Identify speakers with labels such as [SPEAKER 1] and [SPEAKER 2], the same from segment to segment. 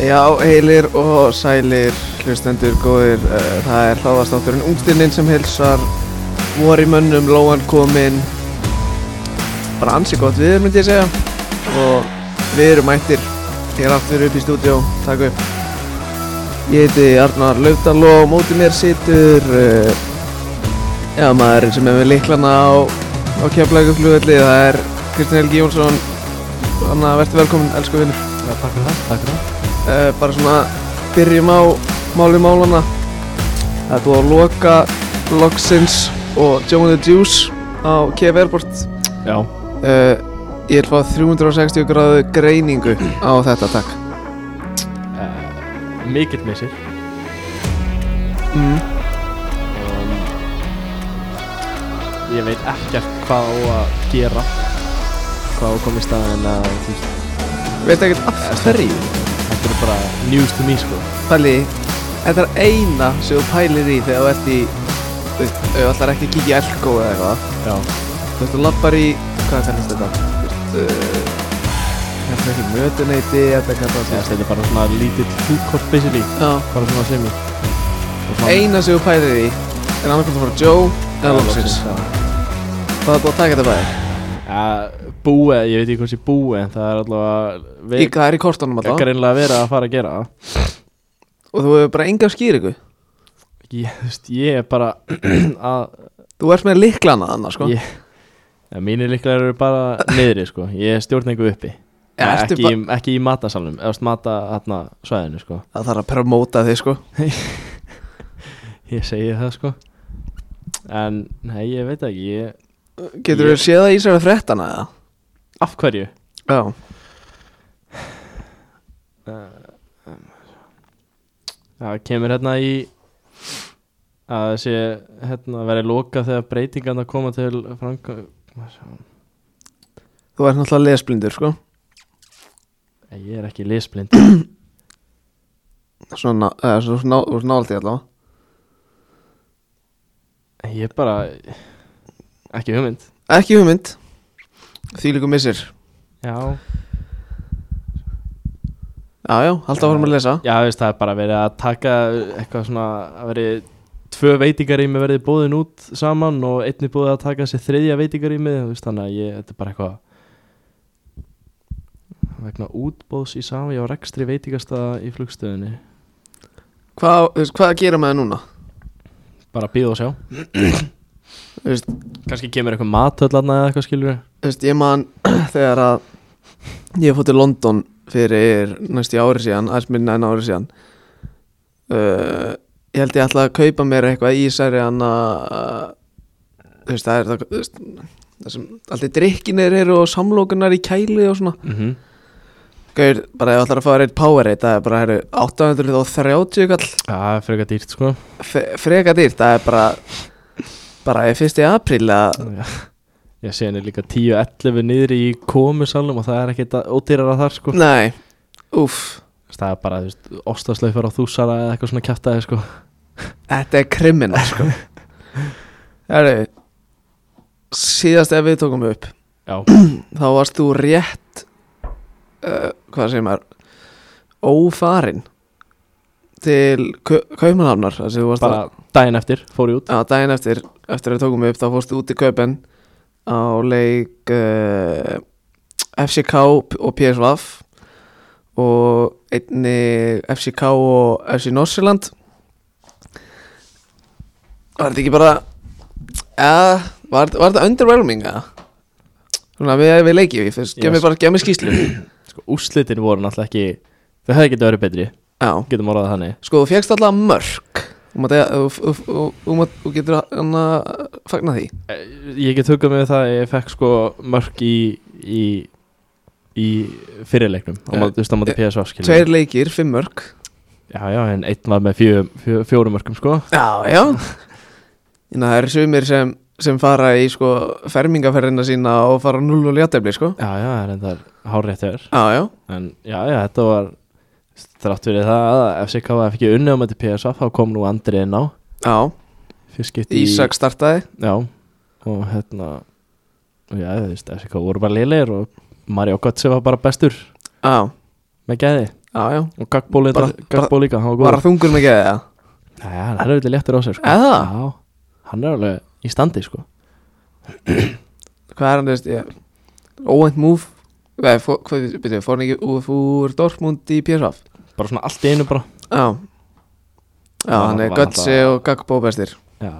[SPEAKER 1] Já, heilir og sælir hlustendur góðir uh, Það er hláðastátturinn Ungstinninn sem hilsar Vor í mönnum, Lóan kominn Bara ansi gott við myndi ég segja Og við erum mættir Hér aftur upp í stúdíó Takk upp Ég heiti Arnar Laufdal og á móti mér situr uh, Já, maðurinn sem er með liklana á, á keflæku flugvelli Það er Kristján Helgi Jónsson Þannig að verður velkominn, elsku vinnur
[SPEAKER 2] Já, takk fyrir það, takk fyrir það.
[SPEAKER 1] Eh, bara svona byrjum á máli málana það er búið að loka Loxins og Joe and the Juice á KF Airport
[SPEAKER 2] Já.
[SPEAKER 1] uh, ég vil fá 360 gráðu greiningu á þetta takk
[SPEAKER 2] Uh, mikill missir.
[SPEAKER 1] mm.
[SPEAKER 2] Um, ég veit ekkert hvað á að gera. Hvað á að koma í staðin að, þú veist,
[SPEAKER 1] veit ekkert af hverju
[SPEAKER 2] þetta er bara news to me, sko.
[SPEAKER 1] Palli, þetta er eina sem þú pælir í þegar þú ert í þú veist, ef þú ætlar ekki að kíkja í Elko eða eitthvað
[SPEAKER 2] Já.
[SPEAKER 1] þú veist, þú lappar í hvað kallast þetta? Þú veist, uh, þetta er ekki mötuneyti þetta kallast
[SPEAKER 2] Þess, þetta er bara svona lítill food court basically,
[SPEAKER 1] já
[SPEAKER 2] bara svona sem ég.
[SPEAKER 1] eina sem þú pælir í er annarkvæmt að fara Joe eða Loxins það er búið að taka þetta bæði
[SPEAKER 2] Ja, búið, ég veit ekki hvað sé búið, en það er allavega
[SPEAKER 1] Í, það er í kortunum alltaf
[SPEAKER 2] greinlega verið að fara að gera það.
[SPEAKER 1] og þú hefur bara enga skýringu
[SPEAKER 2] Ég, þú veist, ég er bara að
[SPEAKER 1] þú ert með liklana þannig sko
[SPEAKER 2] Ég, ja, mínir líklega eru bara niðri sko, ég stjórn einhver uppi
[SPEAKER 1] Ja,
[SPEAKER 2] ja,
[SPEAKER 1] ertu
[SPEAKER 2] ekki, í, ekki í matasalnum, eða veist, mata hérna svæðinu sko
[SPEAKER 1] það þarf að promóta þig sko
[SPEAKER 2] Ég segi það sko En, nei, ég veit ekki, ég,
[SPEAKER 1] getur þú
[SPEAKER 2] Ég-
[SPEAKER 1] séð það í sér að frettana eða?
[SPEAKER 2] af hverju?
[SPEAKER 1] já
[SPEAKER 2] Það kemur hérna í að þessi, hérna, verið loka þegar breytingarna koma til franga
[SPEAKER 1] þú ert náttúrulega lesblindur sko
[SPEAKER 2] Ég er ekki lisblind
[SPEAKER 1] svona, eða, svona, svona, svona nált í allavega
[SPEAKER 2] Ég er bara, ekki hugmynd
[SPEAKER 1] ekki hugmynd því líku missir
[SPEAKER 2] Já,
[SPEAKER 1] já já, halda áfram að lesa
[SPEAKER 2] Já, þú veist, það er bara verið að taka eitthvað svona, að verið tvö veitingarými verið bóðin út saman og einni búið að taka sér þriðja veitingarými þú veist, þannig að ég, þetta er bara eitthvað vegna útbóðs í saman, ég var rekstri veitingastaða í flugstöðinni,
[SPEAKER 1] hvað, þú veist, hvað gera með það núna?
[SPEAKER 2] bara býð og sjá
[SPEAKER 1] Þú veist,
[SPEAKER 2] kannski kemur eitthvað matöldlarna eða eitthvað skilur
[SPEAKER 1] Þú veist, ég man þegar að ég fótt til London fyrir næstu ári síðan, aðeins minna en ári síðan uh, ég held ég ætla að kaupa mér eitthvað í særi hann að þú veist, það er það, þú veist, það sem allir drikkinir eru og samlokunar í kæli og svona
[SPEAKER 2] mm -hmm.
[SPEAKER 1] Gauður, bara ef þú ætlar að fá þér eitt Powerade, það er bara heru, 830 kall
[SPEAKER 2] Já, það er frekar dýrt sko
[SPEAKER 1] Fe- freka dýrt, það er bara bara í fyrsti apríl að
[SPEAKER 2] Já. ég sé henni líka 10-11 niðri í komisalum og það er ekkit að- ódýrara þar sko
[SPEAKER 1] nei, úff
[SPEAKER 2] Þú veist, það er bara, þú veist, ostaslaufar á þúsara eða eitthvað svona kjæftæði, sko
[SPEAKER 1] Þetta er kriminal sko Herru Síðast ef við tókum upp
[SPEAKER 2] Já,
[SPEAKER 1] Þá varst þú rétt uh, Hvað segir maður Ófarin Til Kau- Kaupmannhafnar þar sem þú varst
[SPEAKER 2] bara daginn eftir, fór ég út
[SPEAKER 1] að, á daginn eftir Eftir að við tókum upp þá fórstu út í Kaupen Á leik uh, FCK og PSV Og einni FCK og FC Norsjöland Var þetta ekki bara eða, var, var þetta underwhelming eða? Svona við, við leikjum í fyrst, gef mér
[SPEAKER 2] Yes.
[SPEAKER 1] bara, gef mér skýslu
[SPEAKER 2] sko, Úslitin voru náttúrulega ekki Þau hefði getið verið betri,
[SPEAKER 1] Já,
[SPEAKER 2] getum orðað það þannig
[SPEAKER 1] sko þú fegst alltaf mörg Þú mátt eiga- þú- þú- þú- þú mátt- þú getur hann að hérna, fagna því
[SPEAKER 2] Eh, Ég get hugað með það að ég fekk sko mörk í í, í fyrirleiknum á
[SPEAKER 1] Eh,
[SPEAKER 2] móti- Þú veist, á móti
[SPEAKER 1] eh,
[SPEAKER 2] PSV skilur
[SPEAKER 1] Tveir leikir, fimm mörg
[SPEAKER 2] Já, já, en einn var með fjö, fjö, fjórum mörkum, sko
[SPEAKER 1] Já, já Þannig að það eru sumir sem, sem fara í sko fermingaferðina sína og fara 0 og ljátefli sko
[SPEAKER 2] Já, já, en það er hárrétt hjá þér
[SPEAKER 1] Já, já,
[SPEAKER 2] En já, já, þetta var Þrátt fyrir það að FCK var ekki unni á mæti PSV þá kom nú Andri inn á
[SPEAKER 1] já,
[SPEAKER 2] Fyrst skipti í-
[SPEAKER 1] Ísak startaði
[SPEAKER 2] Já, og hérna og Já, þú veist, FCK voru bara liðleir og Mario Götze var bara bestur
[SPEAKER 1] Já,
[SPEAKER 2] með gæði
[SPEAKER 1] Já, já
[SPEAKER 2] og Gagbo líka,
[SPEAKER 1] Bara-
[SPEAKER 2] Gagbo líka hann var góður
[SPEAKER 1] Var það þungur með geðið það?
[SPEAKER 2] Nei, hann er auðvitað léttur á sér sko.
[SPEAKER 1] Eða?
[SPEAKER 2] Já, hann er alveg í standi sko.
[SPEAKER 1] Hvað er hann, þú veist, ég Óvænt múf Nei, fó- hvað, byrju, fór hann ekki úr, úr Dortmund í PSV?
[SPEAKER 2] Bara svona allt í einu bara
[SPEAKER 1] Já Já,
[SPEAKER 2] Já,
[SPEAKER 1] hann er
[SPEAKER 2] var
[SPEAKER 1] Götzi og Gagbo bestir
[SPEAKER 2] Já,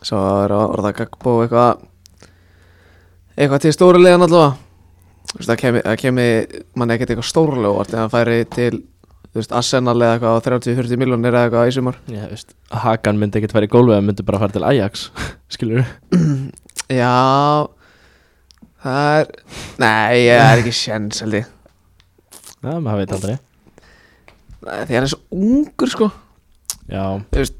[SPEAKER 1] Svo er or- orða Gagbo eitthvað Eitthvað til stóru liðan allavega Þú veist, það kemi, það kemi mann ekkert eitthvað stórulega óvart Þegar hann færi til, þú veist, Arsenal eða eitthvað á 30-40 miljonir eða eitthvað í sumar
[SPEAKER 2] ég veist Hakan myndi ekkert fara í gólfið hann myndi bara fara til Ajax Skilur
[SPEAKER 1] Já Það er Nei, ég er ekki sjens held ég
[SPEAKER 2] Já, maður veit aldrei
[SPEAKER 1] Nei, Því hann er svo ungur sko
[SPEAKER 2] Já,
[SPEAKER 1] Þú veist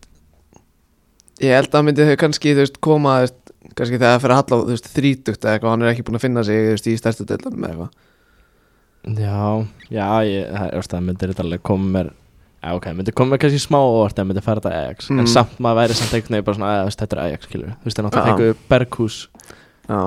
[SPEAKER 1] Ég held að hann myndi þau kannski þú veist, koma þú veist, kannski þegar það fyrir að halla á, þú veist, þrítugt eða eitthvað, hann er ekki búin að finna sig þú veist, í stærstu deildanum eða eitthvað
[SPEAKER 2] já, já ég, það, er, veist, það myndi þetta alveg koma mér Já, ok, myndi koma mér kannski smá óvart en myndi fara til Ajax
[SPEAKER 1] Mm.
[SPEAKER 2] En samt maður væri samt einhvern veginn bara svona að þetta er Ajax skilur Þú veist, þannig að
[SPEAKER 1] Já.
[SPEAKER 2] það fengu Berghús
[SPEAKER 1] Já,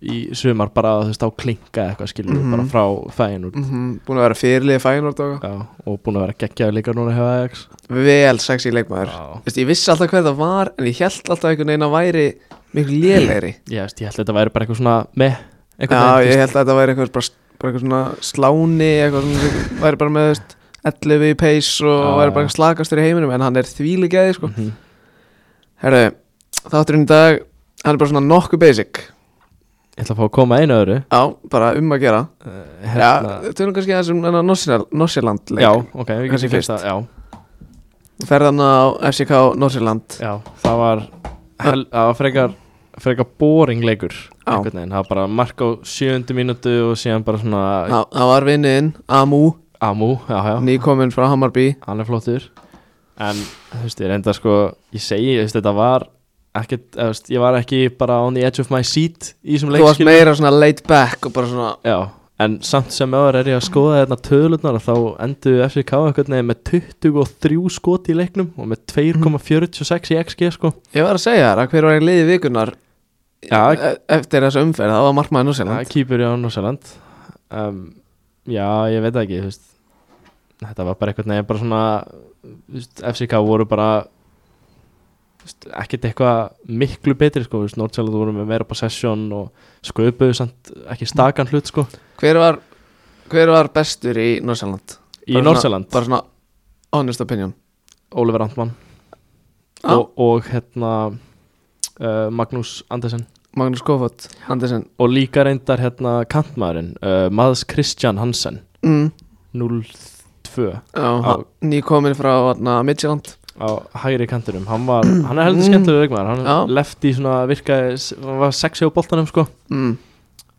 [SPEAKER 2] í sumar bara þú veist á klinka eitthvað skilur
[SPEAKER 1] Mhm.
[SPEAKER 2] bara frá fæin úr
[SPEAKER 1] mm búin að vera fyrirlið fæinort og
[SPEAKER 2] Já, og búin að vera geggjaður líka núna hjá Ajax
[SPEAKER 1] eitthvað Vel sexy leikmaður
[SPEAKER 2] Já
[SPEAKER 1] Þú veist, ég vissi alltaf hver það var en ég held alltaf einhvern veginn að væri miklu lélegri
[SPEAKER 2] Ég veist, ég held að þetta væri bara eitthvað svona með
[SPEAKER 1] Já, ég held að þetta væri eitthvað bara, bara eitthvað svona sláni eitthvað svona, sem væri bara með þú veist, 11 í pace og
[SPEAKER 2] Já,
[SPEAKER 1] væri
[SPEAKER 2] já.
[SPEAKER 1] bara slakastur í heiminum en hann er þvíligæði sko.
[SPEAKER 2] -hmm.
[SPEAKER 1] Herru, þátturinn í dag hann er bara svona nokkuð basic
[SPEAKER 2] Ég ætla að fá að koma að einu öðru
[SPEAKER 1] Já, bara um að gera
[SPEAKER 2] uh,
[SPEAKER 1] Já, tölum kannski aðeins um hennar Norsjæl- Norsjælland leik
[SPEAKER 2] já, ok, við
[SPEAKER 1] Kannski
[SPEAKER 2] getum
[SPEAKER 1] fyrst.
[SPEAKER 2] fyrst að, já,
[SPEAKER 1] Ferðan á FCK Norsjælland
[SPEAKER 2] já, það var hel, það var frekar frekar boring leikur
[SPEAKER 1] Já.
[SPEAKER 2] einhvern veginn, það var bara mark á sjöundu mínútu og síðan bara svona
[SPEAKER 1] Þa- Það var vinniðinn, Amu,
[SPEAKER 2] amú, já, já,
[SPEAKER 1] nýkominn frá Hammarby
[SPEAKER 2] hann er flottur en, þú veist, ég reynda sko ég segi, þú veist, þetta var ekkert, þú veist, ég var ekki bara on the edge of my seat í þessum
[SPEAKER 1] Þú varst
[SPEAKER 2] leikskil
[SPEAKER 1] meira svona laid back og bara svona
[SPEAKER 2] já, en samt sem öður er ég að skoða þarna tölurnar og þá endu FCK einhvern veginn með 23 skot í leiknum og
[SPEAKER 1] Mhm.
[SPEAKER 2] með 2,46 í XG sko
[SPEAKER 1] Ég var að segja þér að hver var einn liði vikunar
[SPEAKER 2] Já.
[SPEAKER 1] e- eftir þessu umferð, það var markmaður
[SPEAKER 2] Það
[SPEAKER 1] Norsjælland
[SPEAKER 2] er kýpur í Norsaland um, Já, ég veit það ekki þú veist. Þetta var bara eitthvað Nei, bara svona þú veist, FCK voru bara þú veist, ekkert eitthvað miklu betri sko, Norsaland voru með meira possession og sköpuðu samt ekki stakan hlut sko,
[SPEAKER 1] Hver var, hver var bestur í Norsjælland?
[SPEAKER 2] í Norsaland
[SPEAKER 1] Bara svona honest opinion
[SPEAKER 2] Oliver Antmann
[SPEAKER 1] Já.
[SPEAKER 2] og, og hérna uh, Magnús Andersen
[SPEAKER 1] Magnús Kofot, Andersen
[SPEAKER 2] og líka reyndar hérna kantmaðurinn uh, Mads Kristjan Hansen
[SPEAKER 1] mm.
[SPEAKER 2] 0-2
[SPEAKER 1] Já, nýkominn frá þarna, Midtjylland
[SPEAKER 2] á hægri kantinum hann, var, hann er heldur skemmtilega leikmaður hann
[SPEAKER 1] Já.
[SPEAKER 2] lefti svona virkaði hann var sexi á boltanum sko
[SPEAKER 1] mm.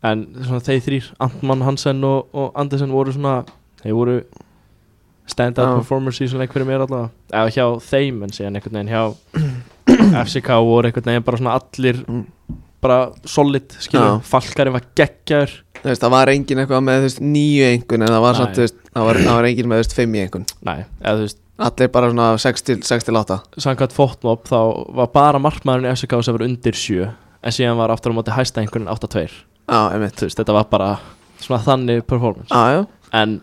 [SPEAKER 2] en svona þeir þrýr Antmann Hansen og, og Andersen voru svona þeir voru stand-up
[SPEAKER 1] Já.
[SPEAKER 2] performers í svona leik fyrir mér allavega eða hjá þeim en síðan einhvern veginn hjá FCK voru einhvern veginn bara svona allir
[SPEAKER 1] Mm.
[SPEAKER 2] bara solid skilur
[SPEAKER 1] Já.
[SPEAKER 2] Falkari var geggjar
[SPEAKER 1] Þú veist, það var engin eitthvað með þú veist, nýju einhvern en það var,
[SPEAKER 2] Nei.
[SPEAKER 1] samt, þú veist, það var, það var engin með þú veist, fimm í einhvern
[SPEAKER 2] nei eða þú veist
[SPEAKER 1] Allir bara svona 6 til, 6 til 8
[SPEAKER 2] samkvæmt fótmob þá var bara markmaðurinn í FCK sem var undir 7 en síðan var aftur á móti hæsta einhvern 8-2
[SPEAKER 1] Já, einmitt
[SPEAKER 2] þú veist, þetta var bara svona þannig performance
[SPEAKER 1] Já, já
[SPEAKER 2] en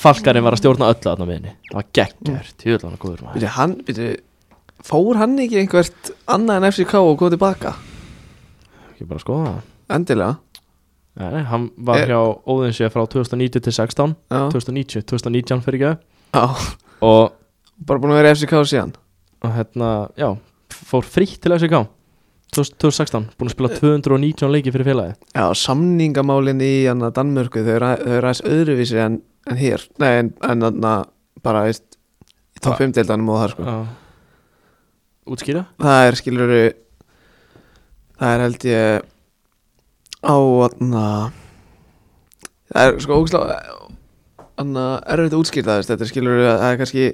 [SPEAKER 2] Falkarinn var að stjórna öllu þarna miðinni það var geggjör,
[SPEAKER 1] Mm.
[SPEAKER 2] tjóðlan og góður maður
[SPEAKER 1] Býtu, hann, býtu Fór hann ekki einhvert annað en FCK og kom tilbaka?
[SPEAKER 2] ég bara skoða það
[SPEAKER 1] Endilega
[SPEAKER 2] Nei, nei, hann var
[SPEAKER 1] Er-
[SPEAKER 2] hjá Óðinsjö frá 2090 til 16
[SPEAKER 1] Já,
[SPEAKER 2] 2090, 2019 fyrir ekki
[SPEAKER 1] já
[SPEAKER 2] og,
[SPEAKER 1] Bara búin að vera í FCK síðan
[SPEAKER 2] og hérna, já fór frítt til FCK 2016, búin að
[SPEAKER 1] Eh.
[SPEAKER 2] spila 219 leiki fyrir félagi
[SPEAKER 1] Já, samningamálin í hana, Danmörku Þau eru, að- þau eru aðeins öðruvísi en, en hér Nei, en, en hana, bara veist, í topp 5 deildanum og það sko
[SPEAKER 2] Já. útskýra?
[SPEAKER 1] Það er skilur Það er held ég Á atna, Það er sko ógslá Anna erfitt að útskýrta þess Þetta er skilur að það er kannski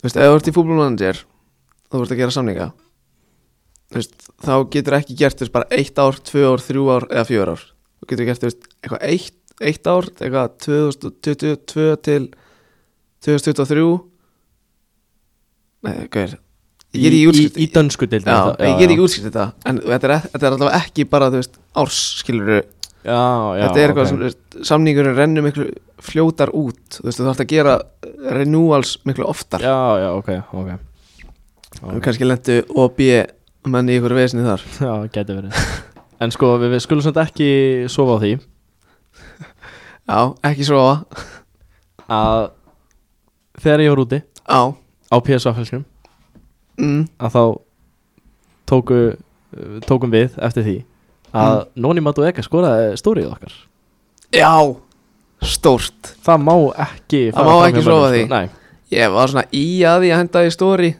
[SPEAKER 1] Þú veist, ef þú ert í fútbolmanager og Þú ert að gera samninga Þú veist, Þá getur ekki gert þú veist, bara eitt ár, tvö ár, þrjú ár eða fjör ár Þú getur gert þú veist, eitthvað eitt, eitt ár eitthvað 2022 til 2023 Nei, hvað er Ég get
[SPEAKER 2] í,
[SPEAKER 1] ekki
[SPEAKER 2] í,
[SPEAKER 1] útskýrt
[SPEAKER 2] í dönsku deildin
[SPEAKER 1] Já, ég get ekki útskýrt þetta En þetta er, þetta er allavega ekki bara, þú veist, árs skilur
[SPEAKER 2] já, já
[SPEAKER 1] þetta er eitthvað
[SPEAKER 2] ok.
[SPEAKER 1] sem, veist, samningurinn rennur miklu fljótar út þú veist, þú þarf að gera renewals miklu oftar
[SPEAKER 2] já, já, ok, ok
[SPEAKER 1] og kannski lendu OB menn í ykkur vesni þar
[SPEAKER 2] já, geti verið en sko, við, við skulum samt ekki sofa á því
[SPEAKER 1] já, ekki svo á
[SPEAKER 2] að þegar ég var úti
[SPEAKER 1] á
[SPEAKER 2] á PSA-felskum
[SPEAKER 1] mm,
[SPEAKER 2] að þá tóku, uh, tókum við eftir því að Noni Madueka skoraði stórið okkar
[SPEAKER 1] já, stórt
[SPEAKER 2] það má ekki
[SPEAKER 1] Það má
[SPEAKER 2] fara fram
[SPEAKER 1] ekki
[SPEAKER 2] hjá
[SPEAKER 1] sofa
[SPEAKER 2] mönnum,
[SPEAKER 1] því.
[SPEAKER 2] sko. Nei,
[SPEAKER 1] ég var svona í að því að henda í stóri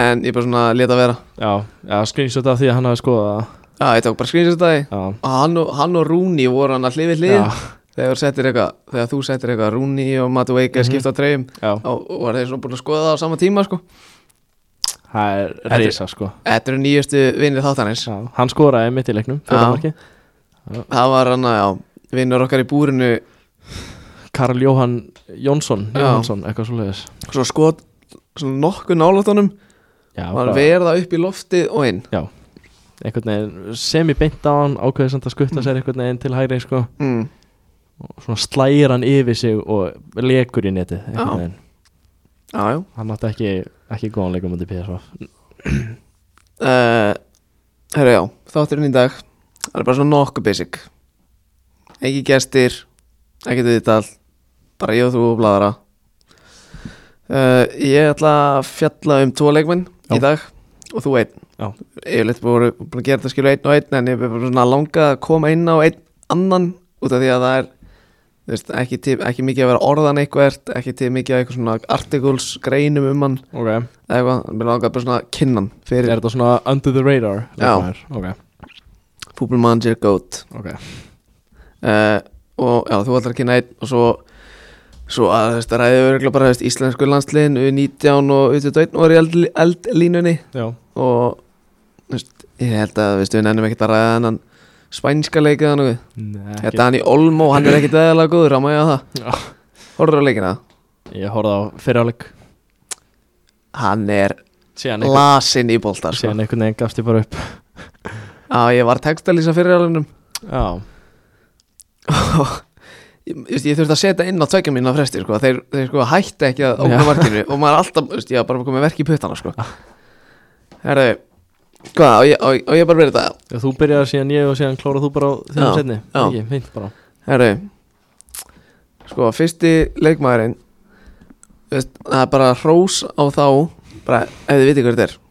[SPEAKER 1] en ég bara svona leta vera
[SPEAKER 2] já, já skrýnsjótt af því að hann hafi skoðað það.
[SPEAKER 1] já, ég tók bara skrýnsistæði
[SPEAKER 2] já,
[SPEAKER 1] og hann og, hann og Rúni voru hann að hlifi hlið
[SPEAKER 2] já,
[SPEAKER 1] þegar, þú settir eitthvað- þegar þú settir eitthvað Rúni og Matu Veika
[SPEAKER 2] Mhm.
[SPEAKER 1] skipta á treyjum
[SPEAKER 2] já
[SPEAKER 1] og og var þeir svona búin að skoða það á sama tíma sko.
[SPEAKER 2] það
[SPEAKER 1] Þetta er-
[SPEAKER 2] er reysa sko
[SPEAKER 1] þetta eru nýjustu vinnir þáttanins
[SPEAKER 2] já, hann skoraði mitt í leiknum
[SPEAKER 1] Já.
[SPEAKER 2] fyrra markið.
[SPEAKER 1] Það var hann að, já, vinnur okkar í búrinu
[SPEAKER 2] Karl Jóhann Jónsson
[SPEAKER 1] Já.
[SPEAKER 2] Jóhansson, eitthvað svo leiðis
[SPEAKER 1] Svo skot, svona nokkuð nálatunum
[SPEAKER 2] já,
[SPEAKER 1] Var
[SPEAKER 2] bara
[SPEAKER 1] verða upp í loftið og inn
[SPEAKER 2] einhvern veginn semi beint á hann ákveðið samt að skutta sér einhvern veginn til hægri sko
[SPEAKER 1] mm.
[SPEAKER 2] og svona slægir hann yfir sig og lekur í netið
[SPEAKER 1] Já.
[SPEAKER 2] einhvern veginn
[SPEAKER 1] Já, já
[SPEAKER 2] hann átti ekki, ekki góðan leikum undir PSV
[SPEAKER 1] uh, Herra, já, þátturinn í dag Það er bara svona nokkuð basic Ekki gestir, ekkert viðtal Bara ég og þú og bladra uh, Ég ætla að fjalla um tvo leikmenn
[SPEAKER 2] Já.
[SPEAKER 1] í dag Og þú einn
[SPEAKER 2] Já.
[SPEAKER 1] Ég er litt búin að gera þetta skilu einn og einn En ég er bara svona langað að koma inn á einn annan Út af því að það er þú veist, ekki, til, ekki mikið að vera orðan eitthvert Ekki til mikið að eitthvað svona articles greinum um hann
[SPEAKER 2] okay.
[SPEAKER 1] eða eitthvað, mér langar bara svona að kynna hann
[SPEAKER 2] er
[SPEAKER 1] fyrir
[SPEAKER 2] þetta svona under the radar
[SPEAKER 1] Já.
[SPEAKER 2] leikmaður? ok,
[SPEAKER 1] Football Manager Goat
[SPEAKER 2] ok
[SPEAKER 1] uh, og já, þú ætlar að kynna einn og svo, svo að þú veist, ræðið örgulega bara þú veist, íslensku landsliðin U19 og U21 voru í eld, eldlínunni
[SPEAKER 2] já,
[SPEAKER 1] og þú veist, ég held að þú veist, við nennum ekkert að ræða hann spænska leikið hann og
[SPEAKER 2] Nei, ekki.
[SPEAKER 1] þetta Hérna, hann í Olmo, hann er ekkert eðalega góður, hann má ég að
[SPEAKER 2] Já.
[SPEAKER 1] það horfður á leikina,
[SPEAKER 2] ég horfði á fyrirháleik
[SPEAKER 1] hann er
[SPEAKER 2] síðan einhvern,
[SPEAKER 1] lasin í bolta sko.
[SPEAKER 2] síðan einhvern veginn gafst ég bara upp
[SPEAKER 1] já, ég var textalýsa fyrir alveg
[SPEAKER 2] já,
[SPEAKER 1] og ég, ég, veist, ég þurfti að setja inn á tveikja mínu á fresti sko. þeir, þeir sko hætti ekki að
[SPEAKER 2] Já.
[SPEAKER 1] ógna markinu og maður er alltaf, þú veist, ég var bara komið verk í puttana sko. herðu hvað, og ég, og, ég- og ég bara verið þetta
[SPEAKER 2] Já, þú byrjaði síðan ég og síðan klárað þú bara á
[SPEAKER 1] Já,
[SPEAKER 2] þínum setni
[SPEAKER 1] já.
[SPEAKER 2] ekki, fint bara
[SPEAKER 1] herðu sko, fyrsti leikmaðurinn þú veist, það er bara hrós á þá bara, ef þið vitið hver þetta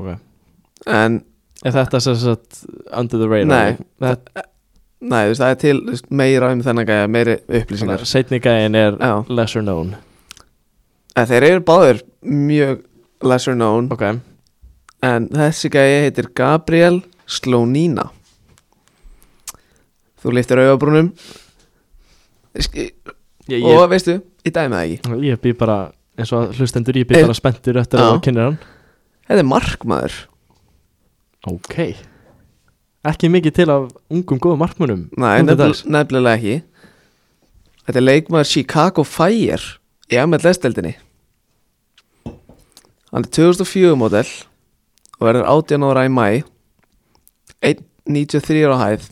[SPEAKER 2] ok
[SPEAKER 1] er en,
[SPEAKER 2] Er þetta sem sagt under the radar?
[SPEAKER 1] Nei.
[SPEAKER 2] Þetta,
[SPEAKER 1] nei, þú veist, það er til þú veist, meira um þennan gæja, meiri upplýsingar
[SPEAKER 2] þannig, setni gæin er
[SPEAKER 1] já,
[SPEAKER 2] lesser known
[SPEAKER 1] en þeir eru báður mjög lesser known
[SPEAKER 2] Ok
[SPEAKER 1] En þessi gæi heitir Gabriel Slónína Þú liftir augabrúnum Ski,
[SPEAKER 2] Ég,
[SPEAKER 1] Og
[SPEAKER 2] ég,
[SPEAKER 1] veistu, ég dæmi það ekki
[SPEAKER 2] ég býð bara eins og hlustendur ég býð
[SPEAKER 1] Eh,
[SPEAKER 2] bara spenntur eftir
[SPEAKER 1] já.
[SPEAKER 2] að þú kynir hann
[SPEAKER 1] Þetta er markmaður
[SPEAKER 2] Ok Ekki mikið til af ungum góðum markmunum
[SPEAKER 1] Nei,
[SPEAKER 2] nú til
[SPEAKER 1] nefnil,
[SPEAKER 2] dags.
[SPEAKER 1] nefnilega ekki Þetta er leikmaður Chicago Fire Í MLS-deldinni Hann er 2004 model Og verður 18 ára í mæ 1.93 á hæð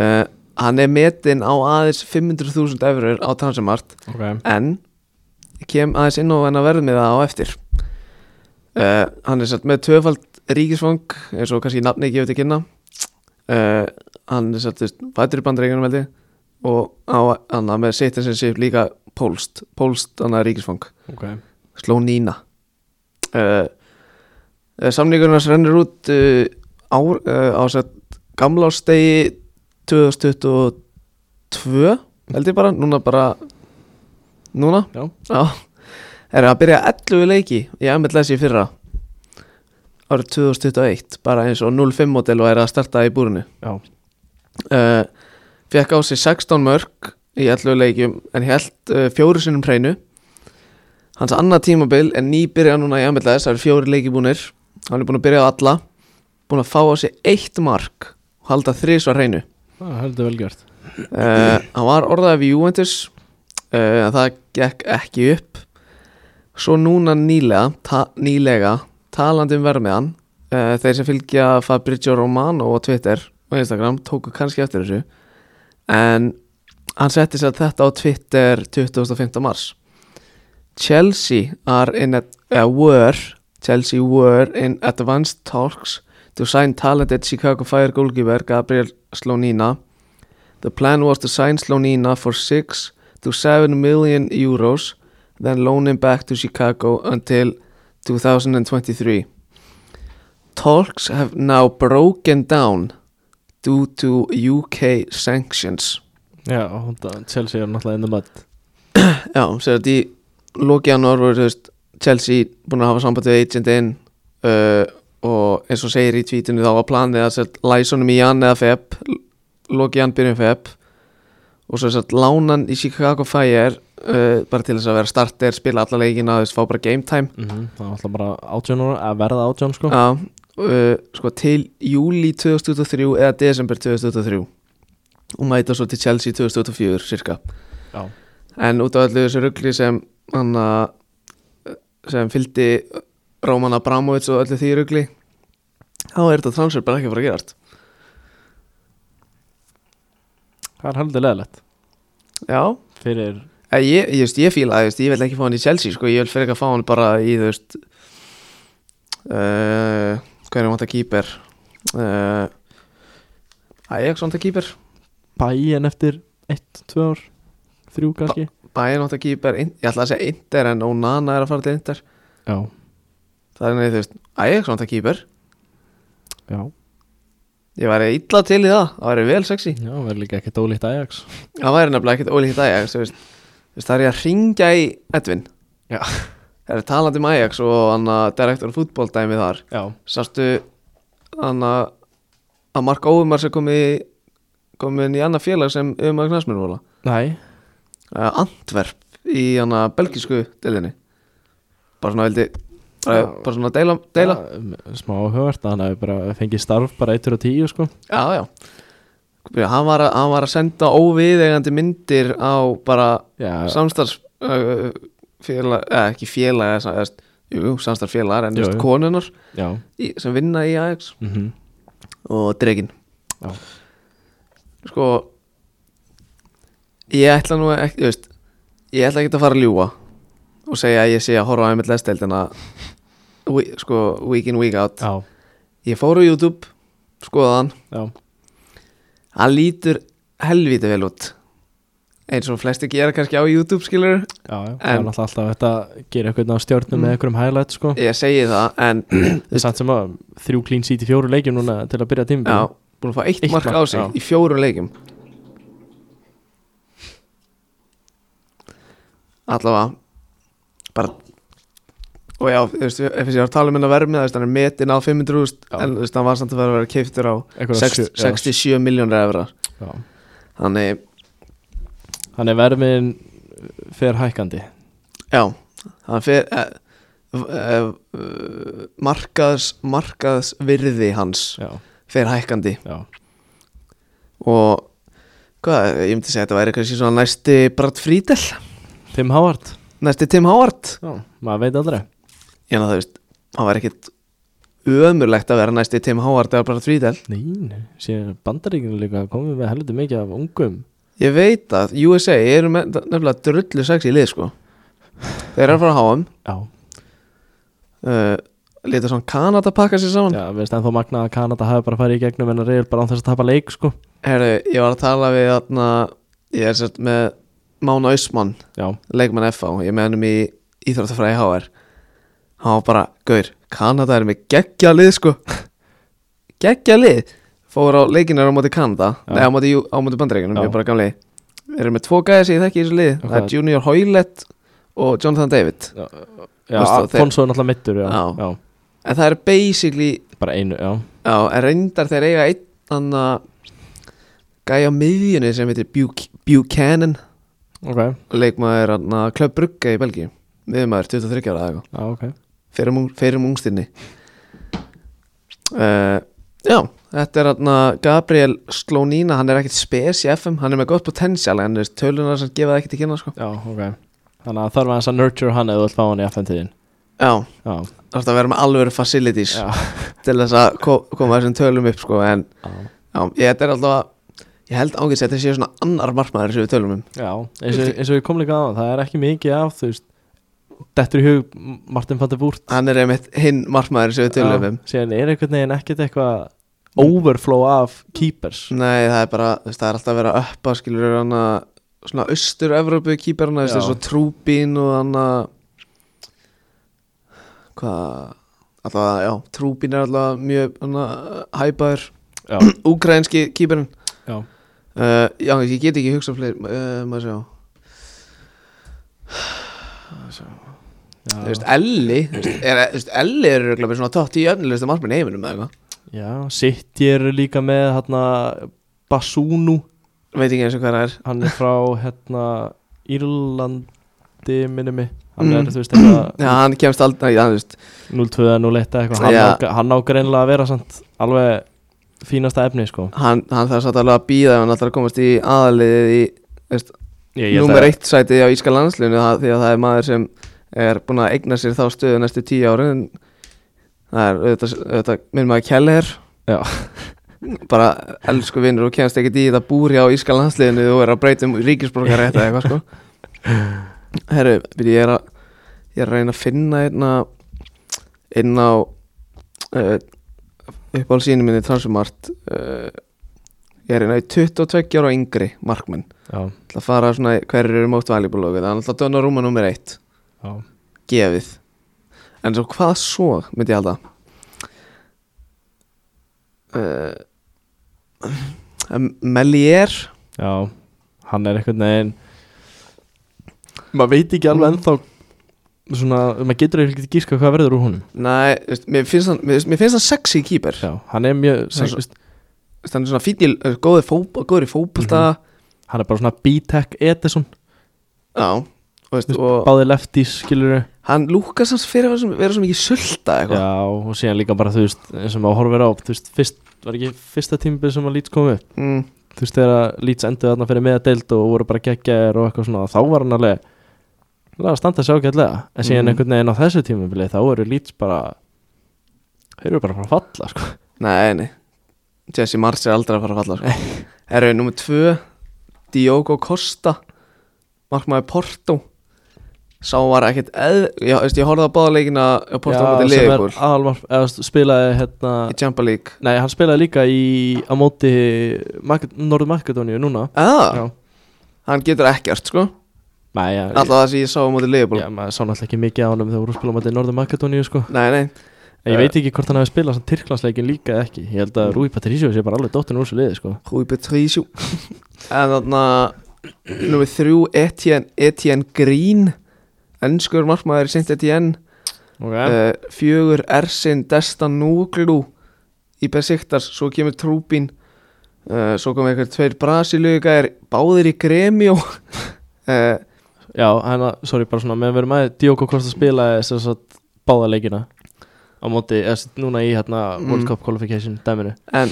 [SPEAKER 1] uh, Hann er metinn á aðeins 500.000 eurur á transumart
[SPEAKER 2] Ok
[SPEAKER 1] en ég kem aðeins inn á henn að verð með það á eftir uh, hann er satt með tvöfald ríkisfang eins og kannski nafni ekki til kynna uh, hann er satt fættur í bandreikunum held ég og á, hann er með sitt sem sé líka pólst, pólst hann er ríkisfang
[SPEAKER 2] Ok
[SPEAKER 1] sló Nína uh, samningurinn hans rennur út uh, á, uh, á satt gamlástegi 2022 held ég bara, núna bara núna
[SPEAKER 2] Já.
[SPEAKER 1] Já. er að byrja 11 leiki í MLS í fyrra árið 2021 bara eins og 05 model og er að starta í búrinu
[SPEAKER 2] Já
[SPEAKER 1] uh, fekk á sig 16 mörg í 11 leikjum en held uh, fjóru sinnum hreinu hans annað tímabil er nýbyrja núna í MLS, það eru fjóri leiki búnir hann er búin að byrja á alla búin að fá á sig eitt mark og halda þrísvar hreinu
[SPEAKER 2] Það heldur vel gert
[SPEAKER 1] uh, hann var orðaði við Juventus uh, en það gekk ekki upp svo núna nýlega ta nýlega talandi um vermiðan uh, þeir sem fylgja Fabrizio Romano á Twitter og Instagram tóku kannski eftir þessu en hann setti sér þetta á Twitter 25. mars Chelsea are in at, uh, were Chelsea were in advanced talks to sign talented Chicago Fire goalkeeper Gabriel Slonina The plan was to sign Slonina for 6 to 7 million euros then loan him back to Chicago until 2023 Talks have now broken down due to UK sanctions
[SPEAKER 2] Já, honda, Chelsea er náttúrulega inn um að
[SPEAKER 1] Já, sér að í loki janúar voru þú veist, Chelsea búin að hafa samband við agentinn uh, og eins og segir í tweetinu þá var planið að sett læsunum í Jan eða Feb loki Jan byrjun Feb og svo sett lánan í Chicago Fire uh, bara til þess að vera starter spila alla leikina, þú veist, fá bara game time
[SPEAKER 2] mm Það er náttúrulega bara átjón ára að verða átjón sko
[SPEAKER 1] Já, uh, sko til júli 2023 eða desember 2023 og mæta svo til Chelsea 2024 cirka
[SPEAKER 2] Já.
[SPEAKER 1] en út af öllu þessu ruggli sem hann að sem fylgdi Róman Abramovits og öllu því ruggli þá er þetta transfer bara ekki að fara að gerast
[SPEAKER 2] Það er heldur leðilegt
[SPEAKER 1] Já,
[SPEAKER 2] Fyrir,
[SPEAKER 1] Eh, ég, ég, veist, ég fíla það, ég veist, ég vil ekki fá hann í Chelsea sko, ég vil fyrir ekki að fá hann bara í þú veist uh, hvað er hann að kýper uh, Ajax vant að kýper
[SPEAKER 2] bæin eftir 1, 2 ár, 3 kannski
[SPEAKER 1] Bayern átt að kýper, ég ætla að segja Inter en Onana er að fara til Inter
[SPEAKER 2] Já,
[SPEAKER 1] það er neðið, þú veist, Ajax átt að kýper
[SPEAKER 2] já
[SPEAKER 1] ég væri illa til í það, það væri vel sexy
[SPEAKER 2] Já, verður líka ekkert ólíkt Ajax
[SPEAKER 1] það væri nefnilega ekkert ólíkt Ajax þú veist, Þú veist, það er ég að ringja í Edvin
[SPEAKER 2] Já.
[SPEAKER 1] það er talandi um Ajax og hann að direktor fútboldæmi þar
[SPEAKER 2] Já,
[SPEAKER 1] sástu hann að að Mark Óumar sem komið komin í annað félag sem um að knæsmjörnvóla
[SPEAKER 2] nei,
[SPEAKER 1] Antverp Eh, í hann að belgísku delinni bara svona vildi bara,
[SPEAKER 2] Já.
[SPEAKER 1] bara svona deila, deila.
[SPEAKER 2] Já, Smá höfvert að hann hefur bara fengið starf bara 1 og 10 sko
[SPEAKER 1] Já, já Byrja, hann, var að, hann var að senda óviðegandi myndir á bara
[SPEAKER 2] Já,
[SPEAKER 1] samstarfs uh, félag, eða ekki félag eða, sa- eða, jú, jú, samstarfsfélagar en
[SPEAKER 2] Jú,
[SPEAKER 1] jú, jú.
[SPEAKER 2] jú.
[SPEAKER 1] konunar
[SPEAKER 2] já,
[SPEAKER 1] í, sem vinna í Ajax
[SPEAKER 2] mm
[SPEAKER 1] og dregin
[SPEAKER 2] Já.
[SPEAKER 1] sko ég ætla nú ekki, þú veist ég ætla ekki að fara að ljúa og segja að ég sé að horfa á einmitt lesdeildina we- sko week in week out
[SPEAKER 2] já,
[SPEAKER 1] ég fór á YouTube, skoða hann
[SPEAKER 2] já
[SPEAKER 1] hann lítur helvítið vel út eins og flesti gera kannski á YouTube skilur
[SPEAKER 2] Já, já, það er
[SPEAKER 1] En-
[SPEAKER 2] náttúrulega alltaf þetta að gera eitthvað á stjórnum með
[SPEAKER 1] Mm.
[SPEAKER 2] einhverjum highlights sko
[SPEAKER 1] ég segi það en
[SPEAKER 2] Það er samt sem að þrjú clean seat í fjóru leikjum núna til að byrja tímbil
[SPEAKER 1] já, búin að fá eitt,
[SPEAKER 2] Eitt
[SPEAKER 1] mark
[SPEAKER 2] mark,
[SPEAKER 1] á sig
[SPEAKER 2] já.
[SPEAKER 1] í fjórum leikjum allavega bara og já, þú veist, ef ég var að tala um hennar vermið þú veist, hann er metin á 500.000
[SPEAKER 2] Já.
[SPEAKER 1] en þú veist, hann var samt að vera að vera keiftur á 6, 67 miljónur efra
[SPEAKER 2] já.
[SPEAKER 1] þannig,
[SPEAKER 2] Hann er vermiðin fer hækkandi
[SPEAKER 1] já hann fer eh, eh, eh, markaðs markaðs virði hans
[SPEAKER 2] Já,
[SPEAKER 1] fer hækkandi
[SPEAKER 2] já,
[SPEAKER 1] og hvað, ég myndi segja að þetta væri kannski svona næsti Brad Friedel,
[SPEAKER 2] Tim Howard
[SPEAKER 1] næsti Tim Howard
[SPEAKER 2] Já, maður veit aldrei
[SPEAKER 1] ég hann að það veist, hann væri ekkit ömurlegt að vera næsti Tim Howard eða Brad Friedel,
[SPEAKER 2] Nei, síðan bandaríkinu líka komum við heldur mikið af ungum
[SPEAKER 1] ég veit að USA eru með- nefnilega drullu sex í lið sko þeir eru að fara að háum
[SPEAKER 2] Já,
[SPEAKER 1] uh, leta svona Kanada pakka sér saman
[SPEAKER 2] já, við veist ennþá magnað að Kanada hafi bara farið í gegnum en að reyður bara án þess að tapa leik sko
[SPEAKER 1] herru, ég var að tala við atna, ég er sett með Mána Ösmann
[SPEAKER 2] Já,
[SPEAKER 1] leikmann FH, ég með hennum í Íþróttafræði HR hann var bara, gaur, Kanada er með geggja lið sko geggja lið fór á leikinar á móti Kanada
[SPEAKER 2] Já.
[SPEAKER 1] nei, á móti, Jú- á móti bandaríkunum,
[SPEAKER 2] Já.
[SPEAKER 1] ég er bara gamli erum með tvo gæði sem ég þekki í þessu lið
[SPEAKER 2] Og
[SPEAKER 1] það
[SPEAKER 2] hvað?
[SPEAKER 1] er Junior Hoylett og Jonathan David
[SPEAKER 2] já
[SPEAKER 1] Veistu, þeir-
[SPEAKER 2] Alfonso er náttúrulega mittur já,
[SPEAKER 1] Já.
[SPEAKER 2] já,
[SPEAKER 1] en það er basically,
[SPEAKER 2] bara einu, já
[SPEAKER 1] já, en reyndar þeir eiga einn anna gæja á miðjunni sem heitir Buch Buchanan
[SPEAKER 2] Ok,
[SPEAKER 1] leikmaður anna Club Brugge í Belgíu miðjumæður, 23 ára eða eitthvað
[SPEAKER 2] já, ok
[SPEAKER 1] fyrir, mung- fyrir mungstinni uh, Já, þetta er hann Gabriel Slónína, hann er ekkert spes í FM, hann er með gott potensial en þú veist, tölunar sem gefa það ekki til kynna sko.
[SPEAKER 2] Já, ok Þannig að þarf aðeins að nurture hann eða þú vilt fá hann í FN-tíðin
[SPEAKER 1] Já,
[SPEAKER 2] Já,
[SPEAKER 1] það er að vera með alvöru facilities
[SPEAKER 2] já,
[SPEAKER 1] til þess að ko koma þessum tölum upp sko. en
[SPEAKER 2] já,
[SPEAKER 1] já, ég, þetta er alltaf Ég held ángið að þetta sé svona annar markmaður sem við tölum um
[SPEAKER 2] Já, eins og, eins og við komum líka á það er ekki mikið af þú veist dettur í hug Martin van der Búrt
[SPEAKER 1] Hann er einmitt hinn markmaður sem við tölum um
[SPEAKER 2] síðan er einhvern veginn ekkert eitthvað overflow af keepers
[SPEAKER 1] Nei, það er bara, þú veist, það er alltaf að vera upp að skilur hann að svona austur-Evrópu kýperna,
[SPEAKER 2] Já.
[SPEAKER 1] þessi svo trúbín og hann að hvað alltaf, já, trúbín er alltaf mjög hann að hæpaður
[SPEAKER 2] Já,
[SPEAKER 1] úkrænski kýperinn
[SPEAKER 2] já,
[SPEAKER 1] uh, Já, ég get ekki hugsað fleir uh, maður sjá, þú
[SPEAKER 2] já,
[SPEAKER 1] veist, Elli þú veist, er, þú veist, Elli er örugglega með svona tótt í önnlistu margmenn heiminum eða eitthvað
[SPEAKER 2] já Sitt ég eru líka með hérna Basunu,
[SPEAKER 1] veit ekki eins og hvað það er
[SPEAKER 2] hann er frá hérna Írlandi minni mig, hann
[SPEAKER 1] Mm.
[SPEAKER 2] er þú veist hérna, eitthvað
[SPEAKER 1] Já, hann kemst aldrei, já, þú veist
[SPEAKER 2] 02 eða 01 eða eitthvað, hann,
[SPEAKER 1] Já.
[SPEAKER 2] á, hann á greinlega að vera samt alveg fínasta efni sko
[SPEAKER 1] hann, hann þarf satt alveg að býða ef hann alltaf að komast í aðaliðið í
[SPEAKER 2] Ég- ég held
[SPEAKER 1] nummer
[SPEAKER 2] að-
[SPEAKER 1] eitt sætið á Íska landslinu það, því að það er maður sem er búin að eigna sér þá stöðu næstu tíu ári en það er auðvitað, auðvitað minn maður Keller
[SPEAKER 2] Já.
[SPEAKER 1] bara elsku vinnur og kemst ekkert í þetta búri á Íska landsliðinu og er að breyta um ríkisborgar eða eitthvað sko herru, byrju, ég er að ég er að reyna að finna einna inn á uh, uppáhaldsínu minni transumart uh, ég er einna í 22 ára og yngri markmenn
[SPEAKER 2] Já,
[SPEAKER 1] ætla að fara svona hverjir eru mót valuable og það er alltaf Donnarumma nummer eitt
[SPEAKER 2] já,
[SPEAKER 1] gefið en svo hvað svo myndi ég halda uh, Melier
[SPEAKER 2] já Hann er einhvern veginn Mm. Maður veit ekki alveg ennþá Svona, maður getur ekki gíska hvað verður úr honum
[SPEAKER 1] nei, þú veist, mér finnst hann mér, finnst- mér finnst hann sexy keeper
[SPEAKER 2] Já, hann er mjög
[SPEAKER 1] Hann er
[SPEAKER 2] hann,
[SPEAKER 1] svo- Þú
[SPEAKER 2] svo,
[SPEAKER 1] veist, hann er svona fínil, góður fótbolta góður í fótbolta
[SPEAKER 2] hann er bara svona B-Tech Edison
[SPEAKER 1] já, og, veist, og
[SPEAKER 2] Báði leftis, skilur við
[SPEAKER 1] hann lúkast hans fyrir að vera svo- vera svo mikið sulta eitthvað
[SPEAKER 2] Já, og síðan líka bara, þú veist eins og maður horfir á, þú veist, fyrst Var ekki fyrsta tímabil sem að Leeds kom upp
[SPEAKER 1] mm,
[SPEAKER 2] Þú veist, þegar Leeds endur þarna fyrir meða deild Og voru bara geggjaðir og eitthvað svona Þá var hann alveg Það að standa sér ágætlega En síðan
[SPEAKER 1] Mhm.
[SPEAKER 2] einhvern veginn á þessu tímabili Þá eru Leeds bara Þeir eru bara frá falla, sko
[SPEAKER 1] nei, nei Jesse Mars er aldrei að fara að falla sko. er við nummið tvö Diogo Costa markmaður Porto sá var ekkert eð já, veist, ég horfði á báða leikina á Porto á móti
[SPEAKER 2] sem er
[SPEAKER 1] Leifur
[SPEAKER 2] aðalmar eða st- spilaði hérna
[SPEAKER 1] í Champa League
[SPEAKER 2] nei, hann spilaði líka í á móti Mak- Norður Makedóníu núna
[SPEAKER 1] ah,
[SPEAKER 2] já,
[SPEAKER 1] hann getur ekkert sko
[SPEAKER 2] nei, já,
[SPEAKER 1] alltaf það sem ég sá á móti Leifur
[SPEAKER 2] já, maður sá náttúrulega ekki mikið á hann þegar voru að spila á móti Norður Makedóníu sko.
[SPEAKER 1] nei, nei,
[SPEAKER 2] en ég
[SPEAKER 1] Eh.
[SPEAKER 2] veit ekki hvort hann hefði spilað sann Tyrklandsleikin líka eða ekki, ég held að Rúi Patricio sé bara alveg dóttin úr þessu liði sko.
[SPEAKER 1] Rúi Petrísjú en þarna nummið þrjú Etienne, Etienne Green ennskur markmaður í Saint Etienne
[SPEAKER 2] okay.
[SPEAKER 1] uh, fjögur Ersin Destan Núglú í Besiktas, svo kemur Trúbín uh, svo kom eitthvað tveir Brasiluga er báðir í Gremjó uh,
[SPEAKER 2] já, hann, sorry, bara svona meðan við erum aðeins Diogo Costa spilaði sem sagt báða leikina á móti, eða sem sagt núna í hérna World
[SPEAKER 1] Mm.
[SPEAKER 2] Cup Qualification dæminu
[SPEAKER 1] en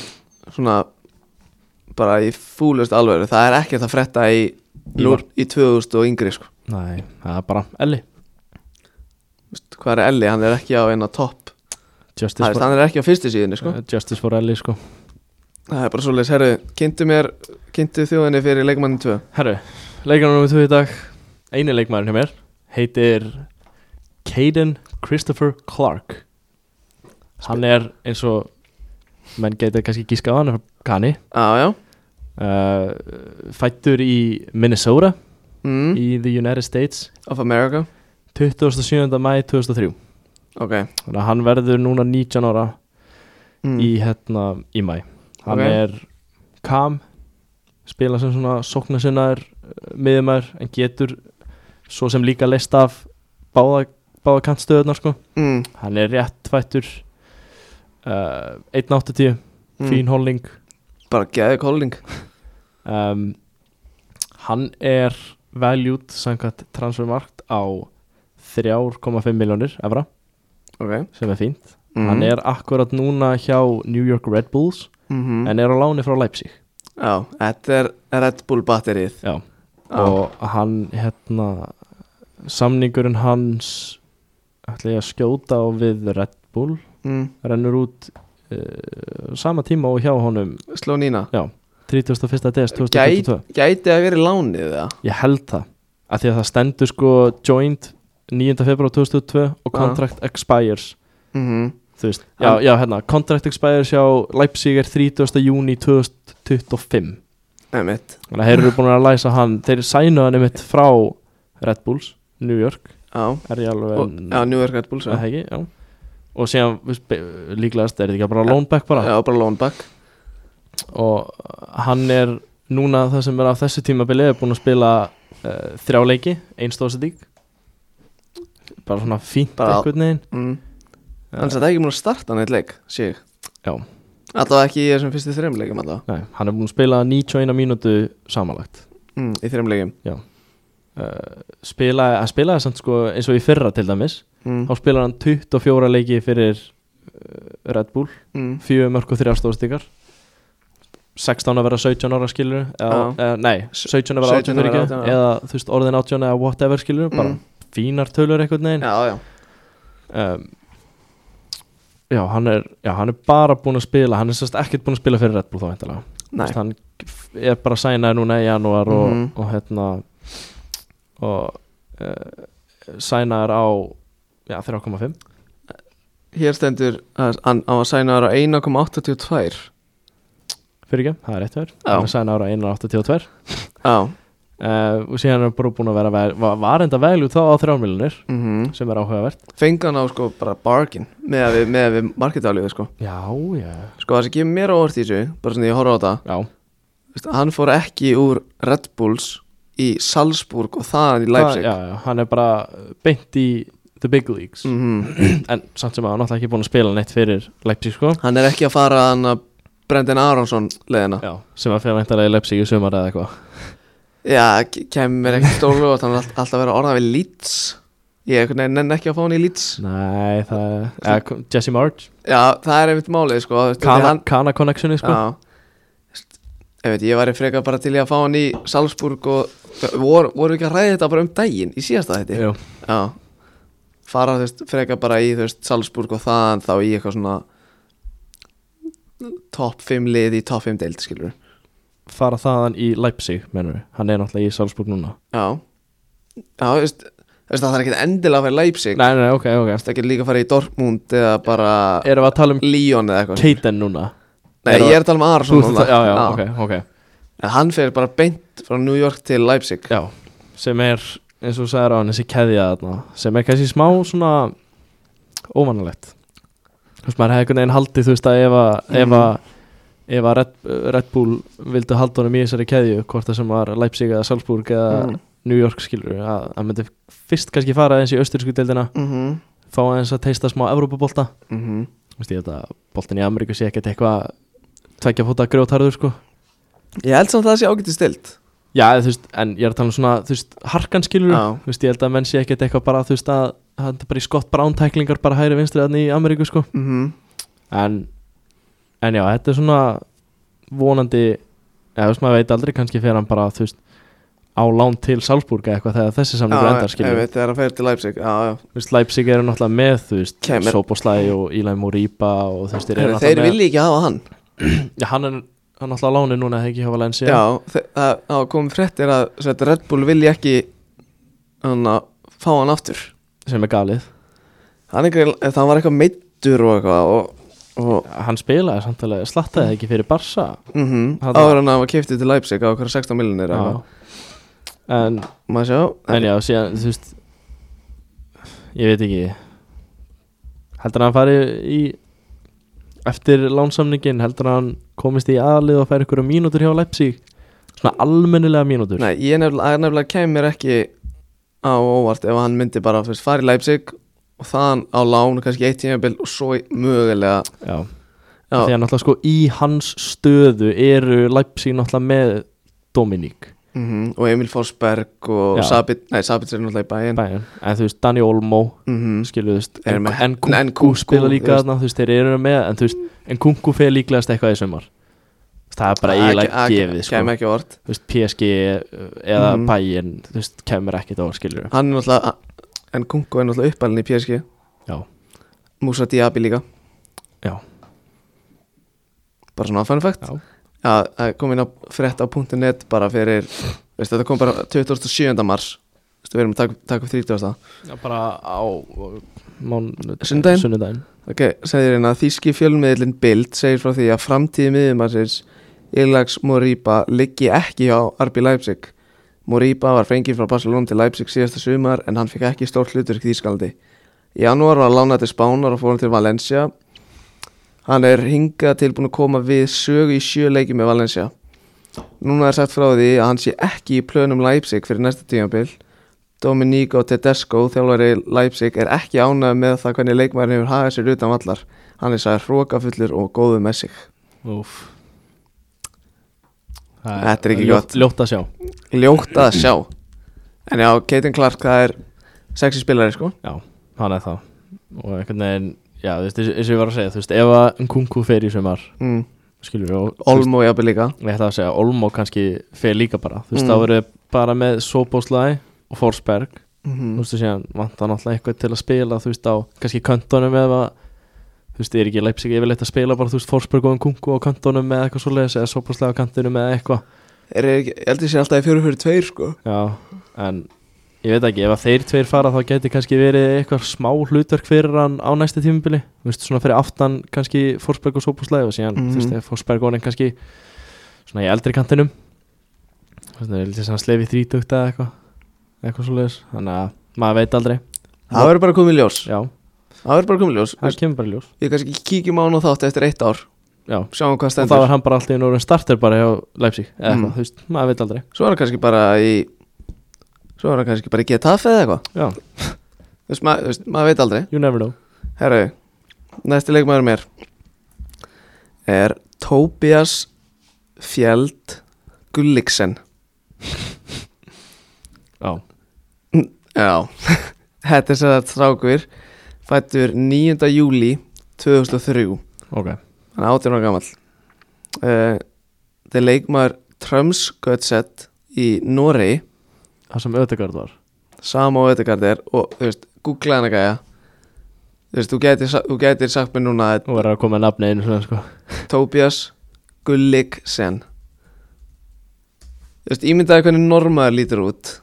[SPEAKER 1] svona bara í fúlust alveg það er ekkert að fretta í,
[SPEAKER 2] Í
[SPEAKER 1] í, í 2000 og yngri sko.
[SPEAKER 2] nei, það er bara Elli
[SPEAKER 1] Vist, hvað er Elli, hann er ekki á eina topp
[SPEAKER 2] Justice,
[SPEAKER 1] Það er-
[SPEAKER 2] for,
[SPEAKER 1] hann er ekki á fyrstu síðinni sko.
[SPEAKER 2] eh, Justice for Elli sko.
[SPEAKER 1] það er bara svoleiðis, herru, kynntu mér kynntu þjóðinni fyrir leikmannin 2
[SPEAKER 2] Herru, leikarinn nummer 2 í dag Einu leikmærin hjá mér Heitir Caden Christopher Clark Hann er eins og menn geta kannski gískað á hann er frá Kani
[SPEAKER 1] ah, já,
[SPEAKER 2] uh, Fættur í Minnesota
[SPEAKER 1] mm,
[SPEAKER 2] í the United States
[SPEAKER 1] of America
[SPEAKER 2] 27. mæ 2003
[SPEAKER 1] ok
[SPEAKER 2] Þannig að hann verður núna 19 ára
[SPEAKER 1] mm.
[SPEAKER 2] í hérna í mæ Hann
[SPEAKER 1] Ok.
[SPEAKER 2] er kam spila sem svona sóknasinnar miðumær en getur svo sem líka leist af báða, báða kantstöðunar sko
[SPEAKER 1] mm,
[SPEAKER 2] hann er rétt fættur uh, 1.80
[SPEAKER 1] mm.
[SPEAKER 2] fín holning
[SPEAKER 1] bara geði kóling
[SPEAKER 2] um, hann er valued samkvæmt transfermarkt á 3,5 miljónir evra
[SPEAKER 1] okay.
[SPEAKER 2] sem er fínt
[SPEAKER 1] Mhm.
[SPEAKER 2] hann er akkurat núna hjá New York Red Bulls
[SPEAKER 1] mm -hmm.
[SPEAKER 2] en er á láni frá Leipzig
[SPEAKER 1] Já, þetta er Red Bull batterið
[SPEAKER 2] Já.
[SPEAKER 1] Já.
[SPEAKER 2] og hann hérna samningurinn hans ætla ég að skjóta á við Red Bull
[SPEAKER 1] mm.
[SPEAKER 2] rennur út uh, sama tíma og hjá honum
[SPEAKER 1] Sló Nína
[SPEAKER 2] já, 31. des 2022
[SPEAKER 1] Gæti, gæti að verið lánið það
[SPEAKER 2] Ég held það að Því að það stendur sko joint 9. februar 2002
[SPEAKER 1] Já.
[SPEAKER 2] og contract expires
[SPEAKER 1] mm -hmm.
[SPEAKER 2] Þú veist, já,
[SPEAKER 1] Hann-
[SPEAKER 2] já, hérna Contract expires hjá Leipzig er 30. júni 2025
[SPEAKER 1] Emitt
[SPEAKER 2] Þannig að þeir eru búin að læsa hann Þeir sænu hann einmitt frá Red Bulls, New York
[SPEAKER 1] Já,
[SPEAKER 2] Er ég alveg
[SPEAKER 1] og, já New York Red Bulls
[SPEAKER 2] er það
[SPEAKER 1] Já,
[SPEAKER 2] ekki, já Og síðan, þú veist, be- líklegast er þetta ekki bara loan back bara
[SPEAKER 1] já bara loan back
[SPEAKER 2] og hann er núna það sem er á þessu tímabili er búin að spila uh, þrjá leiki einstóðsendík bara svona fínt
[SPEAKER 1] Bara-
[SPEAKER 2] einhvern veginn
[SPEAKER 1] mm.
[SPEAKER 2] Já.
[SPEAKER 1] Þannig að það er ekki múin að starta neitt leik Sig
[SPEAKER 2] Já.
[SPEAKER 1] Alltaf ekki í þessum fyrstu þreim leikum alltaf
[SPEAKER 2] Nei, hann er búin að spila 91 mínútu samanlagt
[SPEAKER 1] mm, Í þreim leikum
[SPEAKER 2] uh, spila, hann spilaði samt sko eins og í fyrra til dæmis
[SPEAKER 1] mm.
[SPEAKER 2] þá spilaði hann 24 leiki fyrir uh, Red Bull
[SPEAKER 1] mm.
[SPEAKER 2] fjögur mörg og þrjá stóðstíkar 16 að vera 17 ára skilur eða, eða, nei, 17 að vera
[SPEAKER 1] 17
[SPEAKER 2] 18
[SPEAKER 1] að
[SPEAKER 2] fyrir
[SPEAKER 1] vera
[SPEAKER 2] ekki
[SPEAKER 1] 18, já.
[SPEAKER 2] eða þú veist orðin 18 eða whatever skilur bara
[SPEAKER 1] Mm.
[SPEAKER 2] fínar tölur einhvern veginn
[SPEAKER 1] Já, já
[SPEAKER 2] um, já, hann er, já, hann er bara búinn að spila hann er sérst ekkert búinn að spila fyrir Red Bull þá veintalega
[SPEAKER 1] Nei
[SPEAKER 2] hann er bara sænaði núna í janúar og,
[SPEAKER 1] Mhm.
[SPEAKER 2] og hérna og uh, sænaði á já, 3,5
[SPEAKER 1] Hér stendur að hann á að sæna ára 1,82
[SPEAKER 2] fyrir ekki, það er rétt verð
[SPEAKER 1] Já.
[SPEAKER 2] hann er sænaði á 1,82
[SPEAKER 1] Já
[SPEAKER 2] uh, og síðan er hann bara búinn að vera vel, var, var enda vel út þá á þrjármiljonir
[SPEAKER 1] mm
[SPEAKER 2] sem er áhugavert
[SPEAKER 1] Fengi hann á sko bara bargain Með að við, með að við marketalið sko
[SPEAKER 2] já, já,
[SPEAKER 1] Sko það sem gefur mér á orð í þessu Bara svona ég horfa á þetta
[SPEAKER 2] já,
[SPEAKER 1] Vist, Hann fór ekki úr Red Bulls Í Salzburg og þaðan í Leipzig
[SPEAKER 2] Það- já, já, hann er bara beint í the big leagues
[SPEAKER 1] Mhm.
[SPEAKER 2] en samt sem að hann er náttúrulega ekki búinn að spila neitt fyrir Leipzig sko
[SPEAKER 1] Hann er ekki að fara hann að Brendan Aronsson leðina
[SPEAKER 2] Já, sem að fyrir væntalega í Leipzig í sumar eða eitthvað
[SPEAKER 1] Já, ke- kemur mér ekkert stólu Þannig all, alltaf að vera orða við Leeds Ég einhvern veginn nenni ekki að fá hann í Leeds
[SPEAKER 2] Nei, það er ja, Jesse March,
[SPEAKER 1] Já, það er einmitt málið sko þú veist, því
[SPEAKER 2] Kana,
[SPEAKER 1] hann-
[SPEAKER 2] Kana Connectioni sko
[SPEAKER 1] Já Veist, Ég veit, ég væri frekar bara til í að fá hann í Salzburg og voru, voru ekki að ræða þetta bara um daginn í síðasta þetta
[SPEAKER 2] Jú,
[SPEAKER 1] Já Fara þú veist, frekar bara í þú veist, Salzburg og þaðan þá í eitthvað svona Top 5 lið í top 5 deild skilur
[SPEAKER 2] fara þaðan í Leipzig, mennur við Hann er náttúrulega í Salzburg núna
[SPEAKER 1] Já Já, þú veist, þú veist að það er ekkert endilega að fara í Leipzig
[SPEAKER 2] Nei, nei, ok, ok
[SPEAKER 1] Það getur líka að fara í Dortmund eða bara
[SPEAKER 2] Erum við að tala um
[SPEAKER 1] Lyon eða eitthvað
[SPEAKER 2] Keiten núna?
[SPEAKER 1] Nei,
[SPEAKER 2] erum við-
[SPEAKER 1] ég er að tala um
[SPEAKER 2] Þú
[SPEAKER 1] Arason
[SPEAKER 2] ert að- Já, já, ok, ok
[SPEAKER 1] En hann fer bara beint frá New York til Leipzig
[SPEAKER 2] Já, sem er eins og þú sagðir á hann þessi keðja þarna sem er kannski smá svona óvanalegt þú veist maður hefði einhvern veginn haldið þú veist að ef að ef að ef að Red, Red Bull vildu halda honum í þessari keðju hvort það sem var Leipzig eða Salzburg eða
[SPEAKER 1] Mm.
[SPEAKER 2] New York skilur að, að myndi fyrst kannski fara eins í austurísku deildina
[SPEAKER 1] mm -hmm.
[SPEAKER 2] fá aðeins að teista smá Evrópabolta
[SPEAKER 1] Mm -hmm.
[SPEAKER 2] þú veist ég þetta boltin í Ameríku sé ekkert eitthvað tveggja fóta grjótarður sko
[SPEAKER 1] Ég held samt að það sé ágætið stilt
[SPEAKER 2] Já, þú veist, en ég er að tala um svona, þú veist, harkan skilur
[SPEAKER 1] Já.
[SPEAKER 2] Þú veist, ég held að menn sé ekkert eitthvað bara, þú veist, að hann er bara í skott brán tæklingar bara hægri vinstri þannig í Ameríku, sko
[SPEAKER 1] mm -hmm.
[SPEAKER 2] En, en já, þetta er svona vonandi, eða þú veist, maður veit aldrei kannski fyrir hann bara, þú veist, á lán til Salzburg eða eitthvað þegar þessi samlingur endar, skilur
[SPEAKER 1] veit, Þegar hann fer til Leipzig já, já.
[SPEAKER 2] Þú veist, Leipzig eru náttúrulega með, þú veist,
[SPEAKER 1] Kemur.
[SPEAKER 2] Soposlæði og Ílæm og Rípa og þú veist, þeir eru
[SPEAKER 1] Þeir, þeir
[SPEAKER 2] náttúrulega með
[SPEAKER 1] vilja ekki hafa hann
[SPEAKER 2] Já, hann er, hann er náttúrulega á láni núna, eða ekki, hjá Valencia
[SPEAKER 1] Já, þe- það það kom fréttir að sveit, Red Bull vilja ekki hann að fá hann aftur
[SPEAKER 2] sem er galið
[SPEAKER 1] Hann, einhver, hann var eitthvað meittur og eitthvað og, og
[SPEAKER 2] Hann spilaði samtalið, slattaði ekki fyrir Barsa
[SPEAKER 1] mm
[SPEAKER 2] Hann-
[SPEAKER 1] áður en hann var kiftið til Leipzig á okkur 16 miljonir
[SPEAKER 2] Já. en,
[SPEAKER 1] Maður sjá
[SPEAKER 2] en já, síðan þú veist ég veit ekki heldur hann fari í eftir lánsamningin heldur hann komist í aðlið og fær ykkur mínútur hjá Leipzig svona almennilega mínútur
[SPEAKER 1] Nei, ég nefnilega, nefnilega kemur ekki á óvart ef hann myndi bara fyrst fara í Leipzig og þaðan á lán, kannski eitt tímabil og svo í- mögulega
[SPEAKER 2] já.
[SPEAKER 1] Já.
[SPEAKER 2] því að náttúrulega sko í hans stöðu eru Leipzig náttúrulega með Dominík
[SPEAKER 1] Mhm, og Emil Forsberg og
[SPEAKER 2] Já.
[SPEAKER 1] Sabit, nei Sabit er náttúrulega í bæinn
[SPEAKER 2] en þú veist Dani Olmo
[SPEAKER 1] Mhm.
[SPEAKER 2] skilu þú veist
[SPEAKER 1] Eru
[SPEAKER 2] en,
[SPEAKER 1] með-
[SPEAKER 2] en, Kunku
[SPEAKER 1] en Kunku,
[SPEAKER 2] spila
[SPEAKER 1] þú
[SPEAKER 2] líka
[SPEAKER 1] veist.
[SPEAKER 2] þarna þú veist þeir eru með en þú veist en Kunku fer líklegast eitthvað í sumar það er bara eiginlega gefið sko.
[SPEAKER 1] Kæm ekki á óvart
[SPEAKER 2] þú veist, PSG eða mm.
[SPEAKER 1] Mhm.
[SPEAKER 2] bæinn, þú veist, kemur ekkert á skilur
[SPEAKER 1] Hann er náttúrulega, en Kunko er náttúrulega uppalinn í PSG
[SPEAKER 2] já,
[SPEAKER 1] Musa Diaby líka
[SPEAKER 2] já,
[SPEAKER 1] Bara svona fun fact
[SPEAKER 2] já
[SPEAKER 1] Já, það kom inn á frétt á .net bara fyrir, veist, þetta kom bara 27. mars, veist, við erum að taka, taka upp 30.
[SPEAKER 2] Já, bara á mán...
[SPEAKER 1] Sunnudaginn?
[SPEAKER 2] Sunnudaginn
[SPEAKER 1] Ok, segir hérna að þýski fjölmiðlinn Bild segir frá því að framtíði miðjumarsins Ilags Moriba liggi ekki á RB Leipzig. Moriba var fengið frá Barcelona til Leipzig síðasta sumar en hann fekk ekki stórt hlutverk í Þýskalandi. Í janúar var hann lánað til Spánar og fór hann til Valencia. Hann er hingað tilbúin að koma við sögu í sjöleiki með Valencia. Núna er sagt frá því að hann sé ekki í plönum Leipzig fyrir næsta tímabil. Dominico Tedesco, þjálfari Leipzig, er ekki ánægð með það hvernig leikmærin hefur hagað sér utan vallar. Hann er sæður hrókafullur og góðu með sig.
[SPEAKER 2] Úf
[SPEAKER 1] Þetta er ekki gott.
[SPEAKER 2] Ljótt að sjá
[SPEAKER 1] Ljótt að sjá. En já, Caitlin Clark, það er sexy spilari, sko.
[SPEAKER 2] Já, hann er það Og einhvern veginn, já, þú veist, eins eins og ég var að segja Þú veist, ef að Nkunku fer í sumar
[SPEAKER 1] Mm.
[SPEAKER 2] Skilur við og þú veist,
[SPEAKER 1] Olmo jafnvel líka.
[SPEAKER 2] Ég ætla að segja, Olmo kannski fer líka bara Þú veist,
[SPEAKER 1] Mm.
[SPEAKER 2] þá verður bara með Soboslæ og Forsberg Þú
[SPEAKER 1] Mhm.
[SPEAKER 2] veist, þú séðan vantar náttúrulega eitthvað til að spila Þú veist, á kannski kantonum eða Þú veist, ég er ekki leipsig yfirleitt að spila bara, þú veist, Forsberg og Nkunku á kantonum eða eitthvað svoleiðis eða Soboslæ á kantinum eða eitthvað
[SPEAKER 1] Þeir eru ekki, ég held ég sé alltaf í fjóru fyrir tveir, sko.
[SPEAKER 2] Já, en ég veit ekki, ef að þeir tveir fara þá geti kannski verið eitthvað smá hlutverk fyrir hann á næsta tímubili, þú veist, svona fyrir aftan kannski Forsberg og Sopuslæði og síðan,
[SPEAKER 1] Mhm.
[SPEAKER 2] þú veist, ef Forsberg orðin kannski svona í eldri kantinum þú veist, það er lítið sem að slefi þrítugt eða eitthvað, eitthvað svoleiðis þannig að maður veit aldrei
[SPEAKER 1] Það verður bara komið í ljós.
[SPEAKER 2] Já,
[SPEAKER 1] Það verður bara komið í ljós.
[SPEAKER 2] það kemur bara í ljós
[SPEAKER 1] Við kannski kíkjum á hann og þátt eftir eitt ár.
[SPEAKER 2] Já,
[SPEAKER 1] Sjáum hvað
[SPEAKER 2] og þá
[SPEAKER 1] stendur.
[SPEAKER 2] er hann bara alltaf í norðin starter bara hjá Leipzig eða eitthvað,
[SPEAKER 1] Mhm.
[SPEAKER 2] þú veist, maður veit aldrei
[SPEAKER 1] Svo er hann kannski bara í... Svo er hann kannski bara í getafe eða eitthvað.
[SPEAKER 2] Já,
[SPEAKER 1] Þú veist, maður- þú veist, maður veit aldrei.
[SPEAKER 2] you never know
[SPEAKER 1] Herru, næsti leikmaður mér er Tobias Fjeld Gulliksen
[SPEAKER 2] Já,
[SPEAKER 1] Já, þetta er sér að strákur fættur 9. júli 2003
[SPEAKER 2] ok
[SPEAKER 1] hann er 18 ára gammal uh, þetta er leikmaður Trömsgötset í Noregi
[SPEAKER 2] Það sem Ödegard var
[SPEAKER 1] Sam og Ödegard er og þú veist, googla hana gæja þú veist, þú gætir, sa- þú gætir sagt mér núna að
[SPEAKER 2] og verður að koma að nafni einu svona sko
[SPEAKER 1] Tobias Gulliksen Þú veist, ímyndaði hvernig normaður lítur út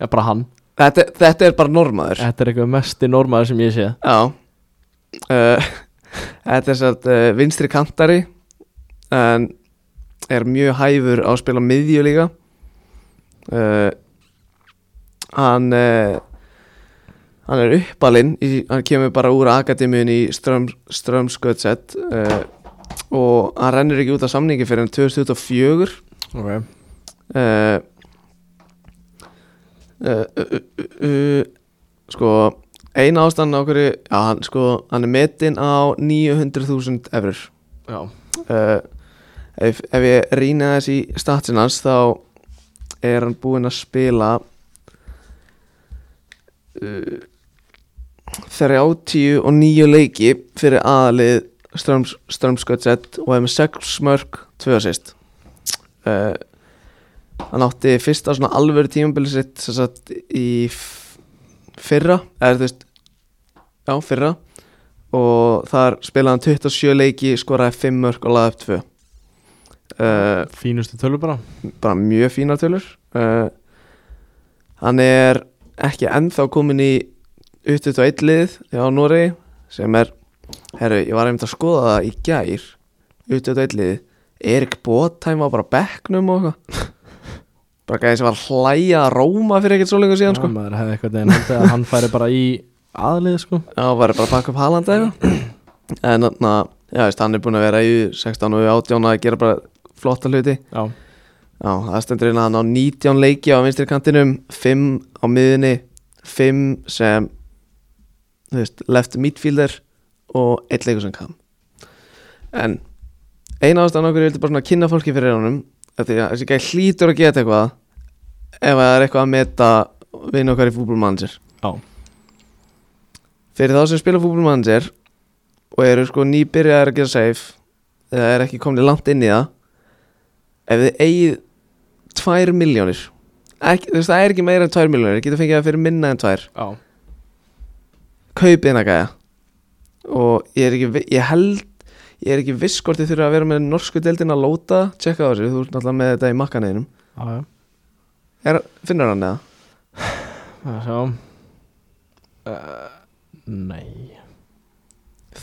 [SPEAKER 2] Já, bara hann
[SPEAKER 1] Þetta, þetta er bara normaður Já,
[SPEAKER 2] Þetta er eitthvað mesti normaður sem ég sé
[SPEAKER 1] uh, Þetta er satt uh, vinstri kantari En er mjög hæfur á að spila miðju líka uh, Hann uh, Hann er uppalinn í, Hann kemur bara úr akademiun í Ström, Strömskötset uh, Og hann rennur ekki út af samningi fyrir en 2024
[SPEAKER 2] okay.
[SPEAKER 1] uh, uh, uh, uh, uh, sko eina ástæðan á hverju já, hann, sko, hann er metinn á 900.000 eurur
[SPEAKER 2] Já,
[SPEAKER 1] uh, ef, ef ég rýna þess í statsin hans þá er hann búinn að spila uh, 39 leiki fyrir aðalið Ströms, Strömskötset og hefði með 6 smörk 2 assist uh, hann átti fyrsta svona alvöru tímabili sitt sem sagt í f- fyrra eða þú veist já fyrra og þar spilaði hann 27 leiki skoraði 5 mörk og laði upp 2 uh,
[SPEAKER 2] fínustu tölur bara
[SPEAKER 1] bara mjög fínar tölur uh, hann er ekki ennþá komin í utut og eittlið á Noregi sem er, herru, ég var einmitt að skoða það í gær utut og eittlið Erik Bótheim var bara á bekknum og eitthvað bara gæði sem var að hlæja að róma fyrir ekkert svo lengur síðan sko
[SPEAKER 2] Já, maður hefði eitthvað neginn haldið að hann færi bara í aðlið sko
[SPEAKER 1] Já, var bara að pakka upp Haaland eða eitthvað En þarna, já veist, hann er búin að vera í 16 og 18 að gera bara flotta hluti
[SPEAKER 2] Já,
[SPEAKER 1] Já, það stendur inn að hann á 19 leiki á vinstri kantinum 5 á miðunni 5 sem þú veist, left midfielder og 1 leikur sem kam En eina ástæðan okkur ég vildi bara svona kynna fólki fyrir honum af því að þessi gæði hlýtur að geta eitthvað ef það er eitthvað að meta vinn okkar í fútbolmanager
[SPEAKER 2] Já.
[SPEAKER 1] Fyrir þá sem spila fútbolmanager og eru sko nýbyrjaðar að gera safe eða er ekki komni langt inn í það ef þið eigið tvær miljónir ekki, þú veist það er ekki meira en tvær miljónir getur fengið það fyrir minna en tvær
[SPEAKER 2] já,
[SPEAKER 1] kaupið hérna gæja og ég er ekki vi- ég held Ég er ekki viss hvort þið þurfa að vera með norsku deildin að lóta Tjekka á þessu, þú ert náttúrulega með þetta í makkaneginum
[SPEAKER 2] já, já
[SPEAKER 1] Er, finnur hann eða?
[SPEAKER 2] Það sjá uh, Nei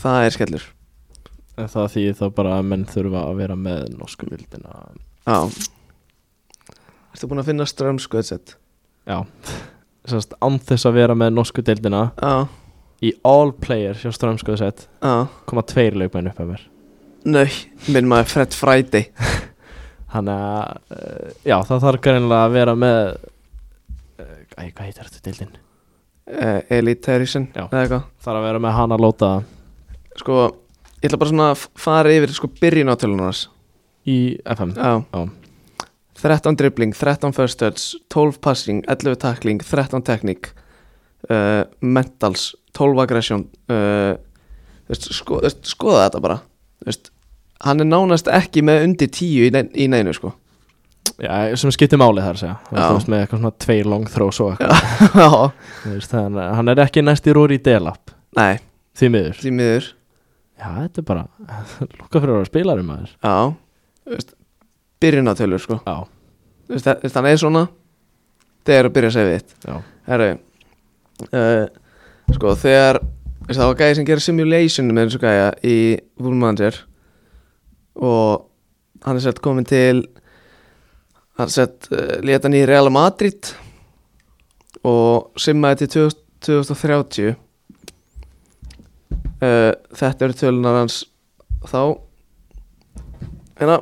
[SPEAKER 1] Það er skellur
[SPEAKER 2] En Það þýðir þá bara að menn þurfa að vera með norsku vildina
[SPEAKER 1] Já Ertu búin að finna strömskvöðsett?
[SPEAKER 2] Já Sannst án þess að vera með norsku deildina
[SPEAKER 1] Já,
[SPEAKER 2] Í all player hjá strömskoðu sett
[SPEAKER 1] já
[SPEAKER 2] koma tveir leikmenn upp af mér
[SPEAKER 1] Nei, minn maður Fred Friday
[SPEAKER 2] Þannig að uh, Já, það þarf greinilega að vera með uh, Æ, hvað heitir þetta deildin?
[SPEAKER 1] uh, Elite Harrison
[SPEAKER 2] Já.
[SPEAKER 1] eða eitthvað
[SPEAKER 2] Þarf að vera með hana lóta
[SPEAKER 1] Sko, ég ætla bara svona að f- fara yfir sko byrjun á tölunars
[SPEAKER 2] í FM
[SPEAKER 1] Já
[SPEAKER 2] Já.
[SPEAKER 1] 13 dribbling, 13 first touch 12 passing, 11 tackling, 13 teknik uh, mentals 12 aggression uh, veist, sko, veist, skoða þetta bara veist, hann er nánast ekki með undir 10 í, nein, í neinu sko
[SPEAKER 2] Já, sem skiptir máli þar að segja Þú veist,
[SPEAKER 1] Já.
[SPEAKER 2] þú veist, með eitthvað svona tveir long throws og eitthvað
[SPEAKER 1] Já,
[SPEAKER 2] Þú veist, þannig að Hann er ekki næsti rúri í delap
[SPEAKER 1] nei,
[SPEAKER 2] Því miður
[SPEAKER 1] því miður
[SPEAKER 2] Já, þetta er bara Lúka fyrir að vera spilarum maður
[SPEAKER 1] Já, veist, byrjun á tölur sko
[SPEAKER 2] Já,
[SPEAKER 1] veist, þa- veist, hann er svona þegar að byrja að segja við þitt
[SPEAKER 2] já,
[SPEAKER 1] Herru uh, Sko þegar veist, Það var gæði sem gera simulation með eins og gæja í Woolmanger og hann er sett komin til hann er sett uh, leta hann í Real Madrid og simmaði til 20, 2030 uh, Eh, Þetta eru tölunar hans þá hérna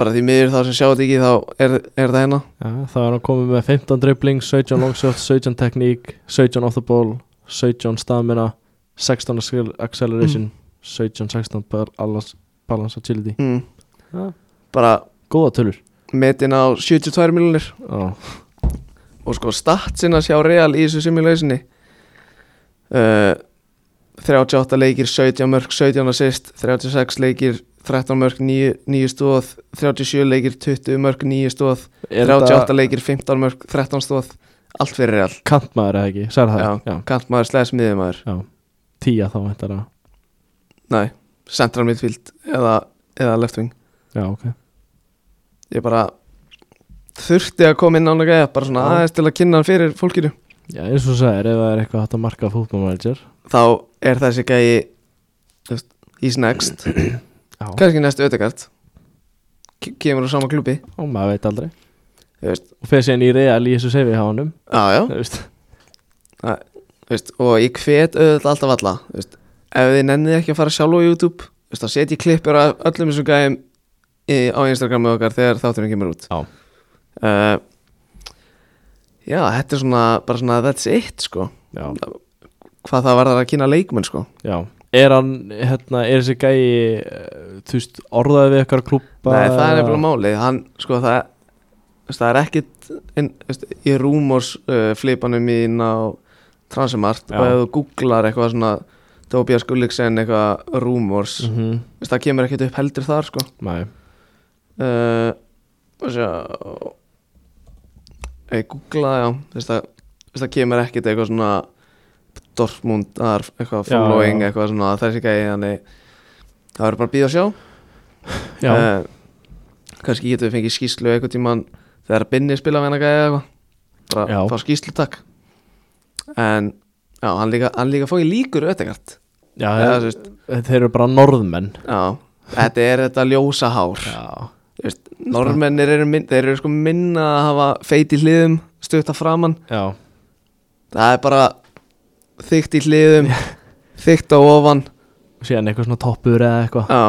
[SPEAKER 1] bara því miður þá sem sjá þetta ekki þá er, er það hérna
[SPEAKER 2] já Það var hann komið með 15 dribbling 17 long shot, 17 tekník 17 off the ball, 17 stamina 16 skill acceleration 17, 16 bal- allans- balance agility
[SPEAKER 1] mm,
[SPEAKER 2] Já.
[SPEAKER 1] bara
[SPEAKER 2] Góða tölur
[SPEAKER 1] metin á 72 miljonir
[SPEAKER 2] Já,
[SPEAKER 1] og sko statsina sjá Real í þessu simulationi uh, 38 leikir 17 mörg, 17 assist 36 leikir, 13 mörg 9, 9 stóð, 37 leikir 20 mörg, 9 stóð,
[SPEAKER 2] er
[SPEAKER 1] 38
[SPEAKER 2] þetta
[SPEAKER 1] leikir 15 mörg, 13 stóð allt fyrir Real,
[SPEAKER 2] kantmaður eða ekki? Sær það?
[SPEAKER 1] Já.
[SPEAKER 2] já.
[SPEAKER 1] kantmaður slæðis miðumæður,
[SPEAKER 2] Tía þá hættar að
[SPEAKER 1] næ, central midfield eða, eða left wing
[SPEAKER 2] Já, ok
[SPEAKER 1] ég bara þurfti að koma inn án og gæja, bara svona
[SPEAKER 2] Já.
[SPEAKER 1] aðeins til að kynna hann fyrir fólkinu
[SPEAKER 2] Já, eins og þú sagðir, ef það er eitthvað hægt að marka fútbolmanager
[SPEAKER 1] þá er þessi gæi þú veist, he's next
[SPEAKER 2] Já,
[SPEAKER 1] kannski næstu ödegard kemur á sama klubi
[SPEAKER 2] og maður veit aldrei
[SPEAKER 1] Þú veist.
[SPEAKER 2] Og fyrir síðan í real í þessu seifi hjá honum
[SPEAKER 1] já, já.
[SPEAKER 2] Þú veist,
[SPEAKER 1] Þú Veist, og ég hvet auðvitað alltaf alla þú veist, ef þið nennið ekki að fara sjálf á YouTube þú veist, þá setjið klippur af öllum þessum gæjum í, á Instagramu okkar þegar þátturinn kemur út
[SPEAKER 2] Já.
[SPEAKER 1] Eh, já, þetta er svona bara svona that's it sko
[SPEAKER 2] Já,
[SPEAKER 1] hvað það var það að kynna leikmenn sko
[SPEAKER 2] já Er hann, hérna, er þessi gæi eh, Þú veist, orðaði við eitthvað klúpa
[SPEAKER 1] Nei, það er
[SPEAKER 2] eða-
[SPEAKER 1] nefnilega málið hann, sko, það, þú veist, það er ekkit inn, þú veist, í rúmors uh, flipanum mín á Transimart
[SPEAKER 2] Já.
[SPEAKER 1] og ef þú googlar eitthvað svona Tobias Gulliksen eitthvað rúmors mm.
[SPEAKER 2] Mhm,
[SPEAKER 1] það kemur ekkit upp heldur þar sko
[SPEAKER 2] Nei,
[SPEAKER 1] uh, og sjá eða googla, já þú veist, það, þú veist, það kemur ekkit eitthvað svona Dortmund ar, eitthvað
[SPEAKER 2] Já,
[SPEAKER 1] following,
[SPEAKER 2] já.
[SPEAKER 1] eitthvað svona þessi gæði, þannig það verður bara að býða og sjá
[SPEAKER 2] já,
[SPEAKER 1] Eh, kannski getum við fengið skýslu eitthvað tíman þegar Binni spila við hana gæja eða eitthvað bara
[SPEAKER 2] Já.
[SPEAKER 1] fá skýslu takk en já, hann líka, hann líka fóið líkur öðegart
[SPEAKER 2] já
[SPEAKER 1] eða,
[SPEAKER 2] þeir,
[SPEAKER 1] þú veist,
[SPEAKER 2] þeir eru bara norðmenn
[SPEAKER 1] já, þetta er þetta ljósa hár
[SPEAKER 2] Já,
[SPEAKER 1] Þú veist, normennir eru, minn, þeir eru sko minna að hafa feit í hliðum stutta framann
[SPEAKER 2] já,
[SPEAKER 1] það er bara þygt í hliðum þygt á ofan
[SPEAKER 2] síðan eitthvað svona toppur eða eitthvað
[SPEAKER 1] já,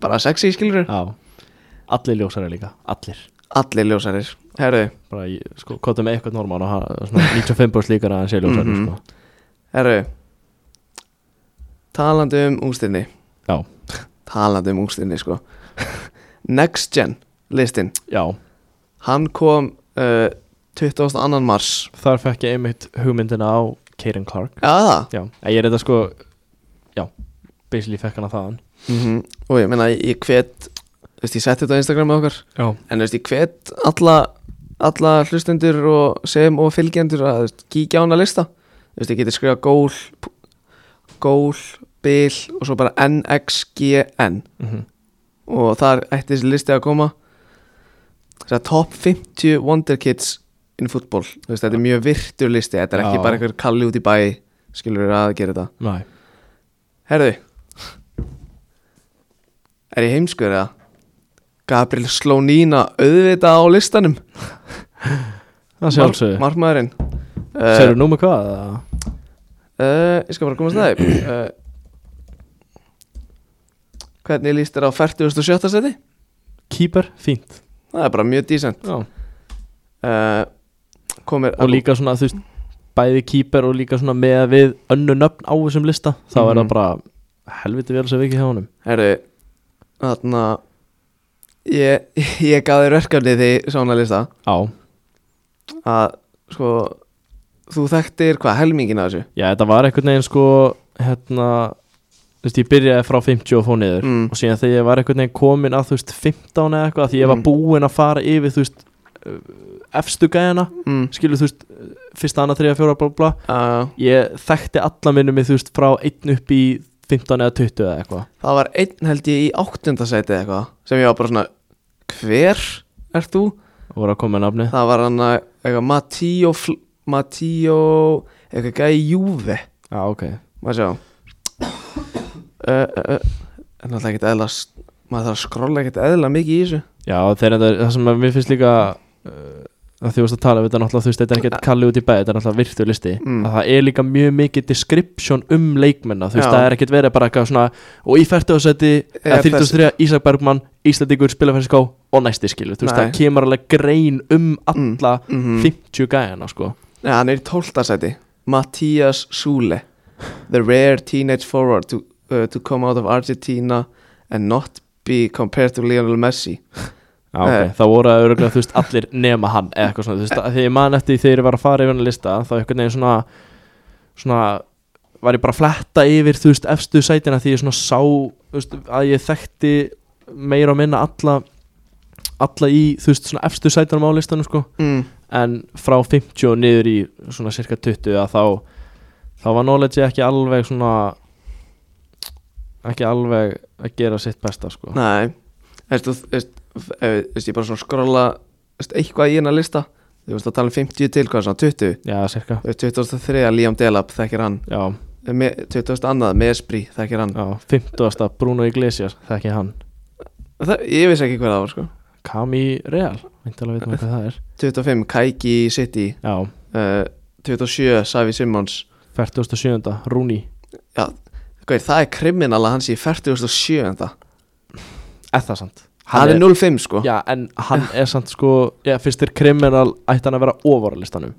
[SPEAKER 1] bara sexy skilur
[SPEAKER 2] Já, allir ljósari líka, allir
[SPEAKER 1] allir ljósarir, herru
[SPEAKER 2] bara, ég- sko, kóta með eitthvað normann og hann- svona 95% líkara en sé ljósari,
[SPEAKER 1] Mhm.
[SPEAKER 2] sko
[SPEAKER 1] Herru Talandi um ústinni
[SPEAKER 2] Já.
[SPEAKER 1] Talandi um ústinni sko Next Gen listin
[SPEAKER 2] Já,
[SPEAKER 1] Hann kom uh, 22. mars
[SPEAKER 2] Þar fekk ég einmitt hugmyndina á Kaden Clark
[SPEAKER 1] Já það
[SPEAKER 2] Já, en ég er þetta sko Já, basically fekk hana þaðan
[SPEAKER 1] Mhm. Og ég meina ég hvet Þú veist ég setti þetta á Instagram með okkar
[SPEAKER 2] Já,
[SPEAKER 1] En þú veist ég hvet alla Alla hlustendur og sem og fylgjendur Að þú veist, kíkja á hana lista Þú veist ég geti skrifa gól p- Gól bil og svo bara NXGN
[SPEAKER 2] Mhm.
[SPEAKER 1] og þar ætti þessi listi að koma þess að top 50 wonder kids in football þú veist, þetta er mjög virtur listi þetta er ekki
[SPEAKER 2] Já.
[SPEAKER 1] bara einhver kalli út í bæ skilur að gera þetta
[SPEAKER 2] Næ,
[SPEAKER 1] herðu er ég heimskur eða Gabriel Slónína auðvitað á listanum
[SPEAKER 2] það sjálfsögðu
[SPEAKER 1] markmaðurinn Eh.
[SPEAKER 2] Serðu nú með hvað? eða?
[SPEAKER 1] Uh, ég skal bara komast það upp uh, Hvernig líst þér á 47. seti?
[SPEAKER 2] Keeper, fínt
[SPEAKER 1] Það er bara mjög dísent
[SPEAKER 2] Já.
[SPEAKER 1] uh, Komir
[SPEAKER 2] Og líka svona, þú veist, bæði keeper og líka svona með við önnu nöfn á þessum lista þá er
[SPEAKER 1] Mhm.
[SPEAKER 2] það bara helviti vel sem við ekki hjá honum
[SPEAKER 1] Herru, þarna Ég, ég gaf þér verkefni því svona lista
[SPEAKER 2] Já,
[SPEAKER 1] að sko þú þekktir hvað helmingin að þessu
[SPEAKER 2] já, þetta var einhvern veginn sko hérna, þú veist, ég byrjaði frá 50 og fór niður
[SPEAKER 1] Mm.
[SPEAKER 2] og síðan þegar ég var einhvern veginn komin að þú veist 15 eða eitthvað, því ég var
[SPEAKER 1] Mm.
[SPEAKER 2] búinn að fara yfir þú veist, uh, efstu gæjana
[SPEAKER 1] mm.
[SPEAKER 2] skilur þú veist, fyrsta, annað, þriða, fjóra, bla, bla bla.
[SPEAKER 1] uh,
[SPEAKER 2] ég þekkti alla minnum mig þú veist, frá einn upp í 15 eða 20 eða eitthvað
[SPEAKER 1] Það var einn held ég í áttunda seti eða eitthvað sem ég var bara svona Hver ert þú?
[SPEAKER 2] og voru að koma með nafni
[SPEAKER 1] Það var hann að eitthvað Matíó Fl- Matíó eitthvað gæði Júve
[SPEAKER 2] Já, ok
[SPEAKER 1] maður sjá uh, uh, uh, en alltaf ekkert eðla maður þarf að skrolla ekkert eðla mikið í þessu
[SPEAKER 2] Já, þeir, það, það sem að mér finnst líka uh, að þú varst að tala við þetta er náttúrulega, þú veist, þetta er ekkert kalli út í bæ þetta er náttúrulega virtu listi,
[SPEAKER 1] Mm.
[SPEAKER 2] að það er líka mjög mikið description um leikmenna þú
[SPEAKER 1] Já.
[SPEAKER 2] veist, það er ekkert verið bara eitthvað svona og í færtuðsæti,
[SPEAKER 1] Er þessi-
[SPEAKER 2] 33, Ísak Bergmann Íslandingur, spilafærská og næsti skilu þú veist,
[SPEAKER 1] Nei.
[SPEAKER 2] það kemur alveg grein um
[SPEAKER 1] Mm.
[SPEAKER 2] alla
[SPEAKER 1] mm
[SPEAKER 2] 50 gæjana, sko
[SPEAKER 1] ja, hann er í tóltasæti Mattias Sule the rare teenage forward to, uh, to come out of Argentina and not be compared to Lionel Messi
[SPEAKER 2] Já, okay.
[SPEAKER 1] Nei.
[SPEAKER 2] Það voru að öruglega, þú veist, allir nema hann eða eitthvað svona, þú veist, að því ég man eftir þegar ég var að fara yfir hann lista, þá einhvern veginn svona svona, var ég bara að fletta yfir, þú veist, efstu sætina því ég svona sá, þú veist, að ég þekkti meira og minna alla alla í, þú veist, svona efstu sætinum á listanum, sko,
[SPEAKER 1] mm.
[SPEAKER 2] en frá 50 og niður í svona cirka 20 að þá, þá var knowledge ekki alveg svona ekki alveg að gera sitt besta, sko
[SPEAKER 1] nei veistu, veist, eh, veist, ég bara svona skrolla veist, eitthvað í hennar lista þú veist að tala um 50 til hvað svona 20
[SPEAKER 2] Já, cirka,
[SPEAKER 1] Þú veist, 23 Liam Delap þekkir hann
[SPEAKER 2] já
[SPEAKER 1] Eh, me- 22 Mesbri þekkir hann
[SPEAKER 2] Já, 15. Bruno Iglesias, þekki hann
[SPEAKER 1] Það, ég vissi ekki hver það var sko
[SPEAKER 2] Kami Real, veintilega veitum við hvað það er
[SPEAKER 1] 25, Kaiki City
[SPEAKER 2] Já,
[SPEAKER 1] uh, 27, Savi Simmons
[SPEAKER 2] 47. Rúni
[SPEAKER 1] Já, gauð, það er kriminal að hann sé í 47
[SPEAKER 2] Eða sant
[SPEAKER 1] Hann er 05 sko
[SPEAKER 2] Já, en hann er sant sko Já, fyrst er kriminal, ætti hann að vera ofar á listanum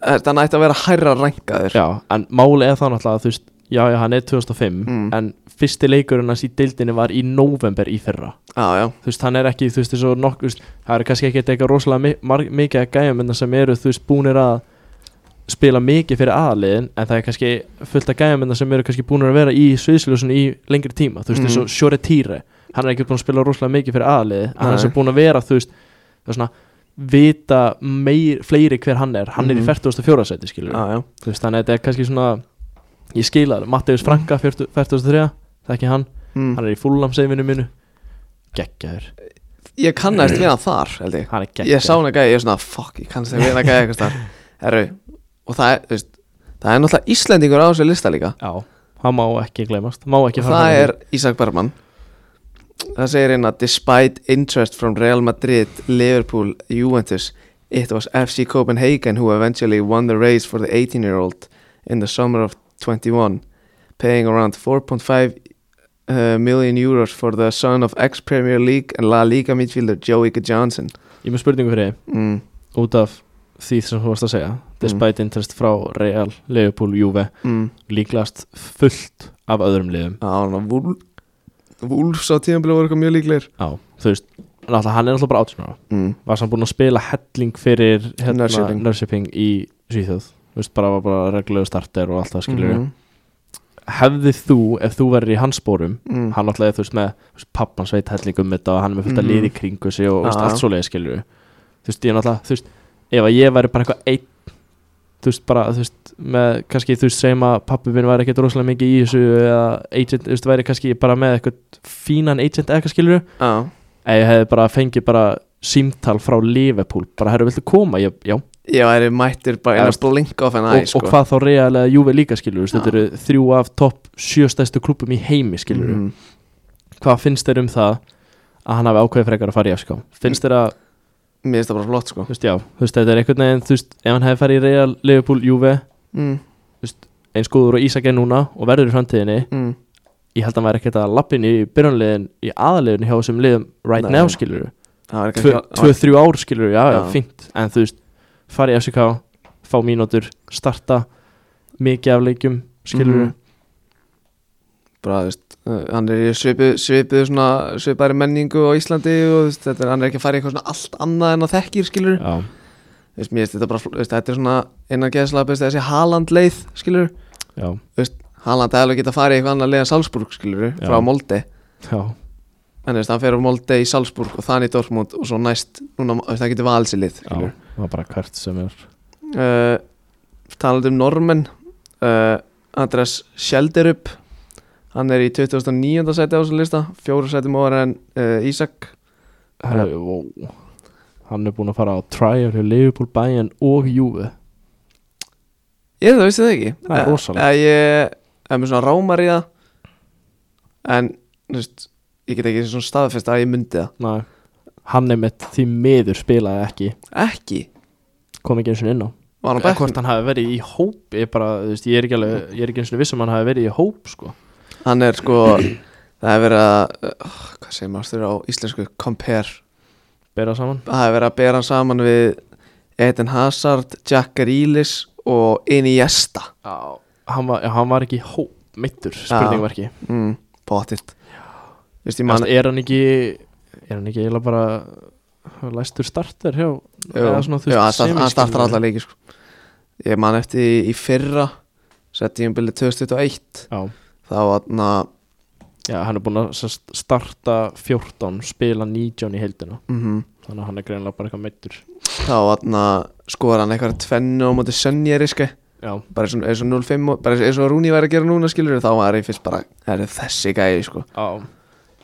[SPEAKER 1] Þannig að ætti að vera hærra rankaður
[SPEAKER 2] Já, en máli er það náttúrulega að þú veist Já, já, hann er 2005
[SPEAKER 1] Mm.
[SPEAKER 2] En fyrsti leikurinn hans í deildinni var í november í fyrra
[SPEAKER 1] já, já,
[SPEAKER 2] Þú veist, hann er ekki, þú veist, þessu nokk þú veist, Það eru kannski ekki eitthvað rosalega mi- marg- mikið að gæja Menna sem eru, þú veist, búnir að spila mikið fyrir aðaliðin en það er kannski fullt af gæjamönda sem eru kannski búin að vera í sviðsljósun í lengri tíma þú veist
[SPEAKER 1] Mhm.
[SPEAKER 2] eins og Sjóri Týre hann er ekki búin að spila rosalega mikið fyrir aðaliði en hann
[SPEAKER 1] Nei.
[SPEAKER 2] er sem búin að vera þú veist það er svona vita meir, fleiri hver hann er hann
[SPEAKER 1] Mhm.
[SPEAKER 2] er í 44. seti skilur
[SPEAKER 1] já, já.
[SPEAKER 2] þú veist þannig að þetta er kannski svona ég skila það Matteus Franka 40 43 það ekki hann
[SPEAKER 1] Mm.
[SPEAKER 2] hann er í fullamseifinu minu geggjaður
[SPEAKER 1] Ég kannast við hann þar, held ég
[SPEAKER 2] hann er geggjaður
[SPEAKER 1] Ég sá hann að gæja, ég er svona, fuck, ég kannast við hann að gæja eitthvað þar Herru, og það er, þú veist Það er náttúrulega Íslendingur á þessu lista líka
[SPEAKER 2] já hann má ekki glemast má ekki fara
[SPEAKER 1] Það
[SPEAKER 2] fram hjá
[SPEAKER 1] er Ísak Bergman Það segir hérna Despite interest from Real Madrid, Liverpool, Juventus It was FC Copenhagen who eventually won the race for the 18-year-old in the summer of 21 paying around 4.5 uh, million euros for the son of ex-Premier League and La Liga midfielder Joey Johnson
[SPEAKER 2] því. ég er með spurningu fyrir þig
[SPEAKER 1] mm,
[SPEAKER 2] út af því sem þú varst að segja despite interest frá Real, Liverpool, Juve
[SPEAKER 1] mm.
[SPEAKER 2] líklast fullt af öðrum liðum
[SPEAKER 1] Það var Ah, hann að Wolves á tíðanbili voru eitthvað mjög líklegir
[SPEAKER 2] á, þú veist, náttúrulega hann er náttúrulega bara 18 ára
[SPEAKER 1] mm.
[SPEAKER 2] var samt búinn að spila helling fyrir hérna,
[SPEAKER 1] Nörseping.
[SPEAKER 2] Nörseping í Svíþjóð þú veist, bara var bara reglulegu starter og allt það skilur
[SPEAKER 1] Mhm.
[SPEAKER 2] hefði þú, ef þú verður í hans spórum
[SPEAKER 1] mm.
[SPEAKER 2] hann náttúrulega, þú veist, með þú veist, pappan sveit helling um þetta og hann er með fullt að
[SPEAKER 1] Mhm.
[SPEAKER 2] liði í kringu sig og þú veist,
[SPEAKER 1] Já.
[SPEAKER 2] allt svoleiði skilur þú veist, ég náttúrulega, þú veist, ef að ég væri bara eitthvað einn þú veist bara þú veist, með kannski þú veist segjum að pappi minn var ekkert rosalega mikið í þessu eða agent, þú veist, væri kannski bara með eitthvað fínan agent eða eitthvað skilur
[SPEAKER 1] Já,
[SPEAKER 2] eða ég hefði bara fengið bara símtal frá Liverpool, bara herru, viltu koma? Ég, já,
[SPEAKER 1] ég væri mættur bara inn
[SPEAKER 2] Já,
[SPEAKER 1] að blink off en
[SPEAKER 2] og,
[SPEAKER 1] aðeins sko.
[SPEAKER 2] og hvað þá reyðarlega Júve líka skilur,
[SPEAKER 1] Já.
[SPEAKER 2] þetta eru þrjú af topp sjöstæstu klubum í heimi skilur
[SPEAKER 1] Mhm.
[SPEAKER 2] hvað finnst þér um það að hann hafi ákveðið frekar að fara í FSK finnst þér að,
[SPEAKER 1] Mér finnst það bara flott sko
[SPEAKER 2] þú veist, já, þú veist, þetta er einhvern veginn þú veist, ef hann hefði farið í Real, Liverpool, Juve
[SPEAKER 1] mm,
[SPEAKER 2] eins góður og Ísak er núna og verður í framtíðinni
[SPEAKER 1] mm.
[SPEAKER 2] ég held að hann væri ekkert að lappin í byrjunliðin í aðaliðin hjá þessum liðum right
[SPEAKER 1] Nei.
[SPEAKER 2] now skilur
[SPEAKER 1] Það væri kannski- það væri-
[SPEAKER 2] 2-3 ár skilur, já,
[SPEAKER 1] Já.
[SPEAKER 2] já, fínt en þú veist, fara í FSK fá mínútur, starta mikið af leikjum, skilur
[SPEAKER 1] Mhm. bara, þú veist, uh, hann er í svipu, svipu svona, svipari menningu á Íslandi og þú veist, þetta, er- hann er ekki að fara í eitthvað svona allt annað en að þekkir skilur
[SPEAKER 2] já,
[SPEAKER 1] Þú veist, mér finnst þetta bara, fl- þú veist, þetta er svona innan geðslega best þessi Haaland leið skilur
[SPEAKER 2] já,
[SPEAKER 1] Haaland hefði alveg geta farið í eitthvað annað leið en Salzburg skilur
[SPEAKER 2] Já.
[SPEAKER 1] frá Molde
[SPEAKER 2] já,
[SPEAKER 1] en þú veist, hann fer á Molde í Salzburg og þannig í Dortmund og svo næst, núna, þú veist, hann getur valið sér lið
[SPEAKER 2] já
[SPEAKER 1] skilur
[SPEAKER 2] það var bara hvert sem er
[SPEAKER 1] uh, talandi um normen uh, Andres Sjelderup hann er í 2009. seti á þessum lista fjóru seti móður en uh, Ísak
[SPEAKER 2] Herra, wow. Hann er búinn að fara á trial hjá Liverpool, Bayern og Juve
[SPEAKER 1] ég það vissi það ekki
[SPEAKER 2] Það er
[SPEAKER 1] Eh,
[SPEAKER 2] rosalegt.
[SPEAKER 1] eh, ég er með svona rámar í það en þú veist, ég get ekki svona staðfest að ég myndi
[SPEAKER 2] Nei. Hann er mitt því miður spilaði ekki
[SPEAKER 1] það ekki,
[SPEAKER 2] kom ekki eins og inn á
[SPEAKER 1] var hann
[SPEAKER 2] Eða
[SPEAKER 1] bekk
[SPEAKER 2] Hvort hann hafi verið í hóp ég, bara, þú veist, ég, er, ekki alveg, ég er ekki eins og vissum um hann hafi verið í hóp sko.
[SPEAKER 1] hann er sko það er verið að uh, hvað segir maður styrir á íslensku compare
[SPEAKER 2] Bera saman
[SPEAKER 1] það er verið að bera hann saman við Eden Hazard, Jack Grealish og Iniesta
[SPEAKER 2] já. Hann, var, já, hann var ekki í hóp mittur spurningverki
[SPEAKER 1] mm, pottitt Vist, ég man,
[SPEAKER 2] Er hann ekki er hann ekki eiginlega bara læstur starter
[SPEAKER 1] e-
[SPEAKER 2] hjá
[SPEAKER 1] jú,
[SPEAKER 2] eða svona, þú
[SPEAKER 1] jú,
[SPEAKER 2] veist,
[SPEAKER 1] hann start- hann startar
[SPEAKER 2] semiskilur?
[SPEAKER 1] alla leiki sko. ég man eftir í, í fyrra sett ég um byrju 2021
[SPEAKER 2] Já.
[SPEAKER 1] þá var hann að
[SPEAKER 2] já, hann er búinn að sest, starta 14 spila 19 í heildina
[SPEAKER 1] mhm,
[SPEAKER 2] Þannig að hann er greinlega bara eitthvað meittur
[SPEAKER 1] þá var hann að skora hann eitthvað tvennu á móti sönnjari sko.
[SPEAKER 2] Já,
[SPEAKER 1] bara eins og- eins og 0-5 og- bara eins og Rúni væri að gera núna skilur þá var ég fyrst bara "Herru, þessi gæði sko.
[SPEAKER 2] á,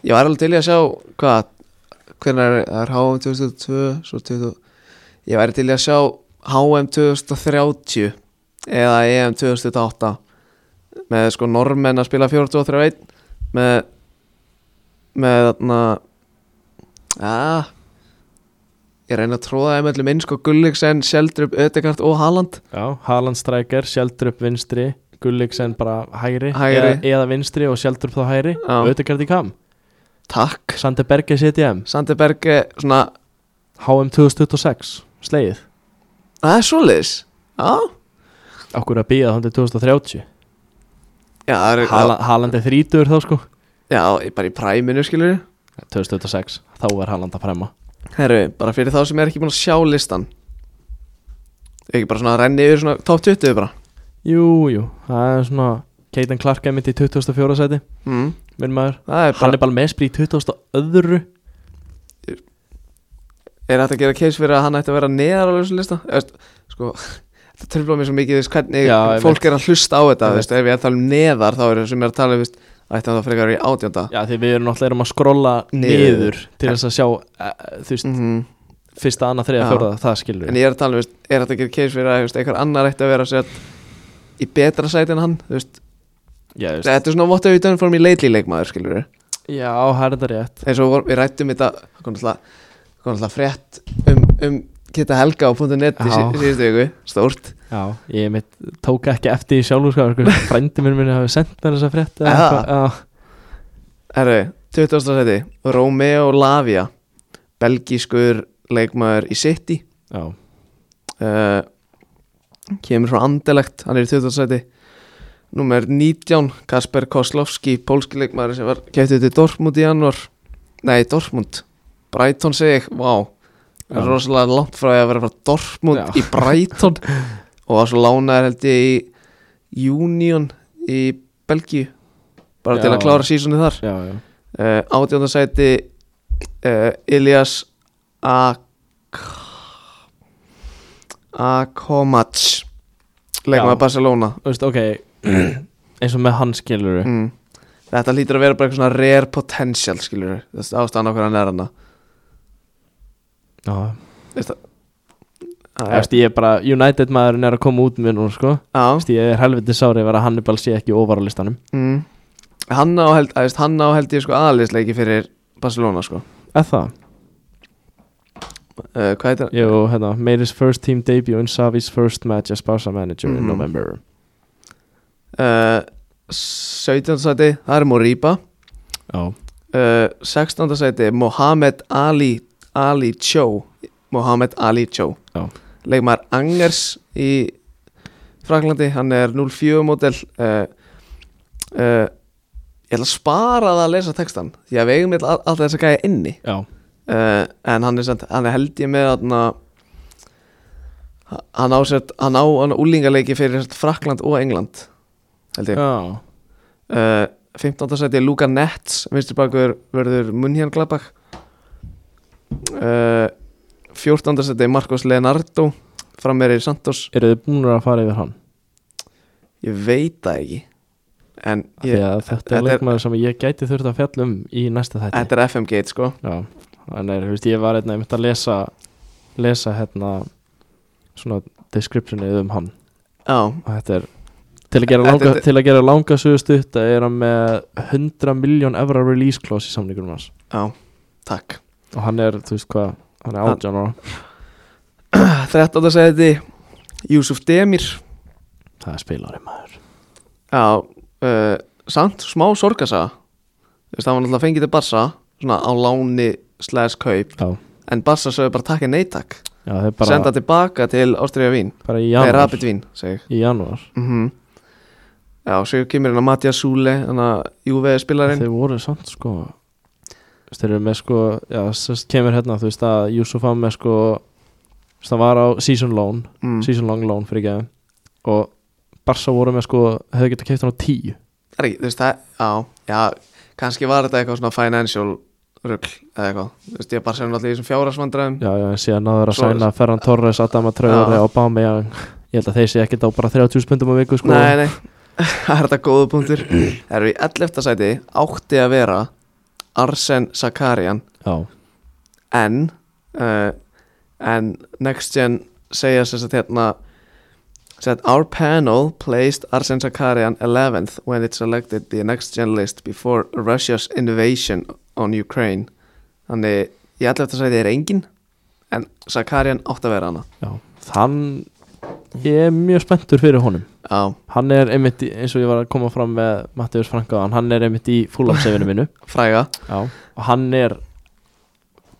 [SPEAKER 1] ég var alveg til í að sjá hvað hvernig er HM 2002 svo 20 ég væri til í að sjá HM 2030 eða E EM 2008 með sko normenn að spila 42-31 með með þarna að ég reyna að tróða þeim öllum inn sko Gulliksen, Sjeldrup, Ödegard og Haaland
[SPEAKER 2] já Haaland strækjar, Sjeldrup vinstri Gulliksen bara hægri,
[SPEAKER 1] Hægri.
[SPEAKER 2] Eða, eða vinstri og Sjeldrup þá hægri
[SPEAKER 1] Já.
[SPEAKER 2] Ödegard í kam,
[SPEAKER 1] Takk
[SPEAKER 2] Sander Berge CTM
[SPEAKER 1] Sandeberge, svona,
[SPEAKER 2] HM 2026, slegið
[SPEAKER 1] það er svoleiðis Já,
[SPEAKER 2] Okkur að býða þannig 2030
[SPEAKER 1] já, það er
[SPEAKER 2] Hala, Haaland er þrítur þá sko
[SPEAKER 1] Já, bara í præminu skilur
[SPEAKER 2] 2026, þá er Haaland að frema
[SPEAKER 1] Herru, bara fyrir þá sem er ekki búin að sjá listan Ekki bara svona að renni yfir svona top 20 bara
[SPEAKER 2] Jú, jú, það er svona Keiten Clark er mitt í 2004 seti
[SPEAKER 1] mm.
[SPEAKER 2] Minn maður,
[SPEAKER 1] Það er bara,
[SPEAKER 2] Hannibal Mesbri í 2002
[SPEAKER 1] er hægt að gera case fyrir að hann ætti að vera neðar á þessu lista Eðast, Sko, þetta tröfla mér svo mikið þú veist, hvernig
[SPEAKER 2] Já, ég
[SPEAKER 1] fólk er að hlusta á þetta
[SPEAKER 2] Ég
[SPEAKER 1] þú veist, Ef ég er að tala um neðar þá er það sem er að tala um, þú veist, Ætti hann það frekar í átjönda
[SPEAKER 2] Já, því við erum náttúrulega erum að skrolla niður,
[SPEAKER 1] Niður.
[SPEAKER 2] til þess að sjá uh, þú veist,
[SPEAKER 1] mm -hmm.
[SPEAKER 2] fyrsta, annað, þriða,
[SPEAKER 1] Já.
[SPEAKER 2] fjórða, það skilur
[SPEAKER 1] En ég er að tala um, þú veist, er hægt að gera case fyrir að þú veist, einhver annar ætti að vera sér Í betra sæti en hann þú veist.
[SPEAKER 2] Já, þú veist,
[SPEAKER 1] Þetta er svona votta við dönum fórum í leitli leikmaður skilur
[SPEAKER 2] já, það er þetta rétt
[SPEAKER 1] eins og vor- við rættum þetta kom alltaf, kom alltaf frétt um, um Kitta Helga á .net í
[SPEAKER 2] Já.
[SPEAKER 1] sí- síðustu viku, stórt
[SPEAKER 2] Já, ég mitt tók ekki eftir í sjálfur sko, frændi minn minni hafi sendt mér þessa frétt eða
[SPEAKER 1] Aha.
[SPEAKER 2] eitthvað,
[SPEAKER 1] Herru, 20. seti, Romeo Lavia belgískur leikmaður í City
[SPEAKER 2] Já, já,
[SPEAKER 1] uh, kemur frá Andelegt hann er í 20. seti Númer 19, Kasper Koslovski pólski leikmaður sem var kæftið til Dortmund í janúar, nei Dortmund Brighton segi ég, vá það er
[SPEAKER 2] Já.
[SPEAKER 1] rosalega langt frá því að vera frá Dortmund
[SPEAKER 2] Já.
[SPEAKER 1] í Brighton og var svo lánaður held ég í Union í Belgíu bara til
[SPEAKER 2] Já.
[SPEAKER 1] að klára sísoni þar
[SPEAKER 2] já, já.
[SPEAKER 1] uh, átjóndasæti uh, Ilias Ak Akomats leikum
[SPEAKER 2] Já.
[SPEAKER 1] að Barcelona
[SPEAKER 2] Þú veist, ok eins og með hann skilur
[SPEAKER 1] mm. Þetta hlýtur að vera bara eitthvað svona rare potential skilur við, þetta ástæðan okkur hann er hann
[SPEAKER 2] Já, þú veist, ég er bara United maðurinn er að koma út með nú, sko Þú
[SPEAKER 1] Já,
[SPEAKER 2] veist, ég er helviti sárið að vera Hannibal sé ekki ofar á listanum
[SPEAKER 1] mm. hann á held, að, veist, hann á held ég sko aðlisleiki fyrir Barcelona sko
[SPEAKER 2] Eða það,
[SPEAKER 1] uh, Hvað heitir hann?
[SPEAKER 2] jú, hérna Made his first team debut in Savi's first match as Barca manager in
[SPEAKER 1] Mhm.
[SPEAKER 2] November
[SPEAKER 1] Uh, 17. sæti, það er Moriba
[SPEAKER 2] Já,
[SPEAKER 1] uh, 16. sæti Mohamed Ali Ali Cho Mohamed Ali Cho
[SPEAKER 2] Já.
[SPEAKER 1] leikmar Angers í Fraklandi, hann er 04 mótel uh, uh, ég ætla að spara það að lesa textan því að við eigum all- alltaf þess að gæja inni
[SPEAKER 2] já,
[SPEAKER 1] uh, en hann er, samt, hann er held ég með þarna hann á sér hann á hann úlingaleiki fyrir sem sagt Frakland og England held ég
[SPEAKER 2] já.
[SPEAKER 1] uh, 15. seti Luka Nets vinstri bakur verður Munhjan Glabak uh, 14. seti Marcos Leonardo frammeiri Santos
[SPEAKER 2] Eru þið búin að fara yfir hann?
[SPEAKER 1] ég veit það ekki en
[SPEAKER 2] Af Því
[SPEAKER 1] ég,
[SPEAKER 2] að þetta
[SPEAKER 1] þetta
[SPEAKER 2] er
[SPEAKER 1] er-
[SPEAKER 2] leikmaður sem ég gæti þurft að fjalla um í næsta þætti
[SPEAKER 1] þetta er FM Gate sko
[SPEAKER 2] Já, þannig er, þú veist, ég var einnig einmitt að lesa lesa hérna svona descriptionið um hann
[SPEAKER 1] já,
[SPEAKER 2] og þetta er til að gera langa,
[SPEAKER 1] Þetta er-
[SPEAKER 2] til að gera langa sögustutt að er hann með 100 miljón evra release clause í samningurum hans
[SPEAKER 1] já, takk
[SPEAKER 2] og hann er, þú veist hvað, hann er
[SPEAKER 1] Hann-
[SPEAKER 2] átján ára
[SPEAKER 1] 13. seti Júsuf Demir
[SPEAKER 2] það er spilari maður
[SPEAKER 1] já, uh, samt smá sorgasa þú veist það var náttúrulega fengið til Barsa svona á láni slags kaup
[SPEAKER 2] Já,
[SPEAKER 1] en Barsa sögðu bara takk en neittak
[SPEAKER 2] já það er
[SPEAKER 1] bara... senda
[SPEAKER 2] bara,
[SPEAKER 1] tilbaka til Ástriða Vín
[SPEAKER 2] bara í
[SPEAKER 1] Nei,
[SPEAKER 2] janúar
[SPEAKER 1] Rapid Vín, segi
[SPEAKER 2] í janúar,
[SPEAKER 1] mm -hmm. Já, svo kemur hérna Mattias Súle þannig að Júve spilarinn
[SPEAKER 2] þeir voru samt sko þú veist, þeir eru með sko já, sest, kemur hérna, þú veist að Júsuf var með sko þú veist, það var á season loan
[SPEAKER 1] mm.
[SPEAKER 2] season long loan fyrir geðum og Barca voru með sko hefðu getið keipt hann á 10
[SPEAKER 1] Það er ekki, þú veist, það, já, já kannski var þetta eitthvað svona financial rugl eða eitthvað, þú veist, ég bara sem allir í þessum fjárasvandræðum
[SPEAKER 2] já, já, en síðan náður að
[SPEAKER 1] Svo-
[SPEAKER 2] sæna Ferran Torres, Adama Traore,
[SPEAKER 1] Já.
[SPEAKER 2] Obama ég held að þeir sé ekkert á bara 30 spundum á viku sko
[SPEAKER 1] Nei, nei, það er þetta góðu punktur Það eru í 11. sæti átti að vera Arsen Sakarian
[SPEAKER 2] já,
[SPEAKER 1] en uh, en next gen segja sér satt hérna said our panel placed Arsen Sakarian 11th when it selected the next gen list before Russia's invasion on Ukraine þannig ég ætla eftir að segja þér engin en Sakarian átt að vera hana
[SPEAKER 2] já, þann ég er mjög spenntur fyrir honum
[SPEAKER 1] á
[SPEAKER 2] hann er einmitt, í- eins og ég var að koma fram með Mattius Frankaðan, hann er einmitt í fúlamsefinu minu
[SPEAKER 1] fræga
[SPEAKER 2] já, og hann er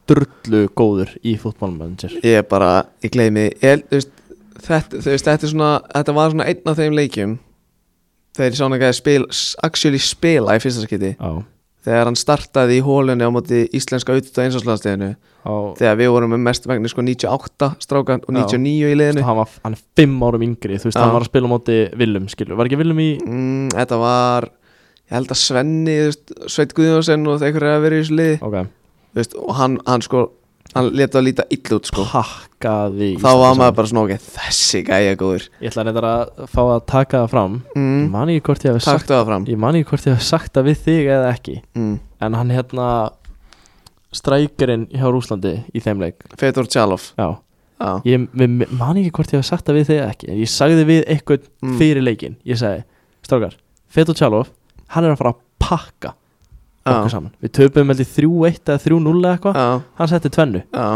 [SPEAKER 2] drullu góður í fútbolmanager
[SPEAKER 1] ég er bara, ég gleymi ég, þú veist, þetta, þú veist, þetta er svona þetta var svona einn af þeim leikjum þegar ég sá hann ekki að spila actually spila í fyrsta skiti
[SPEAKER 2] já,
[SPEAKER 1] þegar hann startaði í hólunni á móti íslenska auðvitað einsáslandsleginu
[SPEAKER 2] á,
[SPEAKER 1] þegar við vorum með mest vegni sko 98 strákan og
[SPEAKER 2] Já.
[SPEAKER 1] 99 í liðinu
[SPEAKER 2] hann, var, hann er 5 árum yngri þú veist,
[SPEAKER 1] Já.
[SPEAKER 2] hann var að spila á móti Willum skilur, var ekki Willum í
[SPEAKER 1] mm, þetta var ég held að Svenni, þú veist, Sveit Guðjónsson og þeir eru að vera í þessu liði
[SPEAKER 2] Ok,
[SPEAKER 1] Þú veist, og hann, hann sko, hann leta að líta ill út sko,
[SPEAKER 2] pakkaði
[SPEAKER 1] þá var maður bara svona ok, þessi gæja er góður
[SPEAKER 2] Ég ætla neitt að fá að taka það fram Ég
[SPEAKER 1] mm,
[SPEAKER 2] man ekki hvort ég hef sagt
[SPEAKER 1] taktu það fram
[SPEAKER 2] Ég man ekki hvort ég hef sagt það við þig eða ekki
[SPEAKER 1] mm,
[SPEAKER 2] En hann hérna Strækirinn hjá Rúslandi í þeim leik
[SPEAKER 1] Fedor Tjalov
[SPEAKER 2] Já,
[SPEAKER 1] já,
[SPEAKER 2] ég ég man ekki hvort ég hef sagt það við þig eða ekki En ég sagði við eitthvað
[SPEAKER 1] Mm.
[SPEAKER 2] fyrir leikin Ég sagði, strákar, Fetur Tjálov Hann er að fara að pakka okkur
[SPEAKER 1] já,
[SPEAKER 2] saman Við töpum heldur 3-1 eða 3-0 eða eitthvað
[SPEAKER 1] já,
[SPEAKER 2] Hann setti tvennu
[SPEAKER 1] já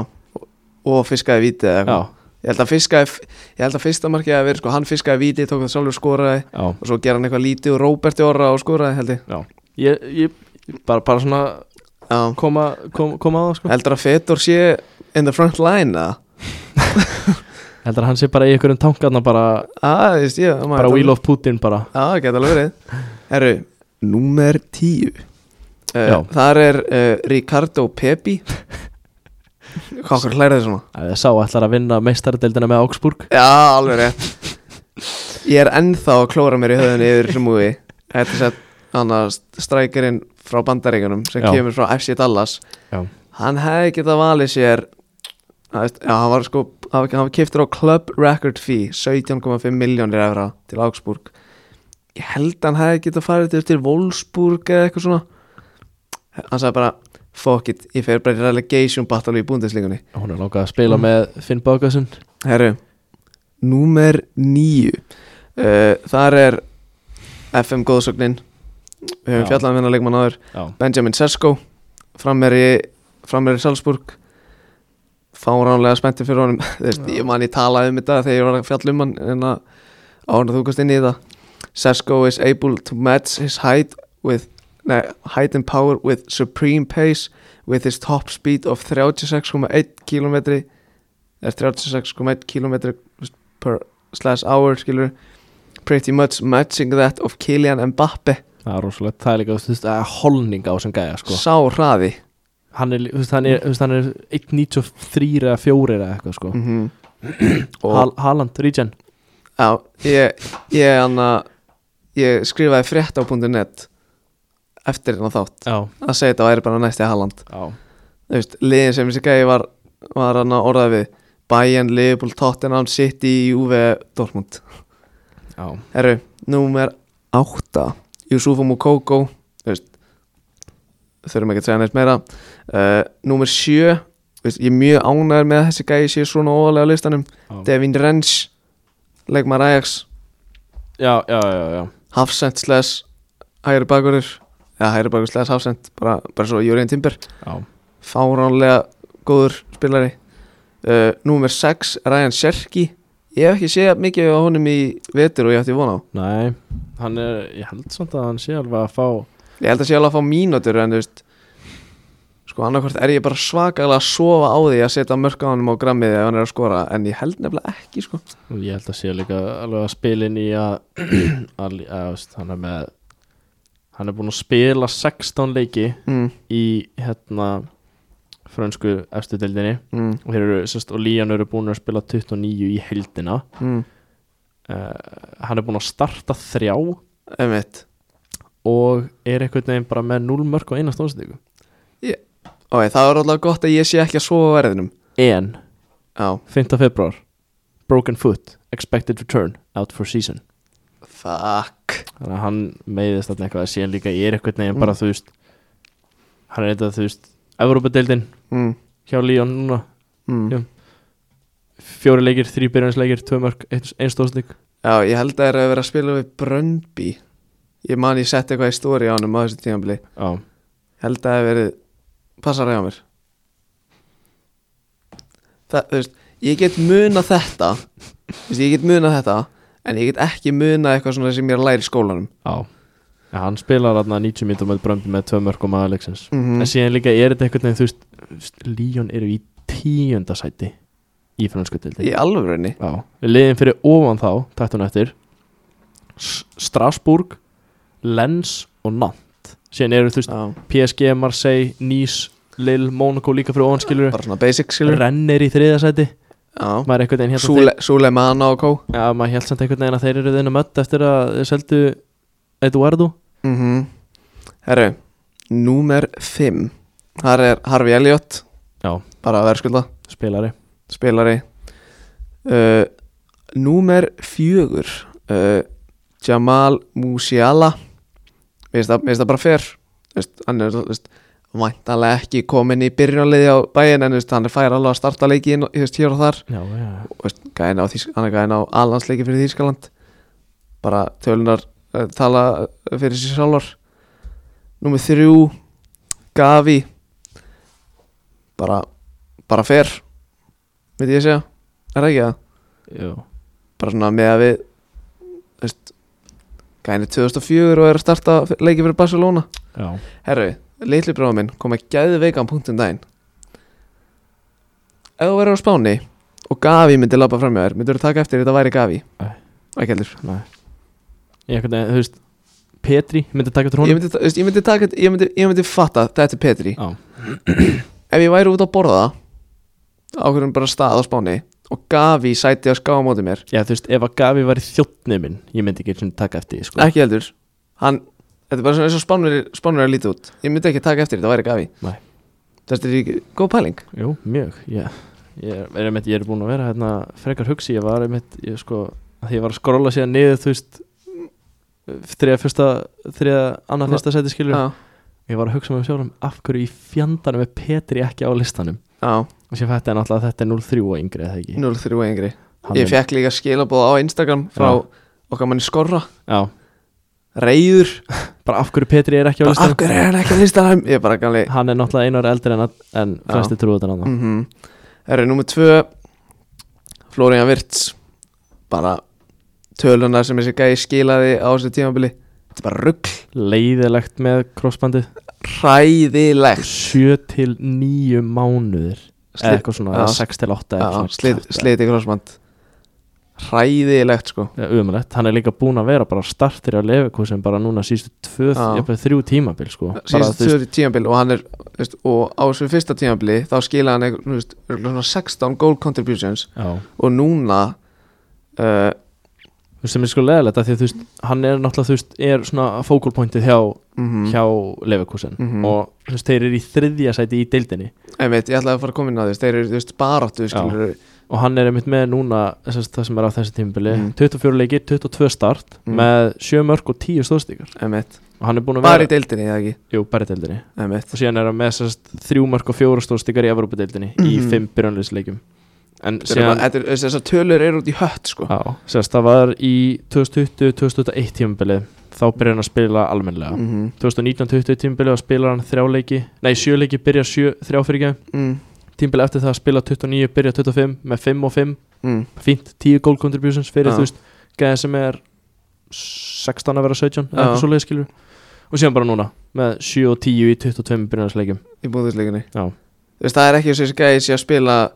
[SPEAKER 1] og fiskaði vítið eða
[SPEAKER 2] Já,
[SPEAKER 1] eitthvað ég held að fiskaði, ég held að fyrsta markið að vera sko, hann fiskaði vítið, tók það sjálfur skoraði
[SPEAKER 2] já
[SPEAKER 1] og svo gera hann eitthvað lítið og Róberti orra og skoraði held ég
[SPEAKER 2] Ég, ég bara, bara svona
[SPEAKER 1] já.
[SPEAKER 2] koma, kom, koma á það sko
[SPEAKER 1] heldur að Fedor sé in the front line eða?
[SPEAKER 2] Heldur að hann sé bara í einhverjum tankarna bara,
[SPEAKER 1] að, þú veist ég maður-
[SPEAKER 2] bara Wheel of Putin bara
[SPEAKER 1] að, geta alveg verið herru, númer 10
[SPEAKER 2] Já.
[SPEAKER 1] uh, þar er uh, Ricardo Pepi hvað okkur hlærið svona
[SPEAKER 2] Ef þið sá ætlar að vinna meistaradeildina með Augsburg
[SPEAKER 1] já, alveg rétt ég er ennþá að klóra mér í höfðinu yfir þessu múi þetta er sett annars strækirinn frá bandaríkunum sem
[SPEAKER 2] Já.
[SPEAKER 1] kemur frá FC Dallas
[SPEAKER 2] Já.
[SPEAKER 1] hann hefði getað valið sér Það veist, Já, hann var sko, hann var- hann var keiftur á Club Record Fee, 17,5 miljónir evra til Augsburg Ég held hann hefði getað farið til, til Wolfsburg eða eitthvað svona Hann sagði bara, fuck it, ég fer bara í relegation battle í búndislingunni
[SPEAKER 2] Hún er langað að spila með Finn Bákasson
[SPEAKER 1] Herru, númer níu uh, Þar er FM góðsögnin Við höfum
[SPEAKER 2] Já.
[SPEAKER 1] fjallað um hennar leikmann áður
[SPEAKER 2] Já,
[SPEAKER 1] Benjamin Sesko frammeri, frammeri Salzburg fáránlega spennti fyrir honum Þú veist,
[SPEAKER 2] Já.
[SPEAKER 1] ég man ég talaði um þetta þegar ég var að fjalla um hann en að árna þú komst inn í þetta Sesko is able to match his height with nei, height and power with supreme pace with his top speed of 36,1 km er 36,1 km per slash hour skilur pretty much matching that of Kylian Mbappe
[SPEAKER 2] það er rosalegt Það er líka, þú veist, að holning á sem gæja sko.
[SPEAKER 1] sá hraði
[SPEAKER 2] Hann er, þú veist, hann er, þú veist, hann er 1.93 eða 4 eða eitthvað sko.
[SPEAKER 1] mm -hmm.
[SPEAKER 2] Hal Haaland, Regen
[SPEAKER 1] Já, ég, ég, anna, ég skrifaði frétt á .net eftir hérna þátt
[SPEAKER 2] Já,
[SPEAKER 1] að segja þetta væri bara næsti Haaland
[SPEAKER 2] já,
[SPEAKER 1] Þú veist, liðin sem þessi gæði var, var hann orðað við Bayern, Liverpool, Tottenham, City, Juve, Dortmund
[SPEAKER 2] já
[SPEAKER 1] Herru, númer 8 Yusufa Mukoko Þú veist, þurfum ekki að segja neitt meira uh, Númer 7 þú veist, Ég er mjög ánægður með að þessi gæði sé svona óvalega á listanum
[SPEAKER 2] Já,
[SPEAKER 1] Devin Rens, leikmar Ajax
[SPEAKER 2] já, já, já, já.
[SPEAKER 1] Hafsend slash hægri bakurur eða hægri bakur slash Hafsend bara, bara svo Júriðin Timber
[SPEAKER 2] já.
[SPEAKER 1] fáránlega góður spilari uh, Númer 6 Ryan Sherky ég hef ekki séð mikið á honum í vetur og ég ætti von á
[SPEAKER 2] Nei, hann er, ég held samt að hann sé alveg að fá
[SPEAKER 1] ég held að sé alveg að fá mínútur en þú veist sko annarkvort er ég bara svakalega að sofa á því að setja mörk á honum á grammið ef hann er að skora en ég held nefnilega ekki sko
[SPEAKER 2] Ég held að sé líka alveg að spilin í að, að, að veist, hann er með hann er búin að spila 16 leiki
[SPEAKER 1] mm,
[SPEAKER 2] í hérna frönsku efstu deildinni
[SPEAKER 1] mm,
[SPEAKER 2] og, hér eru, sérst, og Lían eru búin að spila 29 í heildina
[SPEAKER 1] mm,
[SPEAKER 2] uh, hann er búin að starta þrjá
[SPEAKER 1] einmitt
[SPEAKER 2] og er einhvern veginn bara með 0 mörg og eina stóðsendingu
[SPEAKER 1] og það er alltaf gott að ég sé ekki að sofa á verðinum
[SPEAKER 2] en
[SPEAKER 1] já
[SPEAKER 2] 5. februar broken foot, expected return out for season
[SPEAKER 1] fuck
[SPEAKER 2] þannig að hann meiðist alltaf eitthvað að síðan líka ég er eitthvað neginn bara þú veist hann er eitthvað þú veist Evrópadeildin
[SPEAKER 1] mm,
[SPEAKER 2] hjá Líón núna
[SPEAKER 1] mm.
[SPEAKER 2] Já. fjóri leikir, þrý byrjansleikir, tvö mörg einn stóðslik
[SPEAKER 1] Já, ég held að það er að vera að spila við Bröndby Ég man ég sett eitthvað í stóri á hann á þessu tímanbili
[SPEAKER 2] já,
[SPEAKER 1] Held að það hef verið Passar það á mér Það, þú veist Ég get muna þetta þú veist, Ég get muna þetta En ég get ekki muna eitthvað svona sem ég er að læra í skólanum
[SPEAKER 2] já. Ja, hann spilar þarna 90 mítur með Brömbi með tvö mörg og maður leiksins
[SPEAKER 1] Mhm.
[SPEAKER 2] en síðan líka er þetta eitthvað neginn þú veist, þú veist Líón eru í tíunda sæti í fransku deildin
[SPEAKER 1] Í alvörunni
[SPEAKER 2] já, liðin fyrir ofan þá tættunum eftir S- Strasbourg Lens og Nant síðan eru þú veist
[SPEAKER 1] Já,
[SPEAKER 2] PSG, Marseille, Nice, Lille, Monaco líka fyrir ofanskilur
[SPEAKER 1] bara svona basic skilur
[SPEAKER 2] Renn er í þriðasæti
[SPEAKER 1] Já,
[SPEAKER 2] maður einhvern veginn hérna
[SPEAKER 1] Súle, Súleman á kó
[SPEAKER 2] þeir, ja, maður held samt einhvern veginn að þeir eru þeirna mött eftir að þeir seldu Eduardo
[SPEAKER 1] mm Herru, númer 5 Þar er Harfi Elliot
[SPEAKER 2] Já.
[SPEAKER 1] Bara að verðskulda
[SPEAKER 2] spilari
[SPEAKER 1] spilari uh, Númer fjögur uh, Jamal Musiala Mér finnst það- mér finnst það bara fer Vist, Hann er vist, væntanlega ekki komin í byrjunarliði á bæin en vist, hann er fær alveg að starta leiki inn, vist, hér og þar
[SPEAKER 2] já, já, já.
[SPEAKER 1] Og, vist, gæðin á, Þýsk- hann er gæðin á alhansleiki fyrir Þýskaland bara tölunar uh, tala eh, fyrir sér sjálfar Númer þrjú Gavi bara, bara fer veit ég að segja er það ekki það?
[SPEAKER 2] Jú.
[SPEAKER 1] bara svona með að við þú veist gæni 2004 og er að starta leikið fyrir Barcelona
[SPEAKER 2] já,
[SPEAKER 1] herru, litli bróða minn kom að gæði veikan punktum um daginn ef þú verður á Spáni og Gavi myndi labba fram hjá þér myndir þú taka eftir þetta væri Gavi
[SPEAKER 2] Nei.
[SPEAKER 1] ekki heldur
[SPEAKER 2] nei ég einhvern veginn, þú veist Petri, myndi taka
[SPEAKER 1] ég
[SPEAKER 2] trónum
[SPEAKER 1] myndi, ta- þú veist, ég myndi, taka, ég myndi, ég myndi fatta þetta er Petri
[SPEAKER 2] Já.
[SPEAKER 1] ef ég væri út að borða á hverjum bara stað á Spáni og Gavi sæti að skáða móti mér
[SPEAKER 2] já, þú veist, ef að Gavi var í þjóttni minn ég myndi ekki einu sinni taka eftir því, sko.
[SPEAKER 1] ekki heldur hann, þetta er bara svona eins og spánverið spánverið lítið út ég myndi ekki taka eftir þetta væri gafi
[SPEAKER 2] Nei.
[SPEAKER 1] þetta er ekki góð pæling
[SPEAKER 2] Jú, mjög, já ég er, einmitt, ég er búin að vera hérna frekar hugsi, ég var einmitt ég sko, að því ég var að skrolla síðan niður þú veist þriða fyrsta, þriða annað
[SPEAKER 1] Já.
[SPEAKER 2] fyrsta seti skilur
[SPEAKER 1] Já,
[SPEAKER 2] ég var að hugsa með sjálfum af hverju í fjandanum er Petri ekki á listanum
[SPEAKER 1] já,
[SPEAKER 2] og sér fætti hann alltaf að þetta er 03 og yngri eða ekki
[SPEAKER 1] 0-3 yngri
[SPEAKER 2] Hann
[SPEAKER 1] Ég
[SPEAKER 2] er-
[SPEAKER 1] fekk líka skilabóð á Instagram frá okkar manni Skorra
[SPEAKER 2] já,
[SPEAKER 1] Reyður,
[SPEAKER 2] bara af hverju Petri er ekki á
[SPEAKER 1] bara af
[SPEAKER 2] listanum
[SPEAKER 1] hverju er hann ekki að lista hann? Ég er bara gali
[SPEAKER 2] hann er náttúrulega einu ára eldri en, að- en
[SPEAKER 1] Já.
[SPEAKER 2] flesti trúið þetta annað
[SPEAKER 1] mm -hmm. Erðu númer tvö Florian Virts Bara töluna sem þessi gæi skilaði á þessu tímabili Þetta er bara rugg
[SPEAKER 2] leiðilegt með crossbandið
[SPEAKER 1] Hræðilegt
[SPEAKER 2] 7 til 9 mánuðir eða
[SPEAKER 1] Slit-
[SPEAKER 2] eitthvað svona,
[SPEAKER 1] Já.
[SPEAKER 2] eða 6 til 8
[SPEAKER 1] já, slit- Sliti krossband Hræðilegt sko
[SPEAKER 2] umrætt, hann er líka búinn að vera bara startir á lefekúsum bara núna sístu tvö,
[SPEAKER 1] Já.
[SPEAKER 2] jafnveg þrjú tímabil sko. bara,
[SPEAKER 1] Síðast
[SPEAKER 2] þú veist,
[SPEAKER 1] tvöri tímabili og hann er veist, Og á þessu fyrsta tímabili Þá skilaði hann eitthvað, þú veist, örugglega svona 16 goal contributions
[SPEAKER 2] já,
[SPEAKER 1] Og núna uh,
[SPEAKER 2] þú veist, sem er sko leðilegt því að þú veist, hann er náttúrulega, þú veist, er svona fókulpointið hjá,
[SPEAKER 1] mm
[SPEAKER 2] hjá lefekúsin
[SPEAKER 1] Mhm.
[SPEAKER 2] og þú veist, þeir eru í þriðja sæti í deildinni
[SPEAKER 1] Einmitt, ég ætlaði að fara að koma inn á því Þeir eru, þú veist, baráttu
[SPEAKER 2] Já.
[SPEAKER 1] skilur
[SPEAKER 2] og hann er einmitt með núna þess, það sem er á þessi tímabili,
[SPEAKER 1] Mhm.
[SPEAKER 2] 24 leikir 22 start,
[SPEAKER 1] Mhm.
[SPEAKER 2] með 7 mörg og 10 stóðstíkar
[SPEAKER 1] Einmitt
[SPEAKER 2] og hann er búinn að
[SPEAKER 1] Bara í
[SPEAKER 2] vera,
[SPEAKER 1] deildinni, eða ekki?
[SPEAKER 2] jú, bara í deildinni
[SPEAKER 1] Einmitt
[SPEAKER 2] og síðan er hann með sérst, þrjú mörg og fjóra stóðstíkar í Evrópadeildinni í
[SPEAKER 1] Mhm.
[SPEAKER 2] fimm byrjanleysleikum en
[SPEAKER 1] Þetta eru
[SPEAKER 2] síðan
[SPEAKER 1] bara- þetta eru- Þessar tölur eru út í hött sko
[SPEAKER 2] Já, sérst, það var í 2020-2021 tímabilið þá byrjar hann að spila almennilega
[SPEAKER 1] Mhm,
[SPEAKER 2] 2019-20 tímabilið þá spilar hann þrjáleiki nei, sjöleiki byrja sjö, þrjá fyrir ekki
[SPEAKER 1] mm,
[SPEAKER 2] tímabilið eftir það að spila 29, byrja 25 með 5 og 5,
[SPEAKER 1] mm,
[SPEAKER 2] fínt 10 goal contributions fyrir
[SPEAKER 1] Já.
[SPEAKER 2] þú veist, gæðin sem er 16 að vera 17 eða
[SPEAKER 1] Já.
[SPEAKER 2] eitthvað svoleiðis skilur og síðan bara núna með 7 og 10 í 22 byrjansleikum
[SPEAKER 1] Í búðisleikunni
[SPEAKER 2] Já.
[SPEAKER 1] Þú veist, það er ekki þessi gæði sé að spila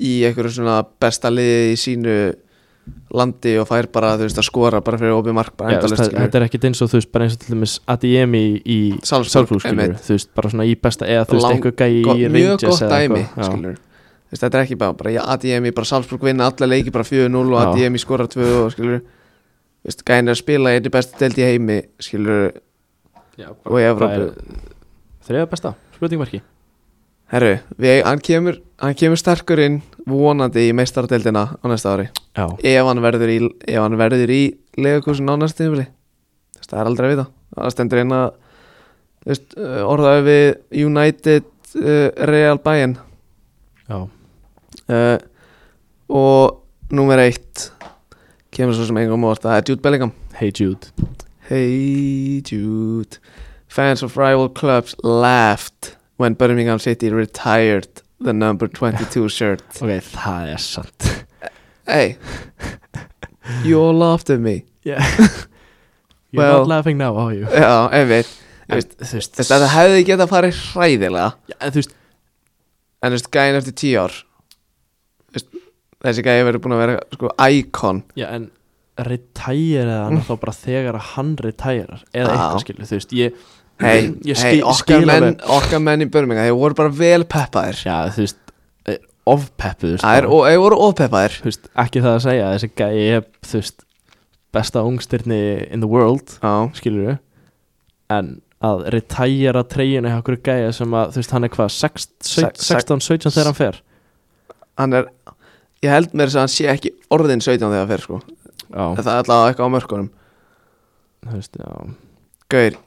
[SPEAKER 1] Í einhverju svona besta liði Í sínu landi Og fær bara, þú veist, að skora Bara fyrir opið mark, bara
[SPEAKER 2] Já, þú veist,
[SPEAKER 1] endalist
[SPEAKER 2] það- þetta er ekkit eins og þú veist, bara eins og til dæmis Adiemi í
[SPEAKER 1] Salzburg,
[SPEAKER 2] Salzburg skilur,
[SPEAKER 1] einmitt
[SPEAKER 2] þú veist, bara svona í besta eða þú veist,
[SPEAKER 1] Lang-
[SPEAKER 2] eitthvað gæi
[SPEAKER 1] Gott-
[SPEAKER 2] í
[SPEAKER 1] Mjög
[SPEAKER 2] Rangers
[SPEAKER 1] gott
[SPEAKER 2] eða
[SPEAKER 1] dæmi,
[SPEAKER 2] eitthvað, já.
[SPEAKER 1] skilur Þú veist, Þetta er ekki bara, bara já, ADM bara Salzburg vinna alla leiki bara 4-0 og
[SPEAKER 2] Já.
[SPEAKER 1] ADM skora 2 og skilur Þú veist, Gæðin er að spila í einu bestu deild í heimi skilur
[SPEAKER 2] Já,
[SPEAKER 1] og í Evrópu
[SPEAKER 2] Þriða besta, spurningmarki
[SPEAKER 1] Herru, við, hann, kemur, hann kemur sterkur inn vonandi í meistaradeildina á næsta ári
[SPEAKER 2] Já,
[SPEAKER 1] ef hann verður í, ef hann verður í legakúsin á næsta tímfili það er aldrei að vita það stendur inn að þú veist, uh, orðaði við United uh, Real Bayern
[SPEAKER 2] já,
[SPEAKER 1] uh, og númer eitt kemur svo sem engum óvart það er Jude Bellingham
[SPEAKER 2] hey Jude
[SPEAKER 1] Hey Jude Fans of rival clubs laughed when Birmingham City retired the number 22 shirt
[SPEAKER 2] Ok, það er sant
[SPEAKER 1] Hey You all laughed at me
[SPEAKER 2] You're
[SPEAKER 1] Well-
[SPEAKER 2] not laughing now, are you?
[SPEAKER 1] Já, einmitt Þú
[SPEAKER 2] En,
[SPEAKER 1] veist,
[SPEAKER 2] Þú veist,
[SPEAKER 1] Þess að það hefði getað farið hræðilega
[SPEAKER 2] Já, en þú veist,
[SPEAKER 1] En þú veist, gæðin eftir tíu ár Þú veist, Þessi gæði verið búin að vera sko, Icon
[SPEAKER 2] já, en retire hann þá bara þegar að hann retirar
[SPEAKER 1] Mm.
[SPEAKER 2] eða
[SPEAKER 1] Já.
[SPEAKER 2] eitthvað skilur, þú veist, ég
[SPEAKER 1] Hey,
[SPEAKER 2] Ég
[SPEAKER 1] hey
[SPEAKER 2] skil-
[SPEAKER 1] okkar,
[SPEAKER 2] skil
[SPEAKER 1] menn,
[SPEAKER 2] alveg.
[SPEAKER 1] okkar menn í Birmingham Þeir voru bara vel peppaðir
[SPEAKER 2] Já, þú veist, er ofpeppuð þú veist,
[SPEAKER 1] Það er, og þeir voru ópeppaðir
[SPEAKER 2] þú veist, ekki það að segja að þessi gæi er, þú veist, besta ungstyrni in the world
[SPEAKER 1] Já,
[SPEAKER 2] skilur við en að retæra treyjunni hjá okkur gæja sem að þú veist hann er hvað 16,
[SPEAKER 1] Sex-
[SPEAKER 2] 16 17 þegar hann fer
[SPEAKER 1] hann er Ég held mér þess að hann sé ekki orðin 17 þegar fyrir sko
[SPEAKER 2] já,
[SPEAKER 1] En Það er allavega eitthvað á mörkunum
[SPEAKER 2] þú veist, já,
[SPEAKER 1] Gaur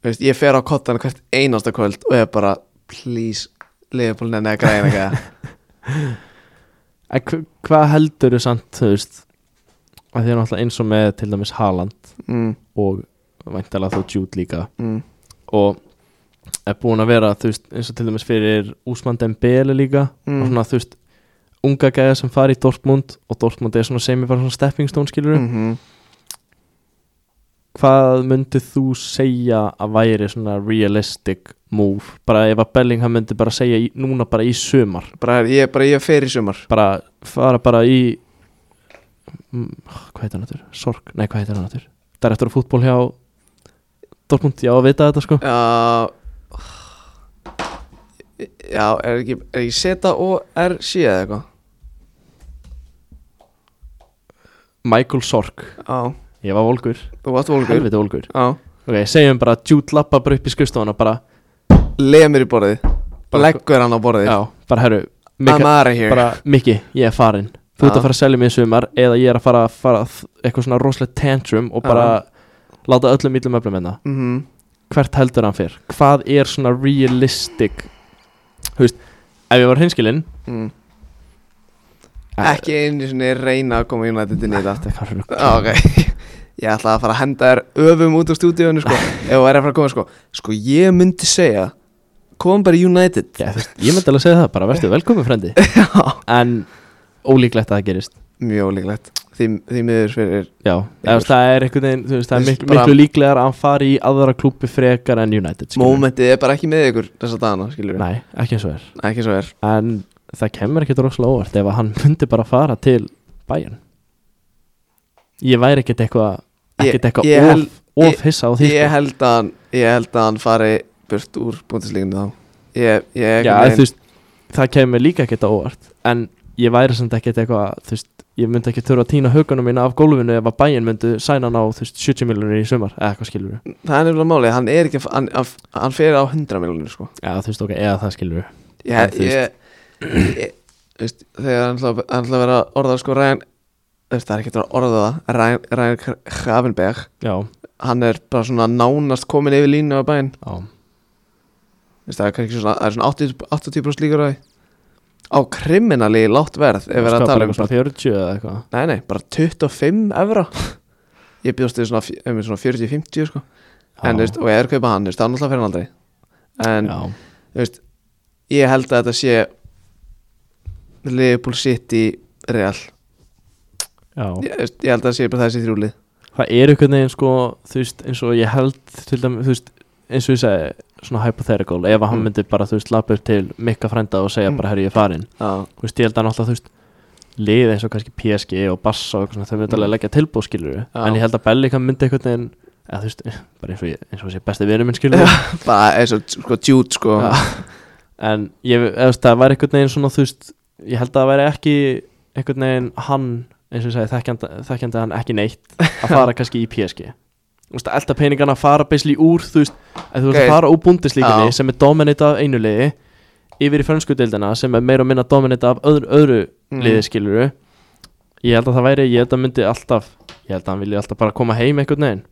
[SPEAKER 1] Þú veist, Ég fer á kottan hvert einasta kvöld Og ég er bara, please Leifbólin er neða græðin eitthvað
[SPEAKER 2] en hv- hvað heldur þú samt þú veist að því er náttúrulega eins og með til dæmis Haaland
[SPEAKER 1] mm,
[SPEAKER 2] og væntalega þá Jude líka
[SPEAKER 1] mm,
[SPEAKER 2] og er búin að vera þú veist eins og til dæmis fyrir Úsman Dembele líka
[SPEAKER 1] Mm.
[SPEAKER 2] og svona þú veist unga gæja sem fari í Dortmund og Dortmund er svona semi bara svona stepping stone skilur
[SPEAKER 1] mm
[SPEAKER 2] hvað myndið þú segja að væri svona realistic move bara ef að Bellingham myndi bara segja í, núna bara í sumar
[SPEAKER 1] Bara, her- ég, bara ég fer í sumar
[SPEAKER 2] bara fara bara í mm, hvað heitir hann þetta sorg, nei hvað heitir hann þetta það er eftir að fútból hjá Dortmund, já að vita þetta sko
[SPEAKER 1] Já Já, er ekki, er ekki seta og er síða eitthvað
[SPEAKER 2] Michael Sorg,
[SPEAKER 1] Já,
[SPEAKER 2] ég var volgur
[SPEAKER 1] þú átt volgur
[SPEAKER 2] helviti volgur,
[SPEAKER 1] Já,
[SPEAKER 2] ok, segjum bara að Jude lappa bara upp í skustofana, bara,
[SPEAKER 1] leið mér í borðið
[SPEAKER 2] Bara-
[SPEAKER 1] Leggur hann á borðið
[SPEAKER 2] já, bara herru
[SPEAKER 1] I'm
[SPEAKER 2] Mika,
[SPEAKER 1] out of here
[SPEAKER 2] bara Miki, ég er farin þú ert
[SPEAKER 1] Já.
[SPEAKER 2] að fara að selja mér í sumar eða ég er að fara að fara að- eitthvað svona rosalega tantrum og bara láta öllum illum öflum hérna
[SPEAKER 1] Mhm.
[SPEAKER 2] hvert heldur hann fyrr, hvað er svona realistic þú veist, ef ég var hinskilinn
[SPEAKER 1] mm. ekki einu sinni reyna að koma United inn í þetta
[SPEAKER 2] þetta er hvað rugl.
[SPEAKER 1] Já, ok Ég ætla að fara að henda þér öfum út á stúdíónu sko Ef þú væri að fara að koma sko Sko ég myndi segja Kom bara í United
[SPEAKER 2] Já, þú veist, ég myndi alveg að segja það, bara verðstu velkomin frendi
[SPEAKER 1] Já
[SPEAKER 2] en ólíklegt að það gerist
[SPEAKER 1] Mjög líklegt Því, því miður fyrir
[SPEAKER 2] já, eða þú veist, það er einhvern veginn þú veist, það er
[SPEAKER 1] Þú veist,
[SPEAKER 2] miklu,
[SPEAKER 1] bara-
[SPEAKER 2] miklu líklegar að hann fari í aðra klúpi frekar en United skilur.
[SPEAKER 1] Mómentið er bara ekki með ykkur Þessa dagana skilur við
[SPEAKER 2] nei, ekki eins og er
[SPEAKER 1] Ekki svo er
[SPEAKER 2] en það kemur ekkert rosalega óvart ef að hann myndi bara fara til bæjan ég væri ekkert eitthvað
[SPEAKER 1] Ég-
[SPEAKER 2] ekkert eitthvað
[SPEAKER 1] ég
[SPEAKER 2] of,
[SPEAKER 1] held- ég-
[SPEAKER 2] of hissa á því
[SPEAKER 1] Ég
[SPEAKER 2] sko.
[SPEAKER 1] held að hann Ég held að hann fari Burt úr búndisleikinu þá Ég, ég
[SPEAKER 2] já, þú veist, það kemur líka ekkert á óvart en ég væri samt ekkert eitthvað þú veist, ég myndi ekki þurfa að týna haugunum mína af gólfinu ef að bæjan myndi sæna hann á þú veist, 70 miljonir í sumar eða eitthvað skilur
[SPEAKER 1] Það er nefnilega málið Hann er ekki að- Hann, hann, hann fyrir á 100 miljonir sko
[SPEAKER 2] já, þú veist, ok, eða það skilur En
[SPEAKER 1] ég,
[SPEAKER 2] þú
[SPEAKER 1] ég, ég veist, þegar hann ætla hann ætla að vera að orða sko Ryan þú veist, það er ekki að orða það Ryan, Ryan Gravenberg
[SPEAKER 2] já,
[SPEAKER 1] hann er bara svona nánast komin yfir línu á bæinn
[SPEAKER 2] já
[SPEAKER 1] Þú veist, það er kannski svona, það er svona 80 80% líkur á því á kriminali látt verð ef við erum að tala um
[SPEAKER 2] bara 40 eða eitthvað
[SPEAKER 1] nei, nei, bara 25 evra ég bjóst við svona, fj- um svona 40-50 sko. en, þú veist, og ég er að kaupa hann, þú veist, það er náttúrulega fyrir hann aldrei en
[SPEAKER 2] já,
[SPEAKER 1] þú veist, ég held að þetta sé Liverpool City Real,
[SPEAKER 2] já.
[SPEAKER 1] ég, þú veist, ég held að það sé bara þessi þrjúlið
[SPEAKER 2] það er einhvern veginn sko þú veist, eins og ég held til dæmi, þú veist, eins og ég segi, svona hypothetical ef að hann
[SPEAKER 1] Mm.
[SPEAKER 2] myndi bara, þú veist, lappa upp til mikka frænda og segja
[SPEAKER 1] Mm.
[SPEAKER 2] bara, herri, ég er farin
[SPEAKER 1] já,
[SPEAKER 2] þú veist, ég held að hann alltaf, þú veist lið eins og kannski PSG og Barca og eitthvað svona, þau myndi alveg leggja tilbúð skilur
[SPEAKER 1] Mm. Já.
[SPEAKER 2] en ég held að Belli kann myndi einhvern veginn eða þú veist, bara eins og ég, eins og sé besti vinur minn skilur
[SPEAKER 1] bara eins og sko djút sko
[SPEAKER 2] Já. en ég, eða, þú veist, það væri einhvern veginn svona þú veist, ég held að það væri ekki einhvern veginn hann eins og ég segi, þekkjandi, þekkjandi hann ekki neitt að fara kannski í PSG þú veist, elda peningana að fara beisli úr þú veist, að þú veist
[SPEAKER 1] Ok.
[SPEAKER 2] að fara úr búndislíkunni
[SPEAKER 1] Já.
[SPEAKER 2] sem er dominita af einu liði yfir í frönsku deildina sem er meira og minna dominita af öðru, öðru
[SPEAKER 1] Mm.
[SPEAKER 2] liði skiluru ég held að það væri, ég held að myndi alltaf ég held að hann vilji alltaf bara koma heim einhvern veginn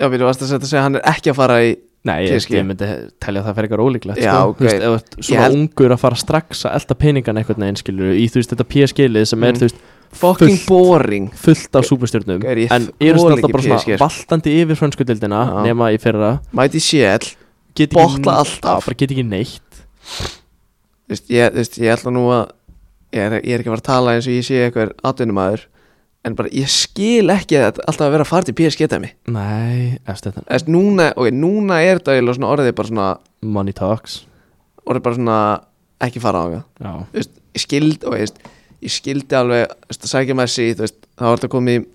[SPEAKER 1] já, við varst að setja að segja að hann er ekki að fara í
[SPEAKER 2] Nei, ég,
[SPEAKER 1] PSG.
[SPEAKER 2] ég myndi telja að það fyrir eitthvað ólíklegt
[SPEAKER 1] Já,
[SPEAKER 2] sko.
[SPEAKER 1] ok.
[SPEAKER 2] Þú veist, ef þú ert
[SPEAKER 1] Ég
[SPEAKER 2] svona
[SPEAKER 1] held-
[SPEAKER 2] ungur að fara strax að elda peningan einhvern veginn skilur í þú veist þetta PSG-lið sem er
[SPEAKER 1] Mm.
[SPEAKER 2] þú veist
[SPEAKER 1] fucking
[SPEAKER 2] Fullt.
[SPEAKER 1] boring
[SPEAKER 2] fullt af súpustjörnum
[SPEAKER 1] Gaur, ég
[SPEAKER 2] en
[SPEAKER 1] þoli
[SPEAKER 2] eru svona
[SPEAKER 1] ekki
[SPEAKER 2] alltaf bara svona
[SPEAKER 1] PSG, sko.
[SPEAKER 2] valtandi yfir frönsku dildina
[SPEAKER 1] Já.
[SPEAKER 2] nema í fyrra
[SPEAKER 1] mæti sjæl,
[SPEAKER 2] Get ekki-
[SPEAKER 1] Botla
[SPEAKER 2] Já,
[SPEAKER 1] alltaf.
[SPEAKER 2] bara get ekki neitt
[SPEAKER 1] þú veist, ég, þú veist, ég ætla nú að ég er, ég er ekki að fara að tala eins og ég sé eitthvað atvinnumæður en bara ég skil ekki að þetta alltaf að vera að fara til PSG dæmi
[SPEAKER 2] Nei, eftir þetta
[SPEAKER 1] Þess, núna, okay, núna er þetta eiginlega svona orðið bara svona
[SPEAKER 2] Money talks
[SPEAKER 1] orðið bara svona ekki fara á það
[SPEAKER 2] Já,
[SPEAKER 1] þú veist, ég skildi og ég, veist, ég skildi alveg, þú veist, að sækja Messi þú veist, þá var þetta komið í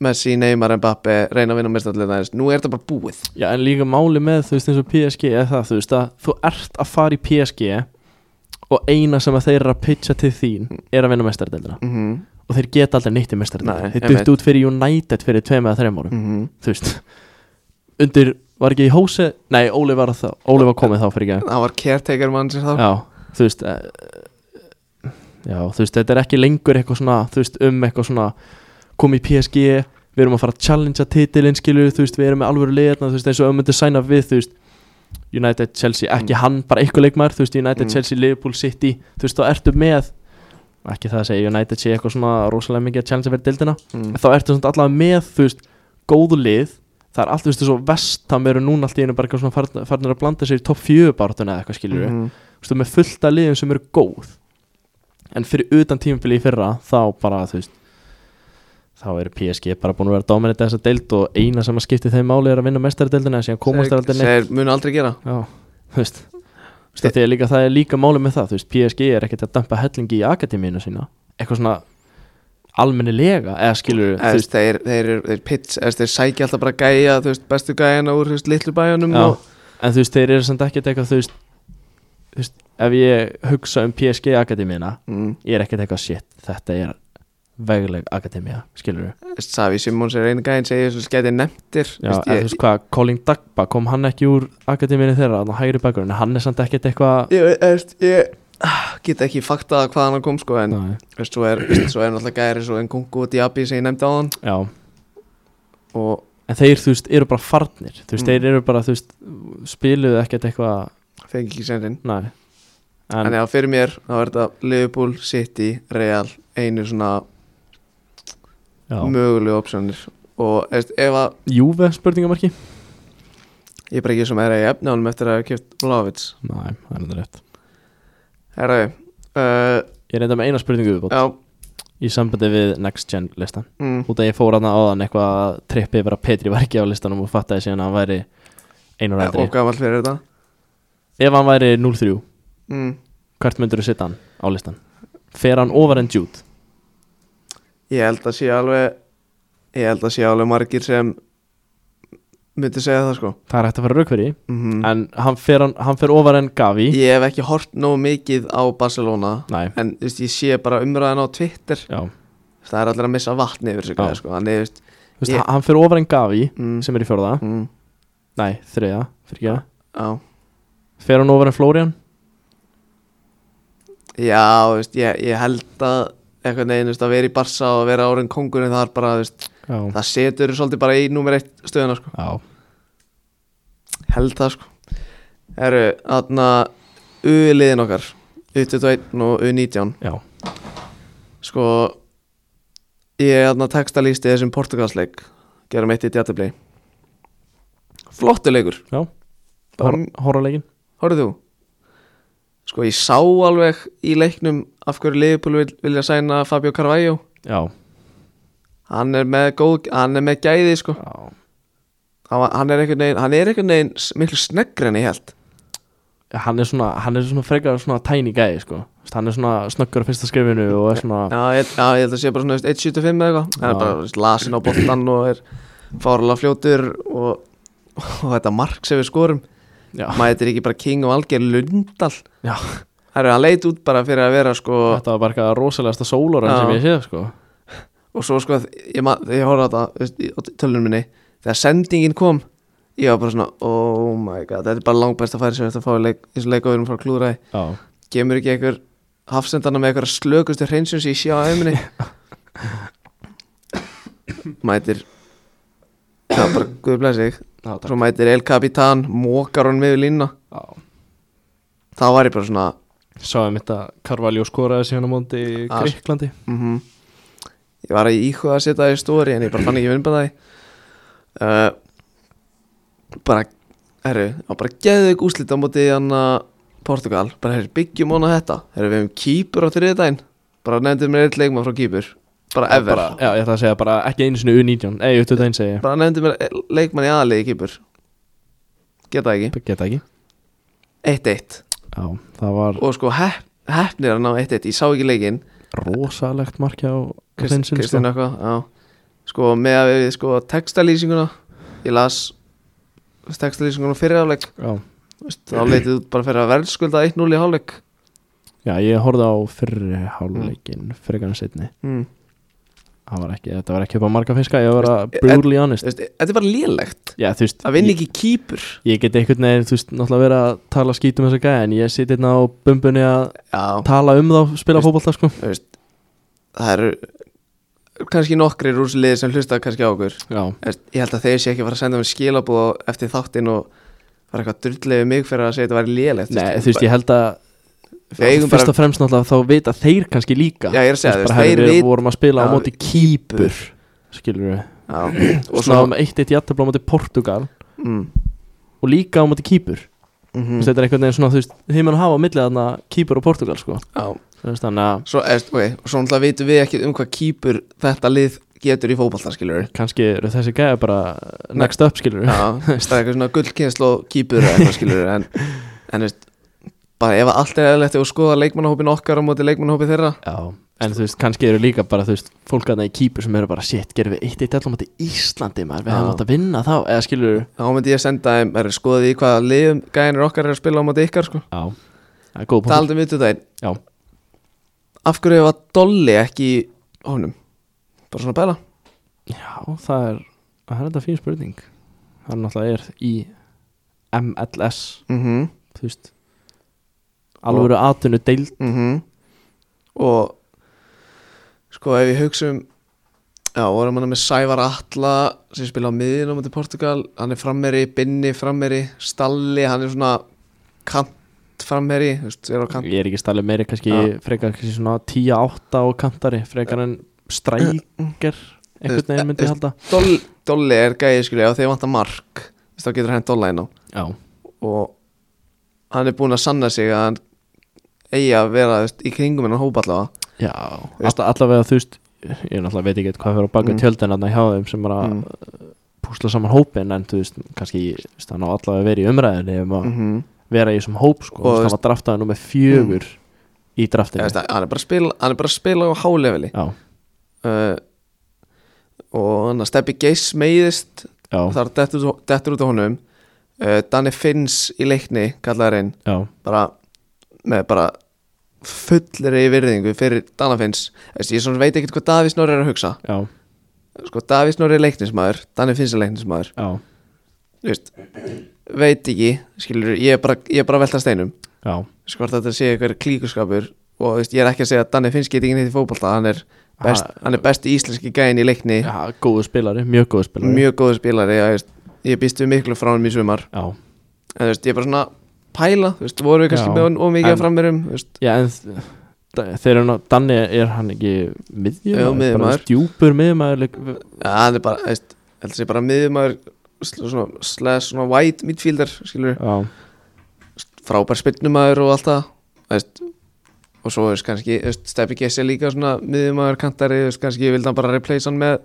[SPEAKER 1] Messi, Neymar, Mbappe, reyna að vinna mestallega þú veist, nú er þetta bara búið
[SPEAKER 2] Já en líka máli með þú veist eins og PSG er það þú veist að þú ert að fara í PSG og eina sem að þeir eru að pitcha til þín er að vinna mestardeldina
[SPEAKER 1] mm -hmm.
[SPEAKER 2] og þeir geta aldrei neitt í mestardeildinni
[SPEAKER 1] Nei,
[SPEAKER 2] þeir
[SPEAKER 1] einmitt.
[SPEAKER 2] duttu út fyrir United fyrir tveim eða þreim árum
[SPEAKER 1] Mm
[SPEAKER 2] þú veist undir, var ekki í hósi nei, Óli var, þá, Óli var komið þá fyrir ekki
[SPEAKER 1] það var caretaker mann sér þá
[SPEAKER 2] já, þú veist eh, já, þú veist, þetta er ekki lengur eitthvað svona, þú veist, um eitthvað svona komið í PSG, við erum að fara að challengea titilinn, skilur, þú veist, við erum með alvöru liðna, þú veist, eins og ömmundur sæna við, þú veist United, Chelsea, ekki
[SPEAKER 1] Mm.
[SPEAKER 2] hann, bara eitthvað leikmaður, þú veist, United,
[SPEAKER 1] Mm.
[SPEAKER 2] Chelsea, Liverpool, City þú veist, þá ertu með ekki það að segja, United sé eitthvað svona rosalega mikið að challengea verið dildina
[SPEAKER 1] mm.
[SPEAKER 2] En þá ertu samt allavega með þú veist, góðu lið það er allt, þú veist, svo vestam eru núna allt í einu bara eitthvað svona farn- farnir að blanda sér í topp fjögur barátuna eða eitthvað skilur við,
[SPEAKER 1] Mhm.
[SPEAKER 2] þú veist, þú ert með fullt af liðum sem eru góð en fyrir utan tímabili í fyrra þá bara, þú veist þá eru PSG bara búin að vera dominant þessa deild og eina sem að skipti þeim máli er að vinna mestari deildina en síðan komast þær aldrei neitt
[SPEAKER 1] Þeir munu aldrei gera
[SPEAKER 2] já, þú veist Þú veist, þegar líka, það er líka máli með það, þú veist, PSG er ekkert að dampa hellingi í akademíinu sína eitthvað svona almennilega eða skilur,
[SPEAKER 1] Eða, þú veist, þeir, þeir, eru- þeir pits, eða, þeir sækja alltaf bara gæja þú veist, bestu gæjana úr þú veist, um- litlu bæjanum
[SPEAKER 2] Já,
[SPEAKER 1] og,
[SPEAKER 2] en þú veist, þeir eru samt ekkert eitthvað þú veist, þú veist, ef ég hugsa um PSG Akademíuna
[SPEAKER 1] mm,
[SPEAKER 2] ég er ekkert eitthvað shit, þetta er vegleg akademía, skilur við
[SPEAKER 1] þú veist, Savi Simons er einu gæjin segir þessu skæti nefndir þú
[SPEAKER 2] Já,
[SPEAKER 1] veist,
[SPEAKER 2] en þú veist hvað, Colin Dagba kom hann ekki úr akademíinu þeirra, þannig hægri bakurinn hann er samt ekkert eitthvað
[SPEAKER 1] ég, ég, veist, ég get ekki faktað hvaðan hann kom sko en
[SPEAKER 2] Nei.
[SPEAKER 1] veist, svo, er, veist, svo er náttúrulega gæri svo en Kungu og Diaby sem ég nefndi á hann
[SPEAKER 2] Já,
[SPEAKER 1] og
[SPEAKER 2] en þeir, þú veist, eru bara farnir Þú veist,
[SPEAKER 1] Mm.
[SPEAKER 2] þeir eru bara, þú veist, spiluðu ekkert eitthvað
[SPEAKER 1] fengi ekki senrin
[SPEAKER 2] Nei En,
[SPEAKER 1] en já, fyrir mér þá er þetta Liverpool, City, Real einu svona
[SPEAKER 2] já,
[SPEAKER 1] mögulegu opsjónir og veist, ef að
[SPEAKER 2] Júve spurningamarki
[SPEAKER 1] ég er bara ekki sem er að ég efna honum eftir að hafa kjöpt Blavits
[SPEAKER 2] Nei, það er þetta rétt
[SPEAKER 1] herraði uh,
[SPEAKER 2] Ég reynda með eina spurningu viðbót
[SPEAKER 1] já,
[SPEAKER 2] Í sambandi við Next Gen listan
[SPEAKER 1] mm,
[SPEAKER 2] Út að ég fór hana áðan eitthvað að trippi yfir að Petri var ekki á listanum og fattaði síðan að hann væri einar aldrei
[SPEAKER 1] og gamall fyrir þetta
[SPEAKER 2] Ef hann væri 0-3,
[SPEAKER 1] mm.
[SPEAKER 2] hvert myndur þú setja hann á listan? Fer hann ofar en Jude?
[SPEAKER 1] ég held að sé alveg ég held að sé alveg margir sem myndi segja það sko
[SPEAKER 2] Það er hægt að fara raukveri
[SPEAKER 1] mm
[SPEAKER 2] En hann fer, hann, hann fer ofar en Gavi
[SPEAKER 1] ég hef ekki hort nóg mikið á Barcelona
[SPEAKER 2] Nei,
[SPEAKER 1] en þú veist, ég sé bara umræðan á Twitter
[SPEAKER 2] já
[SPEAKER 1] það er allir að missa vatni yfir sig
[SPEAKER 2] Já.
[SPEAKER 1] sko. þannig, þú veist,
[SPEAKER 2] Þú veist,
[SPEAKER 1] Ég-
[SPEAKER 2] hann- Hann fer ofar en Gavi
[SPEAKER 1] mm,
[SPEAKER 2] sem er í fjórða
[SPEAKER 1] mm,
[SPEAKER 2] Nei, þriða, fyrir ekki
[SPEAKER 1] á.
[SPEAKER 2] Fer hann ofar en Florian?
[SPEAKER 1] já, þú veist, ég, ég held að eitthvað neginn, þú veist, að vera í Barca og vera árin kongurinn þar bara, þú veist,
[SPEAKER 2] Já
[SPEAKER 1] það setur svolítið bara í númer eitt stöðuna, sko,
[SPEAKER 2] Já,
[SPEAKER 1] held það, sko eru, þarna U-liðin okkar, U21 og U19,
[SPEAKER 2] já,
[SPEAKER 1] sko ég þarna textalýsti þessum portugalsleik gerum eitt í djáttabli flottu leikur
[SPEAKER 2] já
[SPEAKER 1] Bara-
[SPEAKER 2] Horrorleikin
[SPEAKER 1] Horfðu þú? Sko ég sá alveg í leiknum af hverju Liverpool vil, vilja sæna Fabio Carvalho
[SPEAKER 2] Já,
[SPEAKER 1] Hann er með, góð, hann er með gæði sko
[SPEAKER 2] já
[SPEAKER 1] Hann, var- hann er einhvern veginn, hann er einhvern veginn s- miklu sneggri en ég held
[SPEAKER 2] hann er svona, hann er svona frekar svona tæni gæði sko Þú veist, hann er svona snöggur á fyrsta skrifinu og er svona
[SPEAKER 1] Já, ég, já, ég held að sé bara svona þú veist, 1.75 eða eitthvað Hann
[SPEAKER 2] Já.
[SPEAKER 1] er bara þú veist, lasin á boltan og er fárlega fljótur og, og þetta mark sem við skorum
[SPEAKER 2] já,
[SPEAKER 1] Mætir ekki bara King og Alger Lundal
[SPEAKER 2] Já.
[SPEAKER 1] Herru, hann leit út bara fyrir að vera sko
[SPEAKER 2] þetta var bara eitthvað rosalegasta sóloran
[SPEAKER 1] Já.
[SPEAKER 2] sem ég séð sko
[SPEAKER 1] og svo sko ég, man- þegar ég horfði á þetta þú veist, í- á tölunum minni þegar sendingin kom ég var bara svona oh my god þetta er bara langbæst að færi sem þetta fá í leik, þessu leik og við erum frá klúðraði
[SPEAKER 2] já,
[SPEAKER 1] gemur ekki einhver hafsendana með einhverja slökustu hreinsum sem ég sé á auðminni mætir já bara guð blessi þig
[SPEAKER 2] já, takk
[SPEAKER 1] svo mætir El Capitan mókar hann með línna
[SPEAKER 2] já.
[SPEAKER 1] þá var ég bara svona
[SPEAKER 2] sáum þetta Carvalho skoraði síðan á móti í
[SPEAKER 1] Ah, s-
[SPEAKER 2] Greiklandi
[SPEAKER 1] mm ég var að íhuga að setja það í stóri en ég bara fann ekki vinn bara það uh, bara herru, það var bara geðug úslit á móti hann að Portugal bara herru, byggjum hana þetta herru, við hefum kýpur á þriðdæn bara nefndum mér eitt leikmann frá kýpur bara ever,
[SPEAKER 2] bara, já, ég ætla að segja bara ekki einu sinni U19 ei, út þetta einn segi ég
[SPEAKER 1] bara nefndum mér einn leikmann í aðalegi kýpur geta ekki,
[SPEAKER 2] Bara geta ekki
[SPEAKER 1] 1-1
[SPEAKER 2] já, það var
[SPEAKER 1] og sko hef, hefnir hann á 1-1 ég sá ekki leikinn
[SPEAKER 2] rosalegt markja á
[SPEAKER 1] Krist-
[SPEAKER 2] Hreinsin sko
[SPEAKER 1] Kristján eitthvað, já Sko, með að við, sko, textalýsinguna Ég las textalýsinguna fyrir hálfleik
[SPEAKER 2] já.
[SPEAKER 1] þú veist, Þá leitið út bara fyrir að verðskulda 1-0 í hálfleik
[SPEAKER 2] já, ég horfði á fyrri hálfleikin frekar en setni
[SPEAKER 1] mm.
[SPEAKER 2] það var ekki, þetta var ekki upp á marga fiska ég var að
[SPEAKER 1] Veist,
[SPEAKER 2] brutally honest
[SPEAKER 1] Þú veist, e-, Þetta er bara lélegt
[SPEAKER 2] já, þú veist
[SPEAKER 1] Að vinna ekki kýpur
[SPEAKER 2] Ég get einhvern veginn, þú veist, náttúrulega verið að tala skýt um þessa gæja En ég siti hérna á bumbunni að
[SPEAKER 1] Já,
[SPEAKER 2] tala um þá, spila fótbolta, sko
[SPEAKER 1] þú veist Það eru kannski nokkri rúslið sem hlusta kannski á okkur
[SPEAKER 2] Já,
[SPEAKER 1] Þú veist, Ég held að þeir sé ekki að fara að senda mér skilabúð eftir þáttinn og var eitthvað drullið við mig fyrir að segja þetta væri lélegt sko.
[SPEAKER 2] Nei, þú veist, ég held að
[SPEAKER 1] Við eigum
[SPEAKER 2] Fyrst
[SPEAKER 1] bara-
[SPEAKER 2] og fremst náttúrulega þá vita þeir kannski líka
[SPEAKER 1] Já, ég er að segja, þú veist,
[SPEAKER 2] Þú veist, bara, herri,
[SPEAKER 1] þeir
[SPEAKER 2] Við
[SPEAKER 1] vit-
[SPEAKER 2] vorum að spila á
[SPEAKER 1] Já.
[SPEAKER 2] móti kýpur Skilur við
[SPEAKER 1] Já,
[SPEAKER 2] Og svo náðum eitt eitt jættabla á móti Portugal
[SPEAKER 1] mm,
[SPEAKER 2] Og líka á móti kýpur mm.
[SPEAKER 1] mm
[SPEAKER 2] Þetta er einhvern veginn svona, þú veist, þeir mun hafa á milli þarna kýpur og Portugal, sko
[SPEAKER 1] Já,
[SPEAKER 2] Þú veist, Þannig að
[SPEAKER 1] Svo, eðst, okay, og svo náttúrulega veitum við ekki um hvað kýpur þetta lið getur í fótballta, skilur
[SPEAKER 2] kannski eru þessi gæja bara next up, skilur
[SPEAKER 1] Já, það er eitthvað svona gullkynslu og kýpur eða eitthvað, skilur en, en veist, bara ef allt er eðlilegt og skoða leikmannahópin okkar á móti leikmannahópi þeirra
[SPEAKER 2] Já, en þú veist, kannski eru líka bara, þú veist, fólk að það í kýpur sem eru bara, shit, gerum við eitt eitt allum átti Íslandi, maður, við
[SPEAKER 1] Já.
[SPEAKER 2] hefum átt að vinna þá, eða skilur
[SPEAKER 1] þá myndi ég senda þeim, er, skoða því hvaða liðum gænir okkar er að spila á móti ykkar sko.
[SPEAKER 2] Já, það er góð punkt
[SPEAKER 1] Taldum við þetta einn,
[SPEAKER 2] Já,
[SPEAKER 1] um af hverju var Dolly ekki í honum? Bara svona bæla
[SPEAKER 2] Já, það er, það er þetta fín spurning Hann náttúrulega er í MLS,
[SPEAKER 1] mm
[SPEAKER 2] þú veist alvöru atvinnu deild
[SPEAKER 1] mm og sko ef ég hugsa um já, vorum hann með Sævar Atla sem spila á miðinu á múti Portugal hann er frammeri, Binni frammeri Stalli, hann er svona kant frammeri, þú veist, er á kant
[SPEAKER 2] ég er ekki stælið meiri kannski
[SPEAKER 1] Já.
[SPEAKER 2] frekar kannski svona 10-8 og kantari frekar en strækjar einhvern veginn myndi ég halda
[SPEAKER 1] Doll, Dolli er gæði, skilja, og þegar vantar mark þú veist, þá getur hann Dolla inn á
[SPEAKER 2] já,
[SPEAKER 1] og hann er búinn að sanna sig að hann eigi að vera þú veist, í kringum hennan hópa allavega
[SPEAKER 2] já. Alla, allavega þú veist ég náttúrulega veit ekki hvað fyrir á baka
[SPEAKER 1] Mm.
[SPEAKER 2] mm. tjöldin að hjá þeim sem er að
[SPEAKER 1] Mm.
[SPEAKER 2] púsla saman hópin en þú veist kannski þú veist, hann á allavega verið í umræðinni um að
[SPEAKER 1] mm -hmm.
[SPEAKER 2] vera í þessum hóp sko,
[SPEAKER 1] Og
[SPEAKER 2] Þú veist,
[SPEAKER 1] þú Mm.
[SPEAKER 2] hann var draftaði nummer fjögur í draftinu
[SPEAKER 1] veist, hann, er bara að spila, hann er bara að spila á hálefili
[SPEAKER 2] já,
[SPEAKER 1] uh, og hann að Steppi Geis meiðist
[SPEAKER 2] já,
[SPEAKER 1] þar dettur, dettur út á honum uh, Danni Finns í leikni kallaður inn
[SPEAKER 2] já,
[SPEAKER 1] bara með bara fullri virðingu fyrir Danna Finns Þessi, ég svona veit ekkert hvað Davís Norri er að hugsa
[SPEAKER 2] já,
[SPEAKER 1] sko Davís Norri er leiknismæður Danni Finns er leiknismæður
[SPEAKER 2] já,
[SPEAKER 1] Þú veist, veit ekki skilur, ég er bara, ég er bara að velta steinum
[SPEAKER 2] já.
[SPEAKER 1] sko hvort þetta sé eitthvað klíkuskapur og þú veist, ég er ekki að segja að Danni Finns geti ekki neitt í fótbolta hann er best,
[SPEAKER 2] Ha-
[SPEAKER 1] hann er best íslenski gæin í leikni
[SPEAKER 2] já góðu spilari, mjög góðu spilari
[SPEAKER 1] mjög góður spilari já, þú veist, ég býst við miklu frá hann í sumar
[SPEAKER 2] já,
[SPEAKER 1] en þú veist, ég er bara svona að pæla þú veist, voru við kannski
[SPEAKER 2] Já,
[SPEAKER 1] með of mikið
[SPEAKER 2] en-
[SPEAKER 1] að frammerum þú veist,
[SPEAKER 2] Já, en þ- da- þeir eru ná, Danni er hann ekki miðjumæður,
[SPEAKER 1] Jú, miðjumaður.
[SPEAKER 2] stjúpur miðjumæður
[SPEAKER 1] ja, hann er bara, þú veist, heldur sé bara miðumar svona, slash, svona wide midfielder skilur,
[SPEAKER 2] Já,
[SPEAKER 1] frábær spinnumæður og allt það þú veist, og svo þú veist, kannski þú veist, Steppi Gessi líka svona miðumæður kantari, þú veist, kannski vildi hann bara replace hann með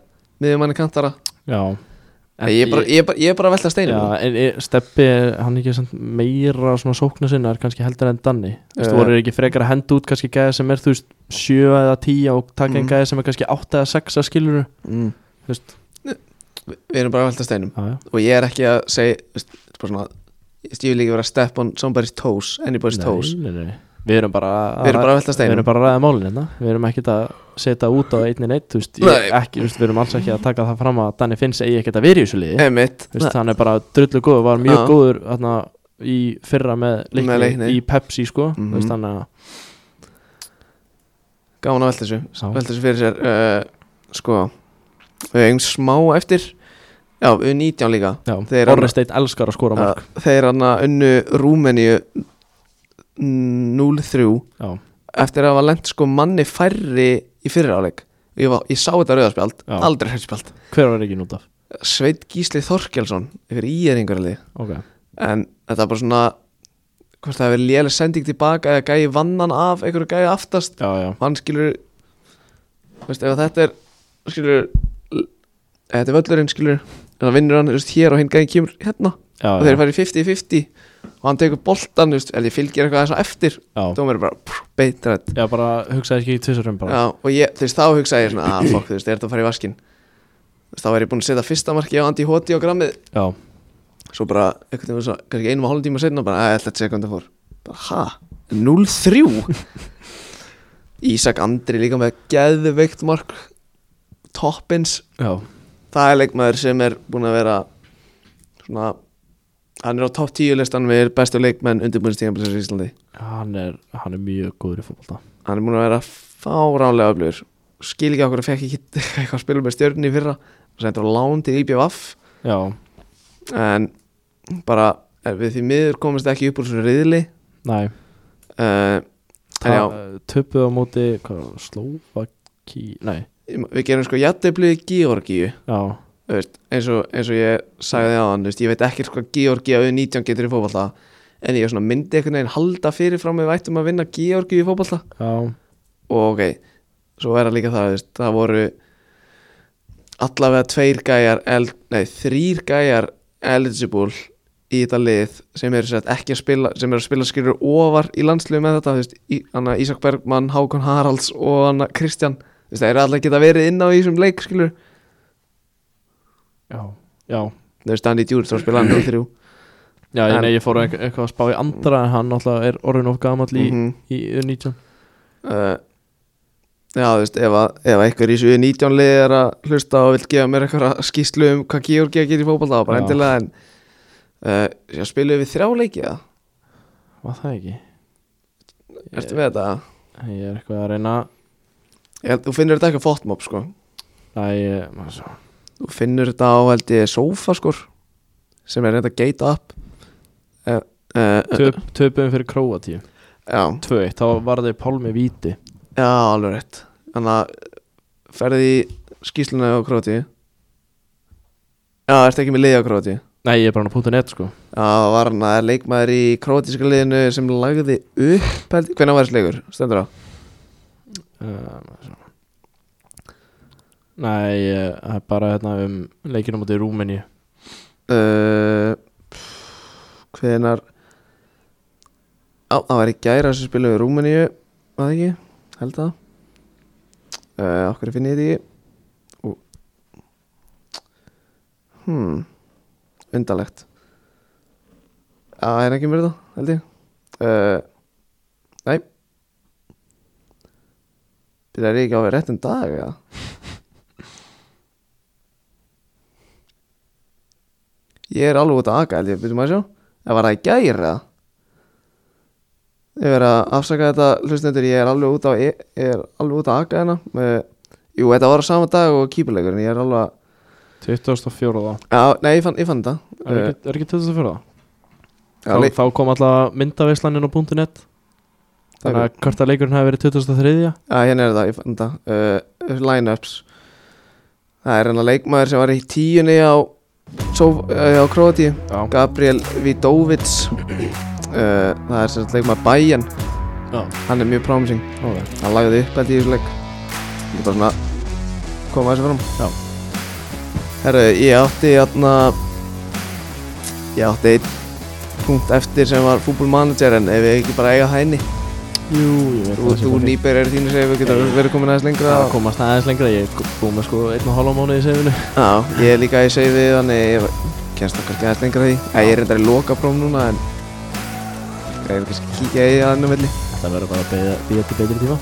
[SPEAKER 1] miðumæni kantara
[SPEAKER 2] já
[SPEAKER 1] en, ég, er bara, ég, er bara, ég er bara að velta steinu
[SPEAKER 2] Já, en er- Steppi, er hann ekki samt meira svona sóknu sinnar kannski heldur en Danni Þú veist,
[SPEAKER 1] Eh.
[SPEAKER 2] voru þeir ekki frekar að henda út kannski gæði sem er, þú veist, 7 eða 10 og taka
[SPEAKER 1] Mhm.
[SPEAKER 2] einn gæði sem er kannski 8 eða 6 að skilur
[SPEAKER 1] mm.
[SPEAKER 2] Þú veist,
[SPEAKER 1] Vi- við erum bara að velta steinum
[SPEAKER 2] já, já
[SPEAKER 1] og ég er ekki að segja þú veist, þetta er bara svona, þú veist, ég vil ekki vera að step on somebody's toes, anybody's toes
[SPEAKER 2] nei, nei, nei. Við erum bara að-
[SPEAKER 1] við erum bara að velta
[SPEAKER 2] Við
[SPEAKER 1] steinum
[SPEAKER 2] erum bara að ræða málin hérna Við erum ekkert að setja út á einni neitt þú veist, ég,
[SPEAKER 1] Nei.
[SPEAKER 2] ekki, þú veist, Við erum alls ekki að taka það fram að Danni Finns eigi ekkert að vera í þessu liði
[SPEAKER 1] Einmitt.
[SPEAKER 2] Þú veist, hann er bara drullu góður var mjög
[SPEAKER 1] Já.
[SPEAKER 2] góður þarna, í fyrra með leikni,
[SPEAKER 1] Með Leikni.
[SPEAKER 2] í Pepsi sko mm
[SPEAKER 1] Mhm.
[SPEAKER 2] veist, hann að
[SPEAKER 1] gaman að velta þessu,
[SPEAKER 2] sá,
[SPEAKER 1] velta þessu fyrir sér uh, sko við eigum smá eftir já, við 19 líka
[SPEAKER 2] já,
[SPEAKER 1] þeir-
[SPEAKER 2] Orri Steit elskar að skora
[SPEAKER 1] Uh,
[SPEAKER 2] mark
[SPEAKER 1] þeir hann að unnu Rúmeníu 0-3
[SPEAKER 2] já,
[SPEAKER 1] eftir að hafa lent sko manni færri í fyriráleik ég, var, ég sá þetta rauðarspjald,
[SPEAKER 2] Já.
[SPEAKER 1] aldrei rauðarspjald
[SPEAKER 2] hver var ekki nút af
[SPEAKER 1] Sveit Gísli Þorkelsson yfir íeringarlið
[SPEAKER 2] ok,
[SPEAKER 1] en þetta var bara svona hvort það hefur lélega sending tilbaka eða gæði vannan af einhverju gæði aftast
[SPEAKER 2] já, já,
[SPEAKER 1] og hann skilur veist, ef þetta er skilur l- ef þetta er völlurinn skilur en það vinnur hann veist, hér og hinn gæði kemur hérna
[SPEAKER 2] já,
[SPEAKER 1] og
[SPEAKER 2] já,
[SPEAKER 1] þeir færi 50-50 og hann tekur boltan veist, eða ég fylgir eitthvað aðeins á eftir
[SPEAKER 2] já.
[SPEAKER 1] dómar er bara prr, beitrætt
[SPEAKER 2] já bara hugsaði ekki í tvissarum bara
[SPEAKER 1] Já, og ég, þú veist, þá hugsaði ég svona að fokk, þú veist, er þetta að fara í vaskin þú veist, þá er ég búin að setja fyrsta marki á Andi Hoti á grammið
[SPEAKER 2] já,
[SPEAKER 1] svo bara, einhvern veginn, svo- kannski einum og hálfum tíma setna bara, ætla að segja hvernig það fór bara, ha, 0-3 Ísak Andri líka með geðveikt mark toppins,
[SPEAKER 2] já,
[SPEAKER 1] það er leikmaður sem er búin að vera svona, hann er á topp 10 listan við bestu leikmenn undirbúinstíðanbilsins í Íslandi,
[SPEAKER 2] hann er hann er mjög góður í fólkvölda
[SPEAKER 1] hann er búin að vera fáránlega öflugur, skil ekki okkur að fekk ekki eitthvað að spila með stjörnni í fyrra og sendur á lán til IBF
[SPEAKER 2] já,
[SPEAKER 1] en bara eh, við því miður komist ekki upp úr þessu riðli
[SPEAKER 2] næ,
[SPEAKER 1] uh, en já,
[SPEAKER 2] töpuð á móti hvað, Slovaki, nei
[SPEAKER 1] við gerum sko jætteblið Georgíu
[SPEAKER 2] já,
[SPEAKER 1] þú veist, eins, og, eins og ég sagði á hann veist, ég veit ekkert hvað Georgíu auðvitað 19 getur í fótballta en ég svona myndi einhvern veginn halda fyrir fram við vættum að vinna Georgíu í fótballta
[SPEAKER 2] já,
[SPEAKER 1] og ok, svo er það líka það þú veist, það voru allavega tveir gæjar el, nei, þrýr gæjar eligible í þetta lið sem eru sett ekki að spila sem eru að spila skilur ofar í landslið með þetta þú veist, í, hana, Ísak Bergmann, Hákon Haralds og hana, Kristján þú veist, það eru allir að geta verið inn á í þessum leik skilur
[SPEAKER 2] já, já
[SPEAKER 1] þú veist, Andy Djúr þá spila hann á þrjú
[SPEAKER 2] Já, ég,
[SPEAKER 1] En-
[SPEAKER 2] nei, ég fór eitthvað, eitthvað að spá í andra en hann náttúrulega er orðin of gamall í,
[SPEAKER 1] Mhm.
[SPEAKER 2] í U19
[SPEAKER 1] uh, Já, þú veist, ef, að, ef að einhver í þessu 19 liði er að hlusta og vil gefa mér eitthvað skýslu um hvað Georgi að gera í fótbolta þá bara
[SPEAKER 2] Já.
[SPEAKER 1] endilega en eh, uh, já, spilum við þrjá leiki eða?
[SPEAKER 2] Var það ekki?
[SPEAKER 1] Ertu með þetta?
[SPEAKER 2] Ég er eitthvað að reyna
[SPEAKER 1] Ég, held- þú finnur þetta ekki á fotmob sko
[SPEAKER 2] Æ, ég- maður svo
[SPEAKER 1] Þú finnur þetta á held ég sofa sko sem er reynda gate up uh, uh, uh,
[SPEAKER 2] Töp- Töpuðum fyrir Króatíu
[SPEAKER 1] Já,
[SPEAKER 2] 2-1, þá var þau Pálmi Víti
[SPEAKER 1] já, alveg rétt Þannig að ferði í skýsluna á Króti Já, ertu ekki með liði á Króti
[SPEAKER 2] Nei, ég er bara hann á punktu net sko
[SPEAKER 1] Já, það var hann að leikmaður í krótíska liðinu sem lagði upp held, Hvernig var þessi leikur? Stendur á?
[SPEAKER 2] uh, Nei, ég- það er bara hérna um leikinu mútið Rúmeni
[SPEAKER 1] uh, hvenar á, það var í gæra sem spilaði við Rúmeníu var það ekki, held að uh, okkur finn ég þetta ekki og hmm undarlegt að er ekki mér þetta, held ég uh, nei byrjar ég ekki á við réttum dag eða Ég er alveg út að aga, held ég, byrjum að sjá Það var það í gæri eða Ég verið að afsaka þetta hlustendur, ég er alveg út að ég er alveg út að aga hérna Eh, Jú, þetta var á sama dag og kýpuleikurinn Ég er alveg að,
[SPEAKER 2] 2004
[SPEAKER 1] já, nei, ég fann, ég fann þetta
[SPEAKER 2] Er
[SPEAKER 1] Eh,
[SPEAKER 2] ekki, er ekki 2004
[SPEAKER 1] já,
[SPEAKER 2] þá,
[SPEAKER 1] leik-
[SPEAKER 2] þá kom alltaf myndaveislaninn á punktu net Þannig að hvort að leikurinn hafi verið 2003
[SPEAKER 1] Já, hérna er það, ég fann það uh, Line-ups Það er hérna leikmaður sem var í tíunni á, Sóf- eh, á Króti
[SPEAKER 2] Já,
[SPEAKER 1] Gabriel Vidovits uh, Það er sem sagt leikmaður Bæjan
[SPEAKER 2] já,
[SPEAKER 1] Hann er mjög promising
[SPEAKER 2] ok
[SPEAKER 1] Hann lagði upp held ég í þessu leik Ég er bara svona að koma þessu fram
[SPEAKER 2] Já.
[SPEAKER 1] Herru, ég átti hérna Ég átti einn punkt eftir sem var fútbolmanager en ef ég ekki bara eiga hæni
[SPEAKER 2] Jú, ég veit
[SPEAKER 1] Þú, þú nýber er þínu segir við getum verið komin aðeins lengra
[SPEAKER 2] Það komast aðeins lengra, ég er búið með sko einn og hálfa mánu í sefinu
[SPEAKER 1] Já, ég er líka í segið við þannig ég kennst okkar ekki aðeins lengra því Æ, ég er reyndar í lokaprófum núna en ég er kannski að kíkja í aðeins melli
[SPEAKER 2] Þetta verður bara að beða því til betri tíma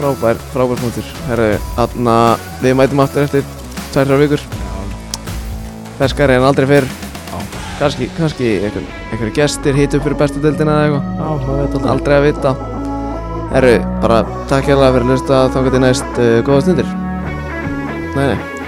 [SPEAKER 1] Frábær, frábær punktur Herru, þarna við mætum aftur eftir tvær, þrjár vikur Ferskari en aldrei fyrr
[SPEAKER 2] Já.
[SPEAKER 1] Kannski, kannski einhver, einhver gestir hýtt upp fyrir bestu deildina eða eitthvað
[SPEAKER 2] Já, það veit aldrei
[SPEAKER 1] Aldrei að vita Herru, bara takk hérlega fyrir að hlusta þangað til næst uh, góða stundir Nei, nei